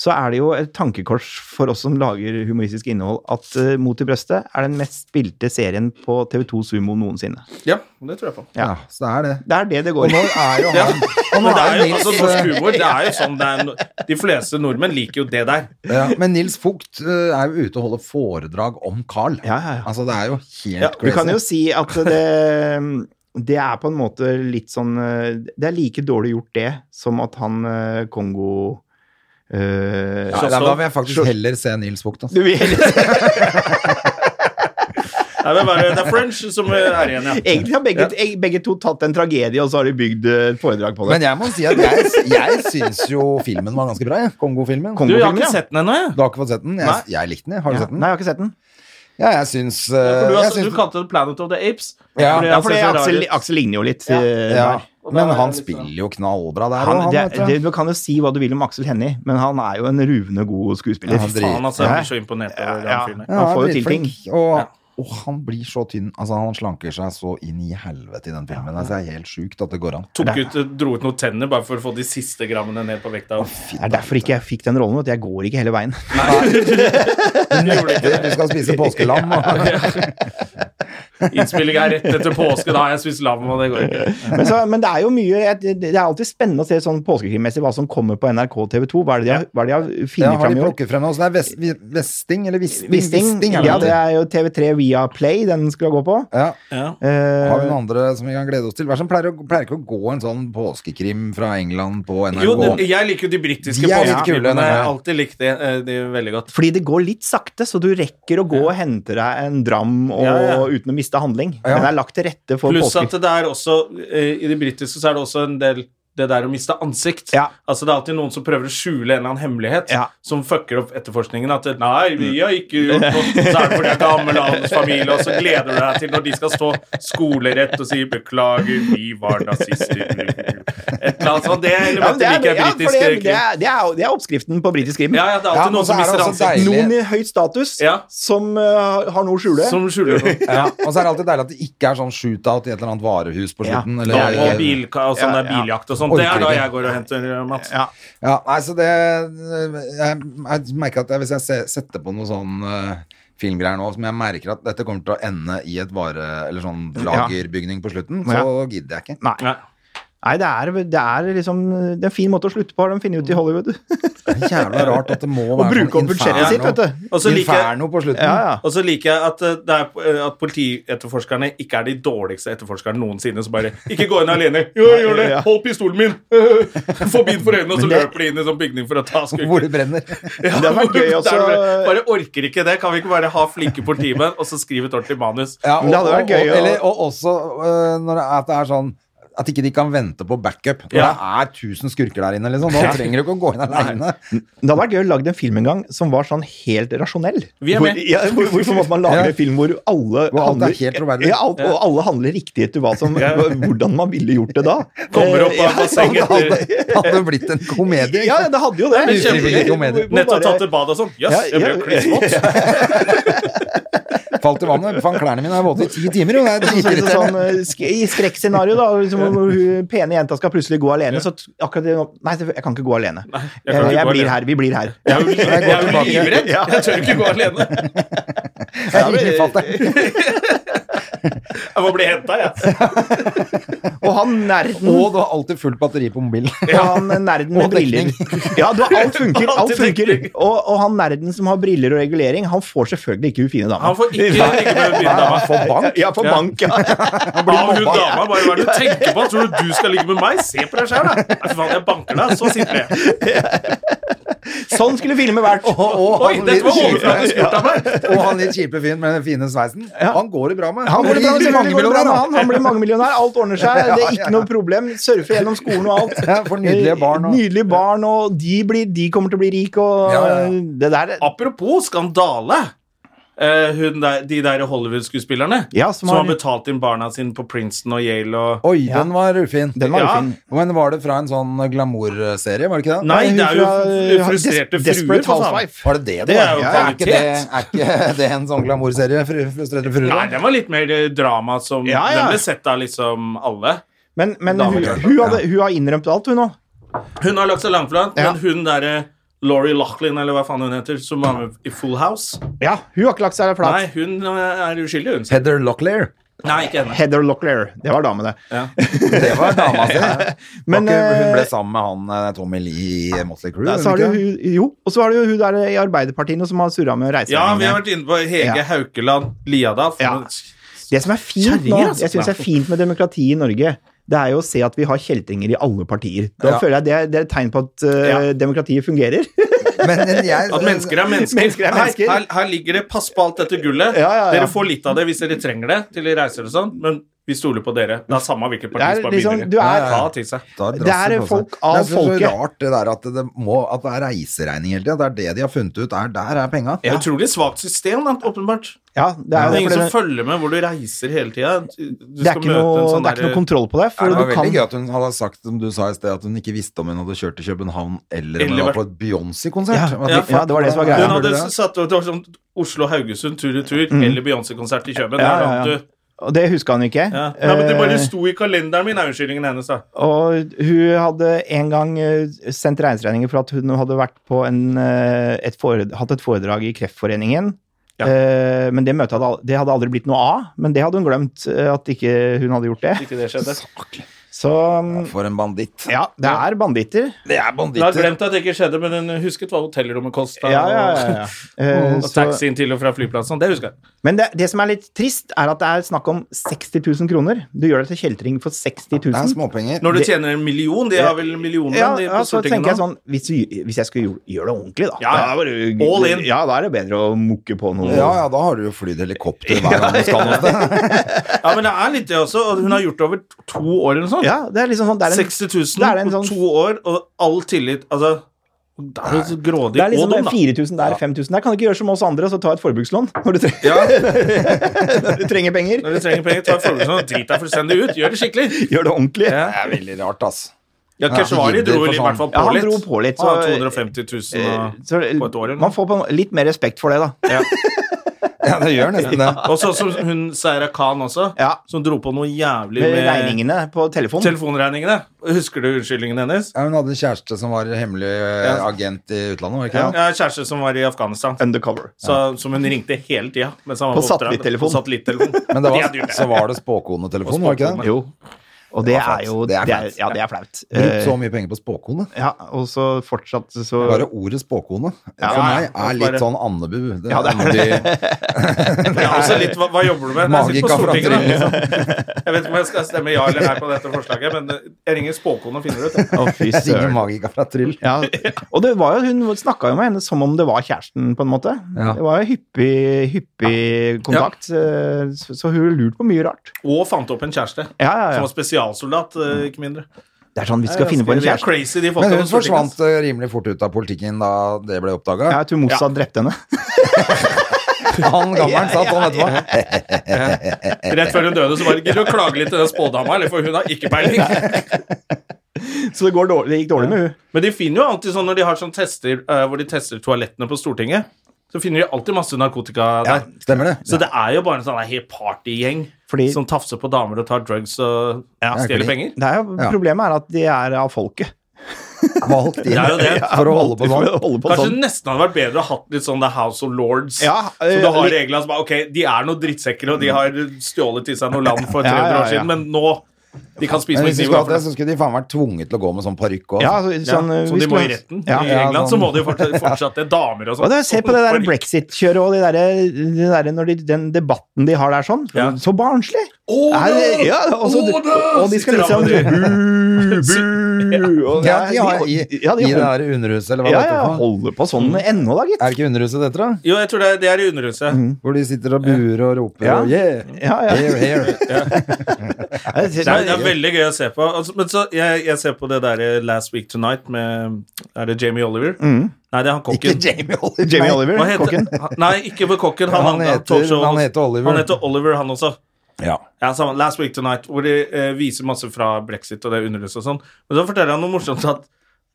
Speaker 3: så er det jo et tankekors for oss som lager humoristisk innhold, at eh, Mot i brøstet er den mest spilte serien på TV2 Sumo noensinne.
Speaker 2: Ja, det tror jeg på.
Speaker 1: Ja, så det er det.
Speaker 3: Det er det det
Speaker 1: Og
Speaker 3: går
Speaker 1: nå
Speaker 3: i.
Speaker 1: er jo
Speaker 2: Ja.
Speaker 1: han og nå
Speaker 2: Men det
Speaker 1: er
Speaker 2: er
Speaker 1: jo
Speaker 2: jo
Speaker 1: Nils, eh,
Speaker 2: altså, norsk humor. Det er jo sånn det er, no- De fleste nordmenn liker jo det der.
Speaker 1: ja, Men Nils Fugt eh, er jo ute og holder foredrag om Carl.
Speaker 3: Ja, ja, ja.
Speaker 1: Altså, det er jo helt
Speaker 2: Ja,
Speaker 1: crazy.
Speaker 3: Du kan jo si at det det er på en måte litt sånn eh, Det er like dårlig gjort, det, som at han eh, Kongo eh,
Speaker 1: ja, da vil jeg faktisk heller se Nils Fugt. Altså.
Speaker 3: Du vil heller
Speaker 2: Nei, men bare, det er French som er igjen, ja.
Speaker 3: Egentlig har begge, eh, begge to tatt en tragedie, og så har de bygd eh, et foredrag på det.
Speaker 1: Men jeg må si at jeg, jeg syns jo filmen var ganske bra. jeg. Kongo-filmen.
Speaker 2: Du, jeg har
Speaker 3: Kongo-filmen,
Speaker 2: ikke sett den ennå, jeg.
Speaker 1: Du har ikke fått sett den?
Speaker 2: Nei.
Speaker 1: Jeg, jeg likte den. jeg. Har du
Speaker 3: ja.
Speaker 1: sett den?
Speaker 3: Nei, jeg har ikke sett den.
Speaker 1: Ja, jeg syns eh,
Speaker 2: For Du,
Speaker 1: jeg
Speaker 2: altså,
Speaker 1: syns-
Speaker 2: du kalte det Planet of the Apes.
Speaker 1: Ja,
Speaker 2: fordi
Speaker 3: Ja,
Speaker 2: han
Speaker 3: fordi
Speaker 2: ser så rar
Speaker 3: Aksel,
Speaker 2: ut.
Speaker 3: Aksel ligner jo litt. eh,
Speaker 1: Ja,
Speaker 3: der.
Speaker 2: Og da
Speaker 1: men
Speaker 2: er
Speaker 1: han
Speaker 2: det litt sånn-
Speaker 1: spiller jo knallbra der.
Speaker 3: Han,
Speaker 1: og
Speaker 3: det,
Speaker 1: vet du.
Speaker 3: det, du kan jo si hva du vil om Aksel Hennie, men han er jo en ruvende god skuespiller.
Speaker 1: Ja, han
Speaker 2: Faen, altså. Jeg
Speaker 3: Ja.
Speaker 2: blir så imponert over
Speaker 3: Ja.
Speaker 2: den fyren der.
Speaker 1: Ja,
Speaker 3: Han får jo til
Speaker 1: dritflink. Og, Og han blir så tynn. Altså, han slanker seg så inn i helvete i den filmen. Altså, det er helt sjukt at det går an.
Speaker 2: Tok ut, dro ut noen tenner bare for å få de siste grammene ned på vekta.
Speaker 3: Det er derfor ikke jeg fikk den rollen. vet du. Jeg går ikke hele veien.
Speaker 1: Du skal spise påskelam. Og...
Speaker 2: Innspilling er rett etter påske, da har jeg spist lam, og det går ikke.
Speaker 3: Men, så, men det er jo mye jeg- Det det er alltid spennende å se sånn påskekrimmessig hva som kommer på NRK og TV 2. Hva er det de har, hva er det de har
Speaker 1: Ja,
Speaker 3: funnet
Speaker 1: har
Speaker 3: fram
Speaker 1: de
Speaker 3: i år?
Speaker 1: plukket frem noe? Så det er vest, vi- vesting, eller visting?
Speaker 3: Wisting.
Speaker 1: er det
Speaker 3: Ja,
Speaker 1: noe?
Speaker 3: det er jo TV3 via Play den skulle gå på.
Speaker 1: ja.
Speaker 3: Eh,
Speaker 1: Har vi noen andre som vi kan glede oss til? Hva er det som pleier, å- pleier ikke å gå en sånn påskekrim fra England på NRK?
Speaker 2: Jo, det, jeg liker jo de britiske
Speaker 1: De er litt kule,
Speaker 2: påskekrimene. Jeg
Speaker 1: denne.
Speaker 2: har alltid likt det, eh, de er veldig godt.
Speaker 3: fordi det går litt sakte, så du rekker å gå og hente deg en dram og,
Speaker 2: Ja, ja.
Speaker 3: uten å miste handling.
Speaker 1: Ja.
Speaker 3: Men det er lagt til rette for
Speaker 2: Pluss at
Speaker 3: påske.
Speaker 2: det er også, eh, i de britiske så er det også en del det der å miste ansikt.
Speaker 3: Ja.
Speaker 2: Altså Det er alltid noen som prøver å skjule en eller annen hemmelighet
Speaker 3: Ja.
Speaker 2: som fucker opp etterforskningen. At 'nei, vi har ikke gjort noe', så er det fordi det er gammel hans familie, og så gleder du deg til når de skal stå skolerett og si 'beklager, vi var nazister'. Et eller annet sånt. Det, eller
Speaker 3: Ja, men
Speaker 2: at det liker jeg
Speaker 3: ja, for
Speaker 2: britisk
Speaker 3: det, det,
Speaker 2: krim.
Speaker 3: er, det, er, det er oppskriften på britisk krim.
Speaker 2: Ja, ja, det er alltid
Speaker 1: Ja, men
Speaker 2: noen
Speaker 1: så
Speaker 2: som
Speaker 1: er det
Speaker 2: mister
Speaker 1: også
Speaker 2: ansikt.
Speaker 1: deilig.
Speaker 3: Noen i høyt status
Speaker 2: Ja.
Speaker 3: som eh, har noe å skjule.
Speaker 2: Som skjuler noe.
Speaker 1: Ja, og så er det alltid deilig at det ikke er sånn shootout i et eller annet varehus på
Speaker 3: Ja,
Speaker 1: slutten.
Speaker 3: det
Speaker 1: eller,
Speaker 2: Og bilka, og sånn
Speaker 3: Ja,
Speaker 2: der
Speaker 3: ja.
Speaker 2: biljakt og sånt. Det er
Speaker 1: Orker
Speaker 2: da
Speaker 1: ikke.
Speaker 2: jeg går og henter eh, Mats.
Speaker 3: Ja.
Speaker 1: ja, nei, så det Jeg, jeg merker at jeg, hvis jeg se- setter på noe sånn eh, filmgreier nå, som jeg merker at dette kommer til å ende i et vare... Eller sånn lagerbygning på slutten, så
Speaker 3: Ja.
Speaker 1: gidder jeg ikke.
Speaker 3: Nei.
Speaker 2: Nei.
Speaker 3: Nei, det er, det er liksom Det er en fin måte å slutte på, har de funnet ut i Hollywood.
Speaker 1: Det er jævla rart at det må
Speaker 3: Å
Speaker 1: være sånn
Speaker 3: bruke opp budsjettet sitt, vet du.
Speaker 2: Og så liker jeg-
Speaker 1: inferno på slutten.
Speaker 3: Ja, ja.
Speaker 2: Og så liker jeg at, eh, det er, eh, at politietterforskerne ikke er de dårligste etterforskerne noensinne. Så bare 'Ikke gå inn alene! Jo, jeg gjør det! Hold pistolen min!' Forbi den for øynene, og så
Speaker 3: Men det-
Speaker 2: løper de inn i sånn bygning for å ta
Speaker 1: Hvor
Speaker 2: skurken.
Speaker 1: det brenner.
Speaker 2: Ja,
Speaker 3: Det hadde vært gøy
Speaker 2: hvor-
Speaker 3: også-
Speaker 2: der Bare, bare orker ikke det. Kan vi ikke bare ha flinke politimenn, og så skrive et ordentlig manus?
Speaker 1: Ja, og,
Speaker 3: Men det hadde vært gøy
Speaker 1: og,
Speaker 3: å-
Speaker 1: og, eller, og også øh, når det er, at det er sånn at ikke de kan vente på backup. Når
Speaker 2: Ja.
Speaker 1: det er tusen skurker der inne, liksom. Da trenger du ikke å gå inn aleine.
Speaker 3: Det hadde vært gøy å lage en film en gang som var sånn helt rasjonell.
Speaker 2: Vi er
Speaker 3: Hvor-
Speaker 2: med.
Speaker 3: Ja, hvor, hvorfor måtte man lage
Speaker 1: Ja.
Speaker 3: en film hvor alle
Speaker 1: Hvor alt er helt troverdig.
Speaker 3: ja, alt, og alle handler riktig etter hva som,
Speaker 2: Ja.
Speaker 3: hvordan man ville gjort det da?
Speaker 2: Kommer opp
Speaker 3: Eh,
Speaker 2: av
Speaker 3: ja,
Speaker 2: bassenget
Speaker 3: sånn,
Speaker 2: etter-
Speaker 1: Det hadde blitt en komedie.
Speaker 3: Ja, ja, det hadde jo
Speaker 2: Nei,
Speaker 3: det.
Speaker 2: men
Speaker 1: Ufrivillig komedie.
Speaker 3: Hvor- hvor
Speaker 2: Nettopp
Speaker 3: bare-
Speaker 2: tatt et bad og sånn. Jøss,
Speaker 3: Ja,
Speaker 2: jeg ble
Speaker 3: ja.
Speaker 2: jo klissvåt.
Speaker 1: Falt i vannet. Faen, klærne mine er våte i ti timer, jo. Det er
Speaker 3: Så- så- sånn,
Speaker 1: dritirriterende.
Speaker 3: eh, sk I skrekkscenario, da, liksom, hvor hun pene jenta skal plutselig gå alene, så t- akkurat det nå- Nei, jeg kan ikke gå alene.
Speaker 2: jeg
Speaker 3: jeg
Speaker 2: kan ikke
Speaker 3: jeg
Speaker 2: gå
Speaker 3: blir
Speaker 2: alene.
Speaker 3: her. Vi blir her.
Speaker 2: Jeg er jo jeg
Speaker 1: Jeg går
Speaker 2: er jo
Speaker 1: tilbake.
Speaker 2: livredd. Jeg tør ikke gå alene.
Speaker 1: Jeg liker fatter'n.
Speaker 2: Jeg må bli henta, jeg.
Speaker 3: Og han nerden
Speaker 1: Og du har alltid fullt batteri på mobilen.
Speaker 3: Ja, han nerden med
Speaker 1: Og
Speaker 3: briller.
Speaker 1: dekning.
Speaker 3: Ja, du, alt funker. Alt
Speaker 2: Alltid
Speaker 3: funker.
Speaker 2: dekning.
Speaker 3: Og, og han nerden som har briller og regulering, han får selvfølgelig ikke hun fine dama.
Speaker 2: Han får ikke ligge med min dama.
Speaker 1: For bank.
Speaker 3: Ja, for
Speaker 2: Ja.
Speaker 3: bank, ja.
Speaker 2: Av hun dama, bare hva er det du tenker på? Tror du du skal ligge med meg? Se på deg sjøl, da! Nei, fy faen, jeg banker deg, så sitter jeg.
Speaker 3: Sånn skulle filmen vært.
Speaker 1: Og
Speaker 2: Oi,
Speaker 1: han
Speaker 2: dette
Speaker 1: litt
Speaker 2: var
Speaker 1: kjipe,
Speaker 2: overflatespurt av meg!
Speaker 1: og han litt kjipe fyren med den fine sveisen. Han går det bra med.
Speaker 3: Han blir,
Speaker 1: blir
Speaker 3: mangemillionær,
Speaker 1: mangemillionær,
Speaker 3: han. han blir mangemillionær. Alt ordner seg. Det er
Speaker 1: Ja,
Speaker 3: ikke
Speaker 1: ja.
Speaker 3: noe problem. Surfer gjennom skolen og alt. Eh,
Speaker 1: Ja, får nydelige barn og-
Speaker 3: Nydelige barn, og de, blir, de kommer til å bli rike, og
Speaker 1: Ja, ja, ja.
Speaker 3: det der
Speaker 2: Apropos skandale. Eh, hun der, de der Hollywood-skuespillerne
Speaker 3: Ja,
Speaker 2: som
Speaker 3: som
Speaker 2: har
Speaker 3: har-
Speaker 2: betalt inn barna sine på Princeton og Yale og
Speaker 1: Oi, den var ufin.
Speaker 3: Den var
Speaker 2: Ja.
Speaker 3: ufin.
Speaker 1: Men var det fra en sånn glamour-serie, var det ikke det?
Speaker 2: Nei,
Speaker 3: hun
Speaker 2: det er jo
Speaker 3: fra,
Speaker 2: fr- frustrerte
Speaker 3: Des-
Speaker 2: fruer,
Speaker 3: Desperate
Speaker 2: for faen.
Speaker 3: Housewife.
Speaker 1: Var det det
Speaker 2: Det
Speaker 1: det
Speaker 2: er
Speaker 1: var?
Speaker 2: jo
Speaker 1: Ja, er, ikke det,
Speaker 2: kvalitet.
Speaker 1: er ikke det en sånn glamourserie? Fru, frustrerte fruer?
Speaker 2: Nei, den var litt mer eh, drama som
Speaker 3: Ja, ja.
Speaker 2: Den ble sett av liksom alle.
Speaker 3: Men, men
Speaker 2: Damer
Speaker 3: hun,
Speaker 2: gjør det.
Speaker 3: hun, hadde, hun har innrømt alt, hun nå.
Speaker 2: Hun har lagt seg langflat,
Speaker 3: Ja.
Speaker 2: men hun derre Laurie Lachlan, eller hva faen hun heter, som var med i Full House
Speaker 3: Ja, hun har ikke lagt seg flat.
Speaker 2: Nei, hun eh, er uskyldig, hun.
Speaker 1: Heather Locklear.
Speaker 2: Nei, ikke henne.
Speaker 3: Heather Locklear. Det var damene.
Speaker 2: Ja.
Speaker 1: Det var dama si.
Speaker 3: Men,
Speaker 1: Var ikke- hun ble
Speaker 3: eh,
Speaker 1: sammen med han eh, Tommy Lee i Motley Crew.
Speaker 3: Nei, så har du, hun- jo, og så har du jo hun der i Arbeiderpartiene som har surra med
Speaker 2: Ja, vi har
Speaker 3: reiseregninger.
Speaker 2: vært inne på Hege
Speaker 3: Ja.
Speaker 2: Haukeland Liadal. for
Speaker 3: Ja.
Speaker 2: noe-
Speaker 3: det som er fint
Speaker 2: Kjerringer,
Speaker 3: nå,
Speaker 2: altså.
Speaker 3: jeg synes er fint med demokrati i Norge, det er jo å se at vi har kjeltringer i alle partier. Da
Speaker 1: Ja.
Speaker 3: føler jeg det, er- det er et tegn på at eh, demokratiet fungerer.
Speaker 1: Men jeg,
Speaker 2: At mennesker er mennesker.
Speaker 3: Mennesker er mennesker.
Speaker 2: Her, her, her ligger det. Pass på alt dette gullet.
Speaker 3: Ja, ja, ja.
Speaker 2: Dere får litt av det hvis dere trenger det til de reiser og sånn, men Vi stoler på dere. Det er samme hvilket parti
Speaker 3: Det er
Speaker 2: som er
Speaker 3: liksom-
Speaker 2: bidrager.
Speaker 3: du er-
Speaker 2: Ta til seg.
Speaker 1: Da
Speaker 3: Det
Speaker 1: drasser
Speaker 3: er
Speaker 1: på seg.
Speaker 3: folk av
Speaker 1: det er så-
Speaker 3: folket.
Speaker 1: så rart det der at det, må, at det er reiseregning hele tida. Det er det de har funnet ut. Er, der er penga.
Speaker 2: Det er et utrolig svakt system, da, åpenbart.
Speaker 3: Ja, det
Speaker 2: Det
Speaker 3: er,
Speaker 2: er
Speaker 3: jo
Speaker 2: ingen
Speaker 3: fordi
Speaker 2: som
Speaker 3: det,
Speaker 2: følger med hvor du reiser hele tida. Du
Speaker 3: det, er
Speaker 2: skal
Speaker 3: ikke
Speaker 2: møte
Speaker 3: noe,
Speaker 2: en sånn
Speaker 3: det er ikke
Speaker 2: derre-
Speaker 3: noe kontroll på det. For
Speaker 1: det var
Speaker 3: du
Speaker 1: veldig
Speaker 3: kan
Speaker 1: gøy at hun hadde sagt, som du sa i sted, at hun ikke visste om hun hadde kjørt til København eller om
Speaker 2: Eller
Speaker 1: hun var
Speaker 2: vært-
Speaker 1: på et Beyoncé-konsert.
Speaker 3: Ja,
Speaker 1: Hva-
Speaker 2: ja,
Speaker 3: ja, det var det som var greia.
Speaker 1: Hvordan
Speaker 2: Hun
Speaker 1: gjorde
Speaker 2: hadde
Speaker 1: du det?
Speaker 2: satt det var sånn Oslo-Haugesund tur i tur, eller Beyoncé-konsert i København.
Speaker 3: Ja,
Speaker 2: Der
Speaker 3: ja, ja.
Speaker 2: vant du.
Speaker 3: Og det huska han ikke.
Speaker 2: Ja. Nei, men det bare
Speaker 3: Eh,
Speaker 2: sto i kalenderen min, er unnskyldningen hennes, da.
Speaker 3: Og hun hadde en gang eh, sendt regningsregninger for at hun hadde vært på en, eh, et foredrag, hatt et foredrag i Kreftforeningen.
Speaker 2: Ja.
Speaker 3: Eh, Men det møtet hadde, al- det hadde aldri blitt noe av. Men det hadde hun glemt, eh, at ikke hun hadde gjort det.
Speaker 2: Ikke det skjedde.
Speaker 3: Så mm,
Speaker 1: For en banditt.
Speaker 3: ja, det er banditter.
Speaker 1: Det er
Speaker 2: Hun har
Speaker 1: banditter.
Speaker 2: glemt at det ikke skjedde, men hun husket hva hotellrommet kosta.
Speaker 3: Ja, ja, ja. ja. Eh,
Speaker 2: Og
Speaker 3: så-
Speaker 2: taxien til og fra flyplassen. Det husker jeg.
Speaker 3: Men det, det som er litt trist, er at det er snakk om 60 000 kroner. Du gjør deg til kjeltring for 60
Speaker 1: Det er
Speaker 3: 000.
Speaker 1: småpenger.
Speaker 2: Når du
Speaker 3: Det-
Speaker 2: tjener en million, de har vel en million
Speaker 3: Ja,
Speaker 2: de, på
Speaker 3: ja, så
Speaker 2: Stortinget nå.
Speaker 3: tenker jeg sånn Hvis, vi- hvis jeg skulle gjøre, gjøre det ordentlig, da.
Speaker 2: Ja, ja.
Speaker 3: Da er det jo-
Speaker 2: All in.
Speaker 3: Ja, da er det bedre å mukke på noe.
Speaker 1: Ja, ja, da har du jo flydd helikopter hver gang du skal noe sted.
Speaker 2: Ja, men det er litt det også. og Hun har gjort det over to år eller noe sånt.
Speaker 3: Ja, det er liksom sånn Det er en,
Speaker 2: 60 000
Speaker 3: det er en
Speaker 2: på
Speaker 3: sånn-
Speaker 2: to år, og all tillit Altså, det er jo så grådig
Speaker 3: det er liksom
Speaker 2: og dum,
Speaker 3: det er
Speaker 2: da.
Speaker 3: 4000 der, 5000 der. Kan du ikke gjøre som oss andre og så ta et forbrukslån når du, tre når du trenger penger?
Speaker 2: Når du trenger penger, ta forholdsvis drit deg fullstendig ut. Gjør det skikkelig.
Speaker 3: Gjør det ordentlig. Ja,
Speaker 1: Det er veldig rart, ass.
Speaker 2: Ja, Keshvari
Speaker 1: gidder
Speaker 2: dro
Speaker 1: for
Speaker 2: i
Speaker 1: sånn.
Speaker 2: hvert fall på
Speaker 3: han
Speaker 2: litt.
Speaker 3: dro på litt.
Speaker 2: Han
Speaker 3: Så,
Speaker 2: har 250 000
Speaker 3: eh,
Speaker 2: og-
Speaker 3: så,
Speaker 2: på et år, eller noe.
Speaker 3: man får på en, litt mer respekt for det, da.
Speaker 2: Ja.
Speaker 1: Ja, det gjør nesten det.
Speaker 2: Og så som hun Sarah Khan også,
Speaker 3: Ja.
Speaker 2: som dro på noe jævlig
Speaker 3: Med
Speaker 2: med
Speaker 3: regningene på telefonen.
Speaker 2: telefonregningene. Husker du unnskyldningen hennes?
Speaker 1: Ja, hun hadde en kjæreste som var hemmelig eh, agent i utlandet, var det ikke det?
Speaker 2: Ja, kjæreste som var i Afghanistan.
Speaker 3: Undercover.
Speaker 2: Så, Som hun ringte hele tida. mens han var
Speaker 3: På
Speaker 2: oppdrag.
Speaker 3: satellittelefon.
Speaker 2: På satellittelefon.
Speaker 1: Men det
Speaker 2: De hadde
Speaker 1: var,
Speaker 2: gjort det.
Speaker 1: så var det spåkonetelefon, var det ikke det?
Speaker 3: Jo. Og det
Speaker 1: Det var
Speaker 3: er jo
Speaker 1: flaut. Det er
Speaker 3: det er,
Speaker 1: flaut.
Speaker 3: Ja, det er flaut.
Speaker 1: Brukt så
Speaker 3: Eh,
Speaker 1: mye penger på spåkone.
Speaker 3: Ja, og så fortsatt så
Speaker 1: Bare ordet spåkone
Speaker 3: Ja,
Speaker 1: for
Speaker 2: ja,
Speaker 1: meg
Speaker 2: ja.
Speaker 1: er litt
Speaker 2: Bare-
Speaker 1: sånn Andebu. Det
Speaker 3: Ja,
Speaker 1: er
Speaker 3: det
Speaker 1: noe de,
Speaker 2: Men jeg er også litt, hva, hva jobber du med? Nei, Jeg
Speaker 1: Magika
Speaker 2: sitter på
Speaker 1: fra
Speaker 2: Stortinget, da.
Speaker 1: Trille.
Speaker 2: Jeg vet ikke om jeg skal stemme ja eller nei på dette forslaget, men eh, jeg ringer spåkone og finner det ut.
Speaker 3: Å, fy
Speaker 1: Jeg ringer
Speaker 3: søren.
Speaker 1: Magika fra Tryll.
Speaker 3: Ja. Og det var jo, hun snakka jo med henne som om det var kjæresten, på en måte.
Speaker 1: Ja.
Speaker 3: Det var jo hyppig, hyppig kontakt. eh, Så så hun lurte på mye rart.
Speaker 2: Og fant opp en kjæreste.
Speaker 3: Ja, ja,
Speaker 2: Som
Speaker 3: ja.
Speaker 2: var spesialsoldat, eh, ikke mindre.
Speaker 3: Det er sånn vi skal finne på en
Speaker 2: Det er
Speaker 3: kjæreste.
Speaker 2: crazy, de folka
Speaker 1: Men
Speaker 2: på
Speaker 1: hun
Speaker 2: Stortinget.
Speaker 1: forsvant eh, rimelig fort ut av politikken da det ble oppdaga.
Speaker 3: Ja, jeg tror Mossad drepte henne.
Speaker 1: Han gammelen satt sånn etterpå.
Speaker 2: Rett før hun døde, så bare gidder du å klage litt til den spådama, eller for hun har ikke peiling.
Speaker 3: Så det, går dårlig, det gikk dårlig med hun.
Speaker 2: Men de finner jo alltid sånn når de har sånn tester eh, hvor de tester toalettene på Stortinget, så finner de alltid masse narkotika
Speaker 1: Ja,
Speaker 2: der.
Speaker 1: stemmer det.
Speaker 2: Så det er jo bare en sånn her helt partygjeng
Speaker 3: Fordi-
Speaker 2: som tafser på damer og tar drugs og stjeler
Speaker 1: fordi-
Speaker 2: penger.
Speaker 3: Det er jo,
Speaker 1: Ja.
Speaker 3: Problemet er at de er av folket.
Speaker 1: Valgt inn
Speaker 2: Det er jo det.
Speaker 1: for å holde på
Speaker 3: For
Speaker 1: sånn.
Speaker 3: å holde på
Speaker 2: Kanskje
Speaker 3: sånn.
Speaker 2: det nesten hadde vært bedre å hatt litt sånn The House of Lords.
Speaker 3: Ja,
Speaker 2: så
Speaker 3: eh,
Speaker 2: du har
Speaker 3: litt-
Speaker 2: reglene som er ok, de er noen drittsekker, og de har stjålet til seg noe land for 300
Speaker 3: Ja, ja,
Speaker 2: år
Speaker 3: ja.
Speaker 2: siden, men nå De kan spise
Speaker 1: Men
Speaker 2: med
Speaker 1: hvis de skulle hatt det,
Speaker 2: kniv.
Speaker 1: så skulle de faen vært tvunget til å gå med sånn parykk òg.
Speaker 3: Ja, så,
Speaker 2: Ja,
Speaker 3: sånn, eh,
Speaker 2: som
Speaker 3: vi
Speaker 2: de må i
Speaker 3: skulle-
Speaker 2: retten.
Speaker 3: Ja.
Speaker 2: I England så må de jo fortsatt, fortsatt det. Damer og sånn.
Speaker 3: Og da, se på det der brexit-kjøret og de der, de der, når de, den debatten de har der sånn.
Speaker 2: Ja.
Speaker 3: Så barnslig!
Speaker 2: Åh,
Speaker 3: Er det- ja, og, så,
Speaker 2: Åh, da!
Speaker 3: og de skal
Speaker 2: Sitter
Speaker 3: liksom
Speaker 2: han med det.
Speaker 3: bu, bu, og
Speaker 1: Ja, de har, i,
Speaker 3: ja, de
Speaker 1: I det
Speaker 3: holder,
Speaker 1: der underhuset, eller hva
Speaker 3: ja,
Speaker 1: det
Speaker 3: ja,
Speaker 1: heter. for noe.
Speaker 3: holder på sånn
Speaker 2: Mm.
Speaker 3: ennå, da, gitt.
Speaker 1: Er det ikke underhuset det heter, da?
Speaker 2: Jo, jeg tror det er, det er i Underhuset.
Speaker 3: Mm.
Speaker 1: Hvor de sitter og buer og roper
Speaker 3: Ja.
Speaker 1: og yeah,
Speaker 3: Ja, ja.
Speaker 1: here, here.
Speaker 3: Det
Speaker 2: Det er, det er veldig gøy å se på. Altså, men så, jeg, jeg ser på det der eh, Last Week Tonight med Er det Jamie Oliver?
Speaker 3: Mm.
Speaker 2: Nei, det er han
Speaker 1: Ikke
Speaker 2: kokken.
Speaker 1: Jamie Oliver.
Speaker 3: Jamie
Speaker 1: Nei.
Speaker 3: Oliver,
Speaker 2: Hva heter-
Speaker 3: kokken.
Speaker 2: han- Nei, ikke for kokken. Han,
Speaker 1: Han
Speaker 2: han- han
Speaker 1: heter-
Speaker 2: talkshow-
Speaker 1: han heter Oliver.
Speaker 2: Han heter Oliver, han også.
Speaker 1: Ja.
Speaker 2: Ja, samme, Last Week Tonight, hvor de eh, viser masse fra brexit og det underløse og sånn. Men så forteller han noe morsomt at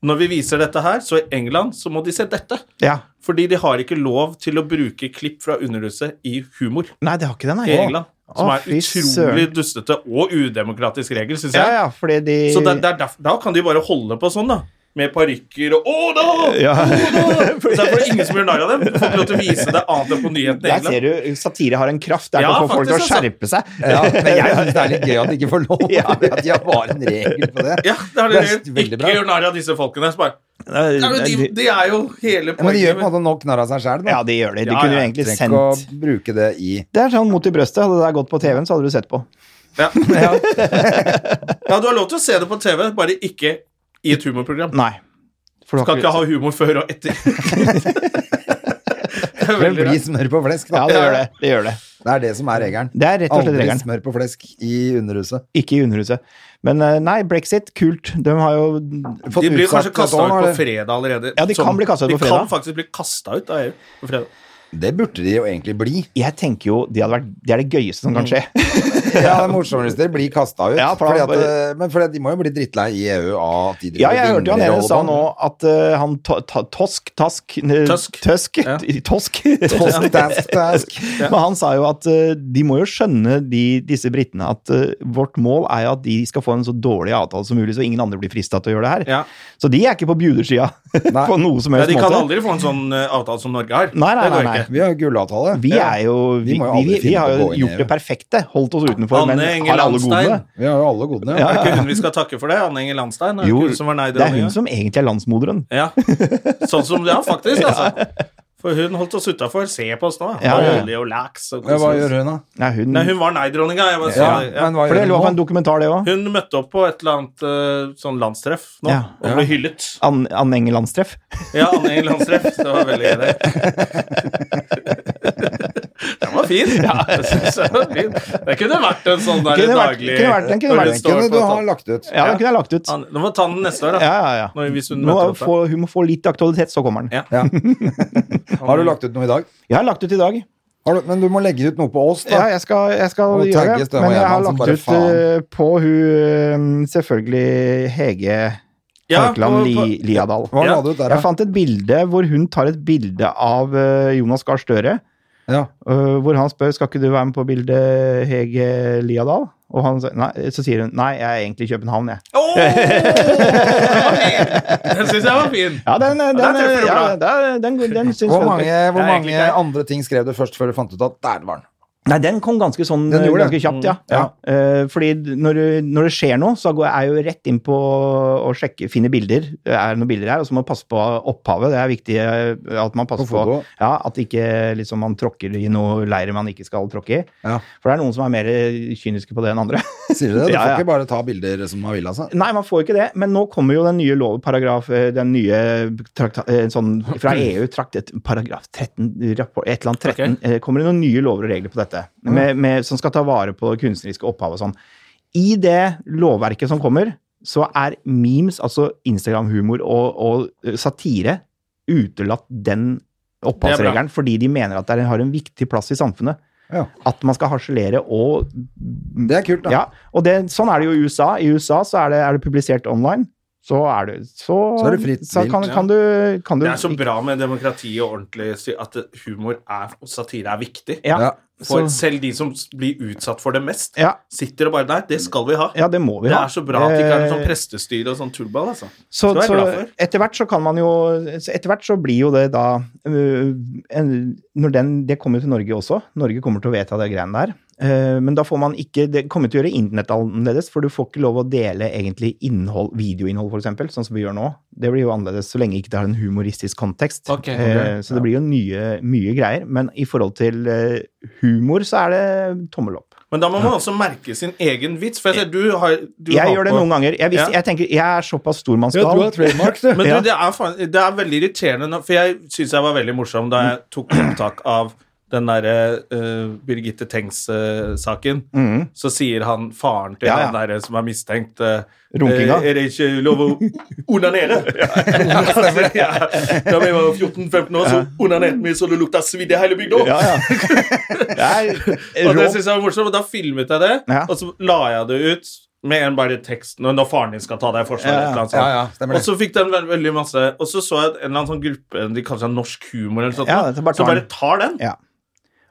Speaker 2: når vi viser dette her, så i England, så må de se dette.
Speaker 3: Ja.
Speaker 2: Fordi de har ikke lov til å bruke klipp fra underhuset i humor
Speaker 3: Nei, det har ikke den,
Speaker 2: i
Speaker 3: nei.
Speaker 2: England. Som
Speaker 3: Å,
Speaker 2: er
Speaker 3: fy
Speaker 2: utrolig dustete og udemokratisk regel, syns jeg.
Speaker 3: Ja, ja, fordi de
Speaker 2: Så det, det er derf- da kan de bare holde på sånn, da. Med parykker og Å, da!
Speaker 3: ja.
Speaker 2: Så det er for ingen som gjør narr av dem. Du får ikke lov til å vise det annet enn på nyhetene. i
Speaker 3: Der
Speaker 2: England.
Speaker 3: ser du, satire har en kraft. Det er
Speaker 2: Ja,
Speaker 3: for å få folk til å
Speaker 2: faktisk, altså.
Speaker 3: skjerpe seg.
Speaker 1: Ja, men jeg syns det er litt gøy at de ikke får lov. fordi At de har bare en regel på det.
Speaker 2: Ja, det har de
Speaker 1: Det er
Speaker 2: gjort.
Speaker 1: veldig bra.
Speaker 2: Ikke gjør narr av disse folkene. Så bare, ja, men de,
Speaker 3: Ja,
Speaker 2: de er jo
Speaker 1: Ja,
Speaker 2: hele
Speaker 1: Men de gjør på en
Speaker 2: poenget.
Speaker 1: måte nok narr av seg sjæl.
Speaker 3: de gjør det. De
Speaker 2: Ja,
Speaker 3: kunne jo
Speaker 2: ja,
Speaker 3: egentlig
Speaker 1: Trenger ikke
Speaker 3: sendt
Speaker 1: å bruke det i
Speaker 3: Det er sånn mot i brøstet. Hadde det der gått på TV-en, så hadde du sett på.
Speaker 2: Ja. ja, du har lov til å se det på TV, bare ikke i et humorprogram.
Speaker 3: Nei. For du har
Speaker 2: Skal ikke ha humor før og etter. Det er
Speaker 1: Det
Speaker 2: veldig
Speaker 1: blir
Speaker 2: rart.
Speaker 1: smør på flesk, da.
Speaker 3: Ja, det gjør det. det, gjør det.
Speaker 1: Det er det som er regelen.
Speaker 3: Det er rett og slett
Speaker 1: Aldri
Speaker 3: regelen.
Speaker 1: smør på flesk i Underhuset.
Speaker 3: Ikke i Underhuset. Men eh, nei, brexit, kult. De har jo fått
Speaker 2: De blir
Speaker 3: utsatt
Speaker 2: kanskje kasta
Speaker 3: et
Speaker 2: ut på
Speaker 3: år, eller?
Speaker 2: fredag allerede.
Speaker 3: Ja, de kan bli kastet ut på
Speaker 2: de
Speaker 3: fredag.
Speaker 2: kan faktisk bli kasta ut av EU på fredag.
Speaker 1: Det burde de jo egentlig bli.
Speaker 3: Jeg tenker jo det, hadde vært, det er det gøyeste som kan skje.
Speaker 1: Ja, det er morsommere hvis dere blir kasta ut.
Speaker 3: Ja, for da
Speaker 1: fordi at,
Speaker 3: bare-
Speaker 1: eh, men fordi at de må jo bli drittlei i EU av at de
Speaker 3: Ja, jeg hørte jo han
Speaker 1: vingler
Speaker 3: ene
Speaker 1: og
Speaker 3: sa
Speaker 1: holder
Speaker 3: nå
Speaker 1: på.
Speaker 3: at eh, han to, ta, Tosk Task ne-
Speaker 2: Tusk.
Speaker 3: Tusk,
Speaker 2: Ja.
Speaker 3: t- Tosk
Speaker 1: Tosk, task, task.
Speaker 3: Altså, Men han sa jo at eh, de må jo skjønne, de, disse britene, at eh, vårt mål er jo at de skal få en så dårlig avtale som mulig, så ingen andre blir frista til å gjøre det her.
Speaker 2: Ja.
Speaker 3: Så de er ikke på bjudersida
Speaker 1: Nei.
Speaker 3: på noe som
Speaker 2: Ja,
Speaker 3: helst
Speaker 2: de kan
Speaker 3: måte.
Speaker 2: aldri få en sånn eh, avtale som Norge har.
Speaker 3: Nei, nei,
Speaker 2: Det går
Speaker 3: nei, nei.
Speaker 2: ikke.
Speaker 1: Vi har jo gullavtale.
Speaker 3: Vi
Speaker 1: Ja.
Speaker 3: er jo Vi,
Speaker 1: Vi må jo
Speaker 3: vi,
Speaker 1: aldri
Speaker 3: vi,
Speaker 1: finne
Speaker 3: har
Speaker 1: på å
Speaker 3: jo
Speaker 1: gå inn i
Speaker 3: gjort
Speaker 1: EU.
Speaker 3: det perfekte, holdt oss utenfor,
Speaker 2: Anne
Speaker 3: men
Speaker 2: Enger
Speaker 3: har alle godene.
Speaker 2: Lahnstein.
Speaker 1: Vi har jo alle godene.
Speaker 2: Er ikke hun vi skal takke for det? Anne Enger Landstein? Er det
Speaker 3: Jo,
Speaker 2: ikke hun som var nei
Speaker 3: det er hun som egentlig er landsmoderen.
Speaker 2: Ja. Sånn som Ja, faktisk, altså. For hun holdt oss utafor. Se på oss nå.
Speaker 3: Ja, ja.
Speaker 2: Olje og laks og
Speaker 1: Ja, hva
Speaker 2: kos oss.
Speaker 1: gjør hun, da?
Speaker 3: Nei, hun,
Speaker 2: Nei, hun var nei-dronninga. jeg bare
Speaker 1: Ja,
Speaker 2: sa det, ja.
Speaker 1: men hva
Speaker 3: for det
Speaker 1: gjør
Speaker 3: lå på
Speaker 1: hun
Speaker 3: en
Speaker 1: nå?
Speaker 3: dokumentar, det òg.
Speaker 2: Hun møtte opp på et eller annet eh, sånn landstreff nå
Speaker 3: Ja.
Speaker 2: og ble hyllet.
Speaker 3: Anne Anne Enger Landstreff.
Speaker 2: Ja, Anne Enger landstreff. Det var veldig gøy. det. Den var fin. Den var fin. Det kunne vært en sånn der
Speaker 3: Kunne vært-
Speaker 2: daglig
Speaker 3: kunne vært- den kunne
Speaker 2: når
Speaker 3: vært-
Speaker 2: hun
Speaker 1: Den
Speaker 2: står
Speaker 1: kunne
Speaker 2: på
Speaker 1: du ha
Speaker 2: topp.
Speaker 1: lagt ut.
Speaker 3: Ja, den kunne jeg lagt ut.
Speaker 2: Anne- Nå må vi ta den neste år, da.
Speaker 3: Ja, ja, ja.
Speaker 2: Når, hvis hun
Speaker 3: Nå
Speaker 2: møter opp.
Speaker 3: få, hun må få litt aktualitet, så kommer den.
Speaker 2: Ja.
Speaker 1: Ja. Har du lagt ut noe i dag?
Speaker 3: Jeg har lagt ut i dag.
Speaker 1: Har du, men du må legge ut noe på oss,
Speaker 3: Ja,
Speaker 1: da.
Speaker 3: jeg skal, jeg skal
Speaker 1: Og
Speaker 3: gjøre
Speaker 1: tagges,
Speaker 3: det.
Speaker 1: det var
Speaker 3: Men jeg
Speaker 1: Gjerman
Speaker 3: har
Speaker 1: som
Speaker 3: lagt
Speaker 1: bare,
Speaker 3: ut eh, på hun eh, selvfølgelig Hege
Speaker 2: Ja,
Speaker 3: Haukeland
Speaker 2: på- på-
Speaker 3: Li- Liadal.
Speaker 1: Hva
Speaker 2: Ja.
Speaker 1: la du ut der,
Speaker 3: Jeg
Speaker 1: da?
Speaker 3: fant et bilde hvor hun tar et bilde av eh, Jonas Gahr Støre.
Speaker 1: Ja.
Speaker 3: eh, Hvor han spør skal ikke du være med på bildet, Hege Liadal. Og han, sier- nei, så sier hun nei, jeg er egentlig i København, jeg.
Speaker 2: Åh, den var fin. Den syns jeg var fin.
Speaker 3: Ja, den, eh, den,
Speaker 2: der treffer du bra.
Speaker 3: ja, den, den, den syns
Speaker 1: Hvor
Speaker 3: folk-
Speaker 1: mange, hvor
Speaker 2: er egentlig
Speaker 1: mange
Speaker 2: ikke-
Speaker 1: andre ting skrev du først før du fant ut at der var den?
Speaker 3: Nei, den kom ganske sånn
Speaker 1: Den gjorde
Speaker 3: ganske
Speaker 1: det. Mm.
Speaker 3: kjapt, ja. ja. Eh, fordi når, du- når det skjer noe, så går jeg jo rett inn på å sjekke, finne bilder. Er det noen bilder her? Og så må man passe på opphavet. Det er viktig eh, at man passer
Speaker 1: På foto.
Speaker 3: på ja, at ikke liksom, man tråkker i noe leire man ikke skal tråkke i.
Speaker 1: Ja.
Speaker 3: For det er noen som er mer kyniske på det enn andre.
Speaker 1: Sier du det? Du
Speaker 3: Ja,
Speaker 1: får
Speaker 3: ja.
Speaker 1: ikke bare ta bilder som man vil, altså?
Speaker 3: Nei, man får ikke det, men nå kommer jo den nye lovparagraf, eh, den nye trakta, eh, sånn fra EU, traktet, paragraf 13, rapport, et eller annet 13, eh, kommer det noen nye lover og regler på dette, med, med, som skal ta vare på det kunstneriske opphavet og sånn. I det lovverket som kommer, så er memes, altså Instagram-humor og, og eh, satire, utelatt den opphavsregelen, fordi de mener at det har en viktig plass i samfunnet.
Speaker 1: Ja.
Speaker 3: At man skal harselere og
Speaker 1: Det er kult, da.
Speaker 3: ja, og det, sånn er det jo i USA. I USA så er det, er det publisert online. Så er det Så,
Speaker 1: Så er det fritt
Speaker 3: så kan,
Speaker 1: vilt,
Speaker 3: kan du, kan du
Speaker 2: Det er så bra med demokrati og ordentlig sy- at det- humor er, og satire er viktig.
Speaker 3: Ja,
Speaker 1: Ja.
Speaker 2: For
Speaker 3: så-
Speaker 2: selv de som s- blir utsatt for det mest,
Speaker 3: ja,
Speaker 2: sitter og bare Nei, det skal vi ha.
Speaker 3: ja, det må vi
Speaker 2: Det
Speaker 3: ha.
Speaker 2: er så bra at de ikke har sånn
Speaker 3: Eh,
Speaker 2: prestestyre og sånn tullball, altså.
Speaker 3: Så,
Speaker 2: Det er jeg
Speaker 3: så
Speaker 2: glad for.
Speaker 3: etter hvert så kan man jo så Etter hvert så blir jo det da øh, en, når den, Det kommer jo til Norge også. Norge kommer til å vedta det greiene der. Eh, men da får man ikke Det kommer til å gjøre internett annerledes, for du får ikke lov å dele egentlig innhold, videoinnhold, f.eks., sånn som vi gjør nå. Det blir jo annerledes så lenge ikke det har en humoristisk kontekst.
Speaker 2: Ok, ok.
Speaker 3: Eh, så det blir jo nye, mye greier. Men i forhold til eh, humor så er det tommel opp.
Speaker 2: Men da må man også merke sin egen vits. For jeg ser du har du
Speaker 3: Eh, Jeg
Speaker 2: har
Speaker 3: gjør det
Speaker 2: på-
Speaker 3: noen ganger. Jeg, visste,
Speaker 2: Ja.
Speaker 3: jeg tenker, jeg er såpass stormannsgal.
Speaker 1: trademark, du.
Speaker 2: Men
Speaker 3: Ja.
Speaker 2: du, det er, faen, det er veldig irriterende, nå, for jeg syns jeg var veldig morsom da jeg tok opptak av den derre eh, Birgitte Tengs-saken. Så sier han faren til
Speaker 3: Mm. Ja, ja.
Speaker 2: han derre som er mistenkt eh, eh,
Speaker 3: Runkinga.
Speaker 2: Er det ikke lov å onanere? ja. Da vi var 14-15 år, så onanerte vi så det lukta svidd i hele bygda.
Speaker 3: Ja, ja. Det er
Speaker 2: Og det
Speaker 3: rå
Speaker 2: synes jeg var morsomt, og da filmet jeg det,
Speaker 3: Ja.
Speaker 2: og så la jeg det ut med en bare tekst når, når faren din skal ta deg i forsvar.
Speaker 3: Ja, ja.
Speaker 2: et eller annet
Speaker 1: Ja, ja,
Speaker 2: sånt.
Speaker 1: stemmer det.
Speaker 2: og så fikk den veld veldig masse Og så så jeg en eller annen sånn gruppe de kaller seg Norsk humor, eller sånt,
Speaker 3: Ja, det er bare
Speaker 2: så
Speaker 3: tar
Speaker 2: bare
Speaker 3: den.
Speaker 2: tar den.
Speaker 3: Ja.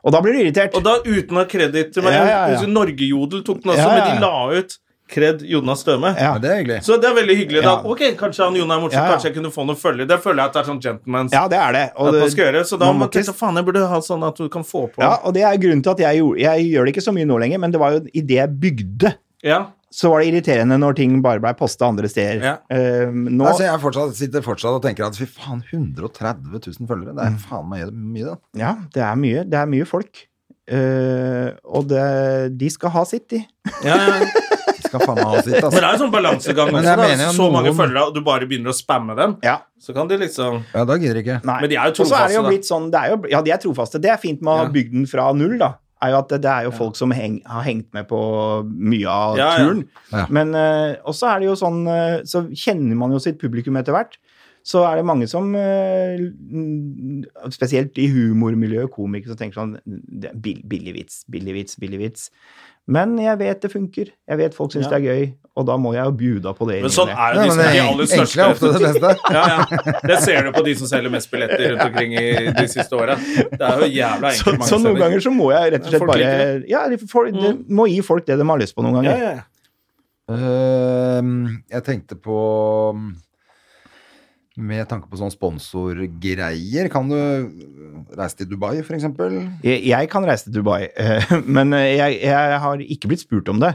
Speaker 3: Og da blir du irritert.
Speaker 2: Og da uten å ha kreditt til meg.
Speaker 3: Ja, ja, ja.
Speaker 2: Husker Norgejodel tok den også,
Speaker 3: Ja, ja,
Speaker 2: men de la ut kred Jonas Støme.
Speaker 3: Ja.
Speaker 1: Ja, det er hyggelig.
Speaker 2: Så det er veldig hyggelig. da
Speaker 3: Ja.
Speaker 2: Ok, Kanskje han Jon er morsom,
Speaker 3: Ja, ja.
Speaker 2: kanskje jeg kunne få noe følge. Det føler jeg at det er sånn gentleman's.
Speaker 3: Ja, det er det.
Speaker 2: at
Speaker 3: Og,
Speaker 2: man skal
Speaker 3: det
Speaker 2: gjøre, så da
Speaker 3: man
Speaker 2: må
Speaker 3: må
Speaker 2: man tenke faen, jeg burde ha sånn at du kan få på.
Speaker 3: ja, og det er grunnen til at jeg, gjorde, jeg gjør det ikke så mye nå lenger, men det var jo idet jeg bygde,
Speaker 2: Ja.
Speaker 3: så var det irriterende når ting bare blei posta andre steder.
Speaker 2: Ja.
Speaker 3: Eh, nå,
Speaker 1: Altså, jeg fortsatt, sitter fortsatt og tenker at fy faen, 130 000 følgere, det
Speaker 3: Mm.
Speaker 1: er faen meg mye, det.
Speaker 3: ja, det er mye. Det er mye folk. Eh, og det, de skal ha sitt, de.
Speaker 2: Ja, ja, ja.
Speaker 1: Skal faen meg ha sitt, altså.
Speaker 2: Men det er en sånn balansegang
Speaker 1: Men
Speaker 2: også.
Speaker 1: jeg
Speaker 2: Da.
Speaker 1: mener jo
Speaker 2: så mange
Speaker 1: noen-
Speaker 2: følgere, og du bare begynner å spamme dem,
Speaker 3: Ja.
Speaker 2: så kan de liksom
Speaker 1: Ja, da gidder jeg ikke.
Speaker 3: Nei.
Speaker 2: Men de er jo
Speaker 3: Og så er det
Speaker 2: trofaste,
Speaker 3: jo
Speaker 2: da.
Speaker 3: blitt sånn, det er jo, ja, de er trofaste. Det er fint med å ha
Speaker 2: Ja.
Speaker 3: bygd den fra null, da. er jo at det, det er jo folk som heng, har hengt med på mye av
Speaker 2: Ja, ja.
Speaker 3: turen.
Speaker 1: Ja.
Speaker 3: Men eh, også er det jo sånn eh, Så kjenner man jo sitt publikum etter hvert. Så er det mange som, eh, mm, spesielt i humormiljøet, komikere, som tenker sånn det er bill- Billig vits, billig vits, billig vits. Men jeg vet det funker. Jeg vet folk syns
Speaker 2: Ja.
Speaker 3: det er gøy, og da må jeg jo bjuda på det.
Speaker 2: Men
Speaker 3: i
Speaker 2: sånn
Speaker 3: ny og ne.
Speaker 1: Ja,
Speaker 2: er jo
Speaker 1: men
Speaker 2: de, som er
Speaker 1: det
Speaker 2: de aller
Speaker 1: enkle er ofte
Speaker 2: største.
Speaker 1: det beste.
Speaker 2: Ja, ja. Det ser du på de som selger mest billetter rundt omkring i de siste åra. Det er jo jævla
Speaker 3: Så,
Speaker 2: enkelt mange
Speaker 3: så noen
Speaker 2: steder.
Speaker 3: ganger så må jeg rett og slett
Speaker 2: Folk
Speaker 3: bare
Speaker 2: liker
Speaker 3: Ja, folk, det,
Speaker 1: Mm.
Speaker 3: må gi folk det de har lyst på noen
Speaker 2: ja,
Speaker 3: ganger.
Speaker 2: ja. ja.
Speaker 1: Ehm, jeg tenkte på mm, Med tanke på sånn sponsorgreier, kan du reise til Dubai, for eksempel?
Speaker 3: Jeg, jeg kan reise til Dubai, eh, men jeg, jeg har ikke blitt spurt om det.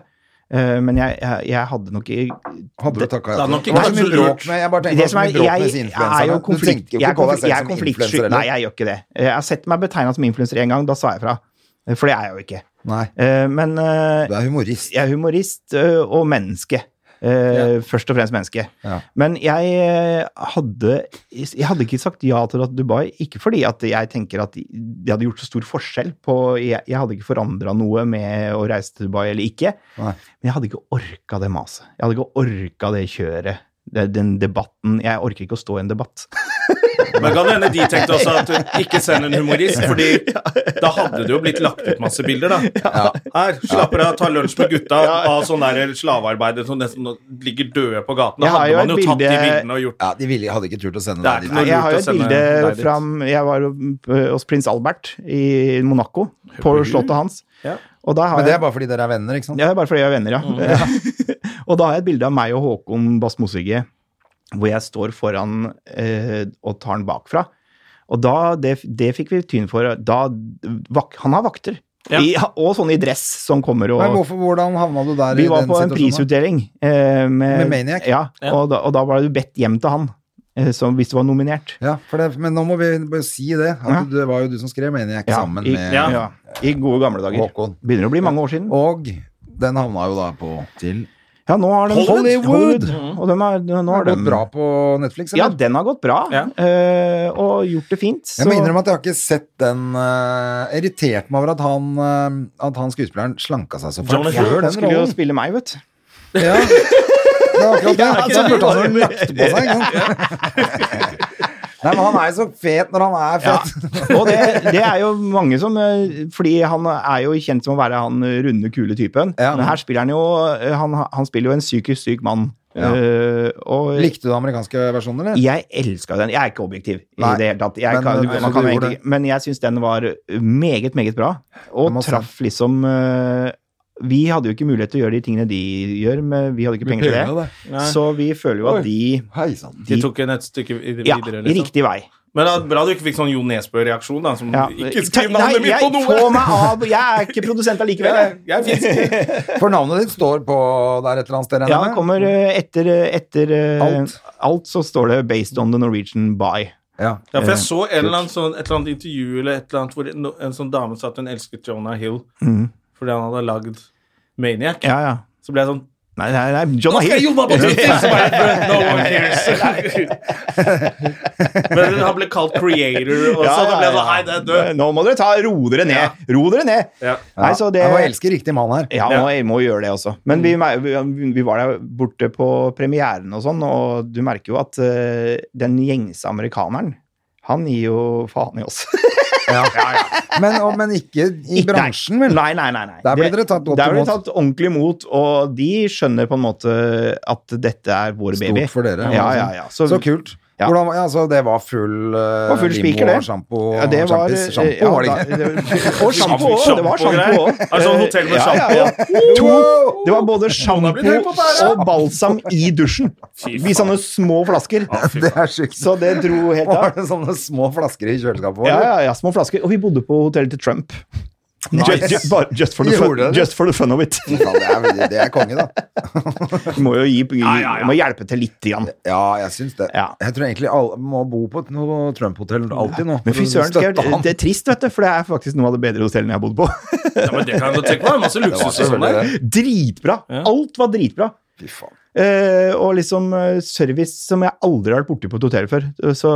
Speaker 3: Eh, Men jeg, jeg, jeg hadde nok i-
Speaker 1: Hadde du
Speaker 3: Det-
Speaker 1: takka
Speaker 2: det
Speaker 1: ja
Speaker 2: er
Speaker 1: til
Speaker 2: nok
Speaker 1: det? var
Speaker 2: ikke
Speaker 1: så mye
Speaker 2: så lurt.
Speaker 1: bråk med Jeg bare tenker
Speaker 3: Det
Speaker 1: på så
Speaker 3: som er,
Speaker 1: mye bråk med
Speaker 3: jeg,
Speaker 1: disse
Speaker 3: jeg er jo
Speaker 1: influenserne. Du
Speaker 3: konflikt,
Speaker 1: tenker jo
Speaker 3: jeg er
Speaker 1: ikke på deg selv som influenser
Speaker 3: konflikt, jeg er konfliktsky. Nei,
Speaker 1: heller.
Speaker 3: jeg gjør ikke det. Jeg har sett meg betegna som influenser én gang, da sa jeg fra. Eh, For det er jeg jo ikke.
Speaker 1: Nei,
Speaker 3: Eh, Men eh,
Speaker 1: du er humorist.
Speaker 3: jeg er humorist ø, og menneske. Eh, Først og fremst menneske.
Speaker 1: Ja.
Speaker 3: Men jeg eh, hadde, jeg hadde ikke sagt ja til at Dubai, ikke fordi at jeg tenker at det hadde gjort så stor forskjell på Jeg, jeg hadde ikke forandra noe med å reise til Dubai eller ikke.
Speaker 1: Nei.
Speaker 3: Men jeg hadde ikke orka det maset. Jeg hadde ikke orka det kjøret. det- Den debatten Jeg orker ikke å stå i en debatt.
Speaker 2: Men kan det hende de tenkte også at du ikke send en humorist, fordi da hadde det jo blitt lagt ut masse bilder, da. Her, slapper av, ta lunsj med gutta av sånne der slavearbeidere som nesten ligger døde på gaten. Da
Speaker 3: Jeg har
Speaker 2: hadde
Speaker 3: jo
Speaker 2: man jo
Speaker 3: et
Speaker 2: tatt de
Speaker 3: bilde-
Speaker 2: bildene og gjort
Speaker 1: Ja, De ville, hadde ikke turt å sende
Speaker 2: Det er
Speaker 1: deg
Speaker 2: ikke
Speaker 1: dit.
Speaker 2: noe-
Speaker 3: Jeg har
Speaker 2: lurt å
Speaker 3: jo et
Speaker 2: sende
Speaker 3: bilde
Speaker 2: deg dit.
Speaker 3: fram Jeg var jo, ø, hos prins Albert i Monaco, på slottet hans.
Speaker 2: Ja.
Speaker 3: Og da har
Speaker 1: Men det
Speaker 3: jeg-
Speaker 1: er bare fordi dere er venner, ikke sant?
Speaker 3: Ja, det er bare fordi jeg er venner, ja.
Speaker 2: Mm.
Speaker 3: og da har jeg et bilde av meg og Håkon Bassmosige, hvor jeg står foran eh, og tar den bakfra. Og da, det, det fikk vi tyn for. Da, vak, han har vakter.
Speaker 2: Ja.
Speaker 3: I, og sånne i dress som kommer og
Speaker 1: Men hvorfor, hvordan havna du der
Speaker 3: Vi
Speaker 1: i
Speaker 3: var
Speaker 1: den
Speaker 3: på en
Speaker 1: situasjonen?
Speaker 3: prisutdeling. eh, med,
Speaker 1: Med Maniac?
Speaker 3: Ja,
Speaker 2: Ja.
Speaker 3: Og, da, og da var du bedt hjem til han eh, som, hvis du var nominert.
Speaker 1: Ja, for det, men nå må vi bare si det. At
Speaker 3: Ja.
Speaker 1: Det var jo du som skrev, mener jeg, ikke
Speaker 3: Ja,
Speaker 1: sammen
Speaker 3: i,
Speaker 1: med
Speaker 3: ja. I gode gamle dager.
Speaker 1: Håkon.
Speaker 3: Begynner å bli mange år siden.
Speaker 1: Og den havna jo da på til
Speaker 3: Ja, nå har de
Speaker 1: Hollywood!
Speaker 2: Mm.
Speaker 3: Og de har, nå
Speaker 1: Har
Speaker 3: har
Speaker 1: det
Speaker 3: de-
Speaker 1: gått bra på Netflix,
Speaker 3: Ja,
Speaker 1: eller?
Speaker 3: den har gått bra,
Speaker 2: Ja.
Speaker 3: eh, og gjort det fint. Så.
Speaker 1: Jeg må innrømme at jeg har ikke sett den uh, Irritert meg over at han, eh, at han skuespilleren slanka seg så fælt
Speaker 2: Jonathan
Speaker 3: ja,
Speaker 1: før
Speaker 3: han
Speaker 1: den
Speaker 3: skulle jo
Speaker 1: rollen.
Speaker 3: spille meg, vet du.
Speaker 1: Ja. Det var akkurat det. Så spurte han om han lagt på seg. Ikke sant? Nei, men han er jo så fet når han er fet.
Speaker 3: Og det, det er jo mange som eh, Fordi han er jo kjent som å være han eh, runde, kule typen.
Speaker 1: Ja.
Speaker 3: Men her spiller han jo eh, Han, han spiller jo en psykisk syk mann.
Speaker 1: Ja.
Speaker 3: Eh, og
Speaker 1: Likte du den amerikanske versjonen, eller?
Speaker 3: jeg elska den. Jeg er ikke objektiv
Speaker 1: Nei.
Speaker 3: i det hele tatt. Jeg
Speaker 1: Men,
Speaker 3: kan,
Speaker 1: eh, så
Speaker 3: man kan
Speaker 1: du gjorde
Speaker 3: egentlig, ikke- men jeg syns den var meget, meget bra,
Speaker 1: Jeg
Speaker 3: og
Speaker 1: må se.
Speaker 3: traff liksom eh, vi hadde jo ikke mulighet til å gjøre de tingene de gjør, men vi hadde ikke penger til det. Så vi føler jo
Speaker 1: Oi.
Speaker 3: at de
Speaker 1: Hei sann.
Speaker 2: De tok en et stykke vid-
Speaker 3: Ja,
Speaker 2: videre, liksom.
Speaker 3: i riktig vei.
Speaker 2: Men det er bra du ikke fikk sånn Jo Nesbø-reaksjon, da, som
Speaker 3: Ja.
Speaker 2: Mm, ikke
Speaker 3: Ta-
Speaker 2: skriv navnet mitt på
Speaker 3: jeg,
Speaker 2: noe!
Speaker 3: Få meg av! Jeg er ikke produsent allikevel. jeg.
Speaker 2: Jeg- jeg finnes ikke.
Speaker 1: For navnet ditt står på der et eller annet sted?
Speaker 3: Ja,
Speaker 1: regner
Speaker 3: det
Speaker 1: jeg med?
Speaker 3: kommer eh, etter, etter eh,
Speaker 1: Alt.
Speaker 3: alt, så står det 'Based on the Norwegian by'.
Speaker 1: Ja.
Speaker 2: Ja,
Speaker 3: Eh,
Speaker 2: for jeg så en eller annen sånn, et eller annet intervju eller et eller annet, hvor en, en sånn dame sa at hun elsket Jonah Hill fordi han hadde lagd Maniac.
Speaker 3: Mm. Ja, ja.
Speaker 2: Så ble jeg sånn
Speaker 3: Nei, nei, nei Jonah
Speaker 2: Ok,
Speaker 3: Hill.
Speaker 2: Jonah på Twitter, så bare, No one cares. Men han ble kalt creator, og så da ble det hei, det er død.
Speaker 3: Nå må dere ta, roe dere ned! Ro dere ned!
Speaker 2: Ja.
Speaker 3: Nei, så det,
Speaker 1: Jeg må elske riktig mann her.
Speaker 3: ja, må, jeg må gjøre det også. Men
Speaker 1: Mm.
Speaker 3: vi, mer- vi, vi var der borte på premieren og sånn, og du merker jo at eh, den gjengse amerikaneren, han gir jo faen i oss.
Speaker 1: Ja. Men, og, men ikke i
Speaker 3: Ikke-
Speaker 1: bransjen, vel?
Speaker 3: Nei, nei, nei. nei.
Speaker 1: Der blir
Speaker 3: Det-
Speaker 1: dere tatt godt
Speaker 3: der blir
Speaker 1: imot.
Speaker 3: dere tatt ordentlig imot, og de skjønner på en måte at dette er vår baby.
Speaker 1: Stort for dere.
Speaker 3: Ja, ja, ja.
Speaker 1: Så,
Speaker 3: Så,
Speaker 1: kult.
Speaker 3: Ja.
Speaker 1: Hvordan, var- ja, så det var full, uh,
Speaker 3: Det var full spiker, det.
Speaker 1: Sjampo,
Speaker 3: Ja, det var, eh,
Speaker 1: sjampis, sjampo,
Speaker 3: ja,
Speaker 1: var det
Speaker 3: da-
Speaker 1: ikke?
Speaker 3: det- og sjampo også, Det var sjampo
Speaker 2: Sjampo-greier.
Speaker 3: også.
Speaker 2: Er det sånn hotell med
Speaker 3: Ja, ja, ja. To, det var både sjampo
Speaker 2: høy på pæra.
Speaker 3: og balsam i dusjen. I sånne små flasker.
Speaker 1: Det er sjukt.
Speaker 3: Så det dro helt
Speaker 1: Var
Speaker 3: av.
Speaker 1: det sånne små flasker i kjøleskapet?
Speaker 3: Ja,
Speaker 1: eller?
Speaker 3: ja, ja, små flasker. Og vi bodde på hotellet til Trump. Just, ju- bare just, for the
Speaker 1: Gjorde dere
Speaker 3: fun,
Speaker 1: det?
Speaker 3: just for the fun of it.
Speaker 1: Ja, det, er, veldig- det er konge, da.
Speaker 3: Du må jo gi,
Speaker 2: ja, ja.
Speaker 3: Må hjelpe til lite grann.
Speaker 1: Ja, jeg syns det.
Speaker 3: Ja.
Speaker 1: Jeg tror egentlig alle må bo på et noe Trump-hotell alltid nå.
Speaker 3: Men fy søren, skal
Speaker 1: Støtte
Speaker 3: jeg-
Speaker 1: han.
Speaker 3: det er trist, vet du, for det er faktisk noe av det bedre hotellene jeg har bodd på.
Speaker 2: Ja, men det kan jeg godt tenke meg. Masse luksus og sånn der.
Speaker 3: Dritbra! Alt var dritbra.
Speaker 1: Fy faen.
Speaker 3: Eh, og liksom eh, service som jeg aldri har vært borti på et hotell før. Eh, Så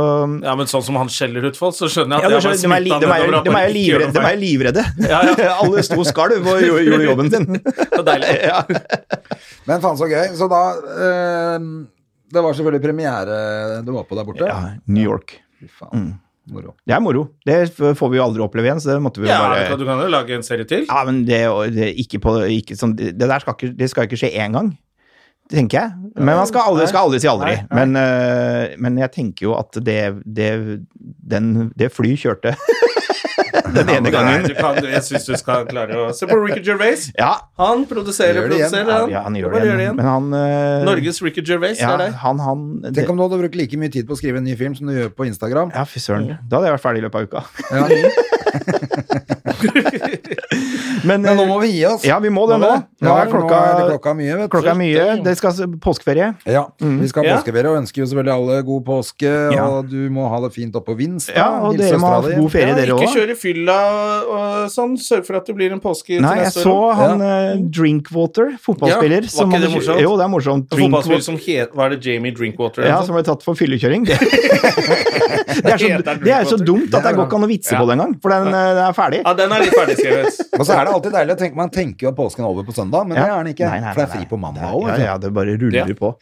Speaker 2: Ja, men sånn som han skjeller ut folk, så skjønner
Speaker 3: ja,
Speaker 2: jeg at
Speaker 3: de, er,
Speaker 2: jeg
Speaker 3: de,
Speaker 2: var
Speaker 3: er, li-
Speaker 2: smittet
Speaker 3: de, er,
Speaker 2: nedover at
Speaker 3: de,
Speaker 2: man
Speaker 3: er
Speaker 2: ikke gjør
Speaker 3: livredde,
Speaker 2: noe
Speaker 3: de er
Speaker 2: feil.
Speaker 3: livredde.
Speaker 2: Ja, ja.
Speaker 3: Alle sto og skalv og gjorde, gjorde jobben sin.
Speaker 2: Det er deilig.
Speaker 3: Ja.
Speaker 1: Men faen så gøy. Så da eh, Det var selvfølgelig premiere du var på der borte.
Speaker 3: ja, Mm. New York.
Speaker 1: Fy faen. Moro.
Speaker 3: Det er moro. Det f- får vi jo aldri oppleve igjen, så det måtte vi jo
Speaker 2: Ja,
Speaker 3: bare
Speaker 2: Du kan jo lage en serie til.
Speaker 3: Ja, men det, det, er ikke på, ikke sånn, det der skal ikke, det skal ikke skje én gang, tenker jeg. Men man skal aldri, skal aldri si aldri.
Speaker 2: Nei,
Speaker 3: Men, øh, men jeg tenker jo at det, det, den, det fly kjørte den ene
Speaker 2: Nei,
Speaker 3: gangen.
Speaker 2: du kan, jeg syns du skal klare å Se på Ricky Gervais.
Speaker 3: Ja,
Speaker 2: Han produserer
Speaker 1: Gjør
Speaker 2: og
Speaker 1: det igjen.
Speaker 2: produserer.
Speaker 3: ja,
Speaker 2: Han,
Speaker 3: han gjør
Speaker 2: Bare
Speaker 3: det igjen. Men han øh,
Speaker 2: Norges Ricky Gervais, det
Speaker 3: ja,
Speaker 2: er deg.
Speaker 3: han, han, det,
Speaker 1: Tenk om du hadde brukt like mye tid på å skrive en ny film som du gjør på Instagram.
Speaker 3: ja, fy søren. Da hadde jeg vært ferdig i løpet av uka.
Speaker 1: Ja, ny.
Speaker 3: Men,
Speaker 1: Men nå
Speaker 3: øh,
Speaker 1: må vi gi oss.
Speaker 3: ja, vi må det nå. Nå
Speaker 1: Ja,
Speaker 3: er klokka,
Speaker 1: nå er det klokka mye, vet du.
Speaker 3: klokka er mye. Det skal påskeferie.
Speaker 1: Ja, vi skal ha
Speaker 2: Ja.
Speaker 1: påskeferie og ønsker jo selvfølgelig alle god påske,
Speaker 3: Ja.
Speaker 1: og du må ha det fint oppe på Vinstad.
Speaker 3: Ja, og
Speaker 1: Hils
Speaker 3: dere må ha
Speaker 1: søstera di.
Speaker 3: god ferie,
Speaker 2: Ja,
Speaker 3: dere
Speaker 2: ikke
Speaker 3: òg.
Speaker 2: kjøre fylla og sånn. Sørg for at det blir en påske
Speaker 3: Nei,
Speaker 2: til
Speaker 3: jeg
Speaker 2: neste
Speaker 3: så
Speaker 2: år.
Speaker 3: han eh, Drinkwater, fotballspiller.
Speaker 2: Ja, var
Speaker 3: som
Speaker 2: ikke det
Speaker 3: hadde-
Speaker 2: morsomt?
Speaker 3: Jo, det er morsomt.
Speaker 2: En fotballspiller
Speaker 3: Drinkwater-
Speaker 2: som het Var det Jamie Drinkwater? eller
Speaker 3: ja,
Speaker 2: noe
Speaker 3: som ble tatt for fyllekjøring. Det, det, er så,
Speaker 2: Heter han
Speaker 3: det er så
Speaker 2: Drinkwater?
Speaker 3: dumt at det går ikke an å vitse
Speaker 2: Ja.
Speaker 3: på det engang, for den, eh, den er ferdig.
Speaker 2: sånt? Ja, den er litt ferdigskrevet.
Speaker 1: Og så er det alltid deilig å tenke, man tenker jo at påsken er over på søndag, men det er den ikke,
Speaker 3: Nei, nei,
Speaker 1: for det er
Speaker 3: nei,
Speaker 1: fri
Speaker 3: nei.
Speaker 1: på mandag
Speaker 3: Det er-
Speaker 1: også, vet du.
Speaker 3: Ja, ja, det bare
Speaker 2: Ja.
Speaker 3: ruller på.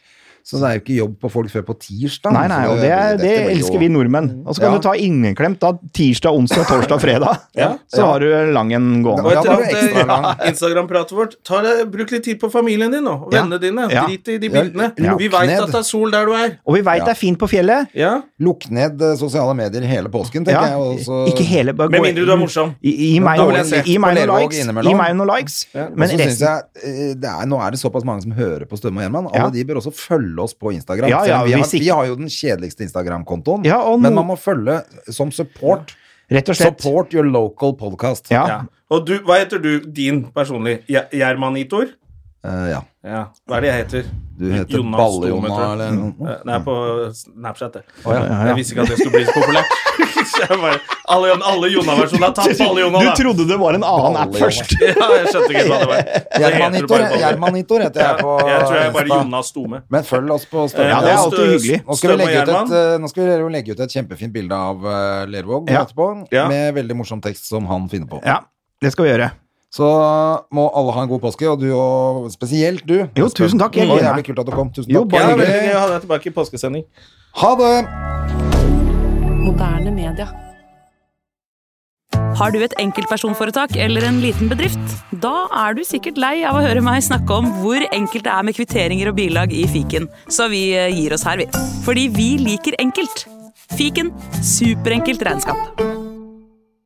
Speaker 1: Så det er jo ikke jobb på folk før på tirsdag.
Speaker 3: Nei, nei,
Speaker 1: så
Speaker 3: og det, er- det
Speaker 1: dette blir jo-
Speaker 3: elsker vi nordmenn. Og så kan
Speaker 1: Ja.
Speaker 3: du ta inneklemt da tirsdag, onsdag, torsdag, fredag.
Speaker 2: Ja.
Speaker 3: Så har du lang en
Speaker 1: Ja,
Speaker 3: gående.
Speaker 2: Og etter
Speaker 1: da var det
Speaker 2: at
Speaker 1: ekstra lang.
Speaker 2: eh, Instagram-pratet vårt ta deg, Bruk litt tid på familien din nå, og
Speaker 3: Ja.
Speaker 2: vennene dine.
Speaker 3: Ja.
Speaker 2: Drit i de
Speaker 1: Ja,
Speaker 2: bildene.
Speaker 1: lukk
Speaker 2: Vi veit
Speaker 1: ned.
Speaker 2: at det er sol der du er.
Speaker 3: Og vi veit
Speaker 1: Ja.
Speaker 3: det er fint på fjellet.
Speaker 2: Ja.
Speaker 1: Lukk ned eh, sosiale medier hele påsken, tenker jeg.
Speaker 3: Ja,
Speaker 1: Og så,
Speaker 3: Ikke hele, bare
Speaker 2: Med
Speaker 3: gå-
Speaker 2: mindre du er morsom.
Speaker 3: Gi gi meg
Speaker 1: Da
Speaker 2: vil jeg
Speaker 3: noen
Speaker 2: se
Speaker 3: gi meg
Speaker 1: på
Speaker 3: noen
Speaker 1: Lervåg
Speaker 3: likes.
Speaker 1: innimellom.
Speaker 3: Gi meg noen likes.
Speaker 1: men
Speaker 3: Men
Speaker 1: så synes
Speaker 3: resten
Speaker 1: jeg, eh, det er, Nå er det såpass mange som hører på Stømme og Gjerman. Alle
Speaker 3: Ja.
Speaker 1: de bør også følge oss på Instagram.
Speaker 3: Ja, ja,
Speaker 1: selv om vi,
Speaker 3: hvis
Speaker 1: har,
Speaker 3: ikke-
Speaker 1: vi har jo den kjedeligste Instagram-kontoen,
Speaker 3: Ja, og
Speaker 1: men
Speaker 3: no-
Speaker 1: man må følge som support.
Speaker 3: Rett og slett.
Speaker 1: Support your local podcast.
Speaker 3: Ja.
Speaker 2: Ja. Og du, hva heter du din personlig? Gjer- Gjermanitor?
Speaker 1: Eh, ja.
Speaker 2: Ja. Hva er det jeg heter?
Speaker 1: Du heter
Speaker 2: Jonas
Speaker 1: Balle-Jonna
Speaker 2: Stormeter.
Speaker 1: eller noe.
Speaker 2: Eh, Det er på Snapchat, det.
Speaker 1: ja, ja,
Speaker 2: Jeg visste ikke at det skulle bli så populært. Så jeg bare, alle alle Jonna-versjoner er tatt på alle Jonna,
Speaker 3: Du
Speaker 2: da.
Speaker 3: trodde det var en annen app
Speaker 1: Alle
Speaker 3: først.
Speaker 2: Ja, jeg skjønte ikke hva det var. Så heter du
Speaker 1: Gjermanitor,
Speaker 2: bare Balle.
Speaker 1: Gjermanitor heter jeg på
Speaker 2: Ja, jeg tror jeg er bare
Speaker 1: Insta.
Speaker 2: Jonna Stome.
Speaker 1: Men følg oss på Stømme.
Speaker 2: Eh,
Speaker 3: Ja, det er
Speaker 2: og
Speaker 3: alltid
Speaker 2: Stø-
Speaker 3: hyggelig.
Speaker 1: Nå skal, vi
Speaker 2: Støme og
Speaker 1: legge ut et,
Speaker 2: Gjerman.
Speaker 1: eh, nå skal vi jo legge ut et kjempefint bilde av eh, Lervåg
Speaker 3: Ja.
Speaker 1: etterpå,
Speaker 2: Ja.
Speaker 1: med veldig morsom tekst som han finner på.
Speaker 3: Ja, det skal vi gjøre.
Speaker 1: Så må alle ha en god påske, og du og spesielt du.
Speaker 3: Jo,
Speaker 1: Espen.
Speaker 3: tusen takk, jeg
Speaker 1: Det var
Speaker 3: gleder meg.
Speaker 1: jævlig kult at du kom. Tusen takk.
Speaker 3: Jo,
Speaker 2: Ja,
Speaker 3: bare
Speaker 2: det er veldig
Speaker 3: hyggelig.
Speaker 2: gøy å ha deg tilbake i påskesending.
Speaker 1: Ha det!
Speaker 4: Moderne media.
Speaker 5: Har du et enkeltpersonforetak eller en liten bedrift? Da er du sikkert lei av å høre meg snakke om hvor enkelt det er med kvitteringer og bilag i fiken, så vi eh, gir oss her, vi. Fordi vi liker enkelt. Fiken superenkelt regnskap.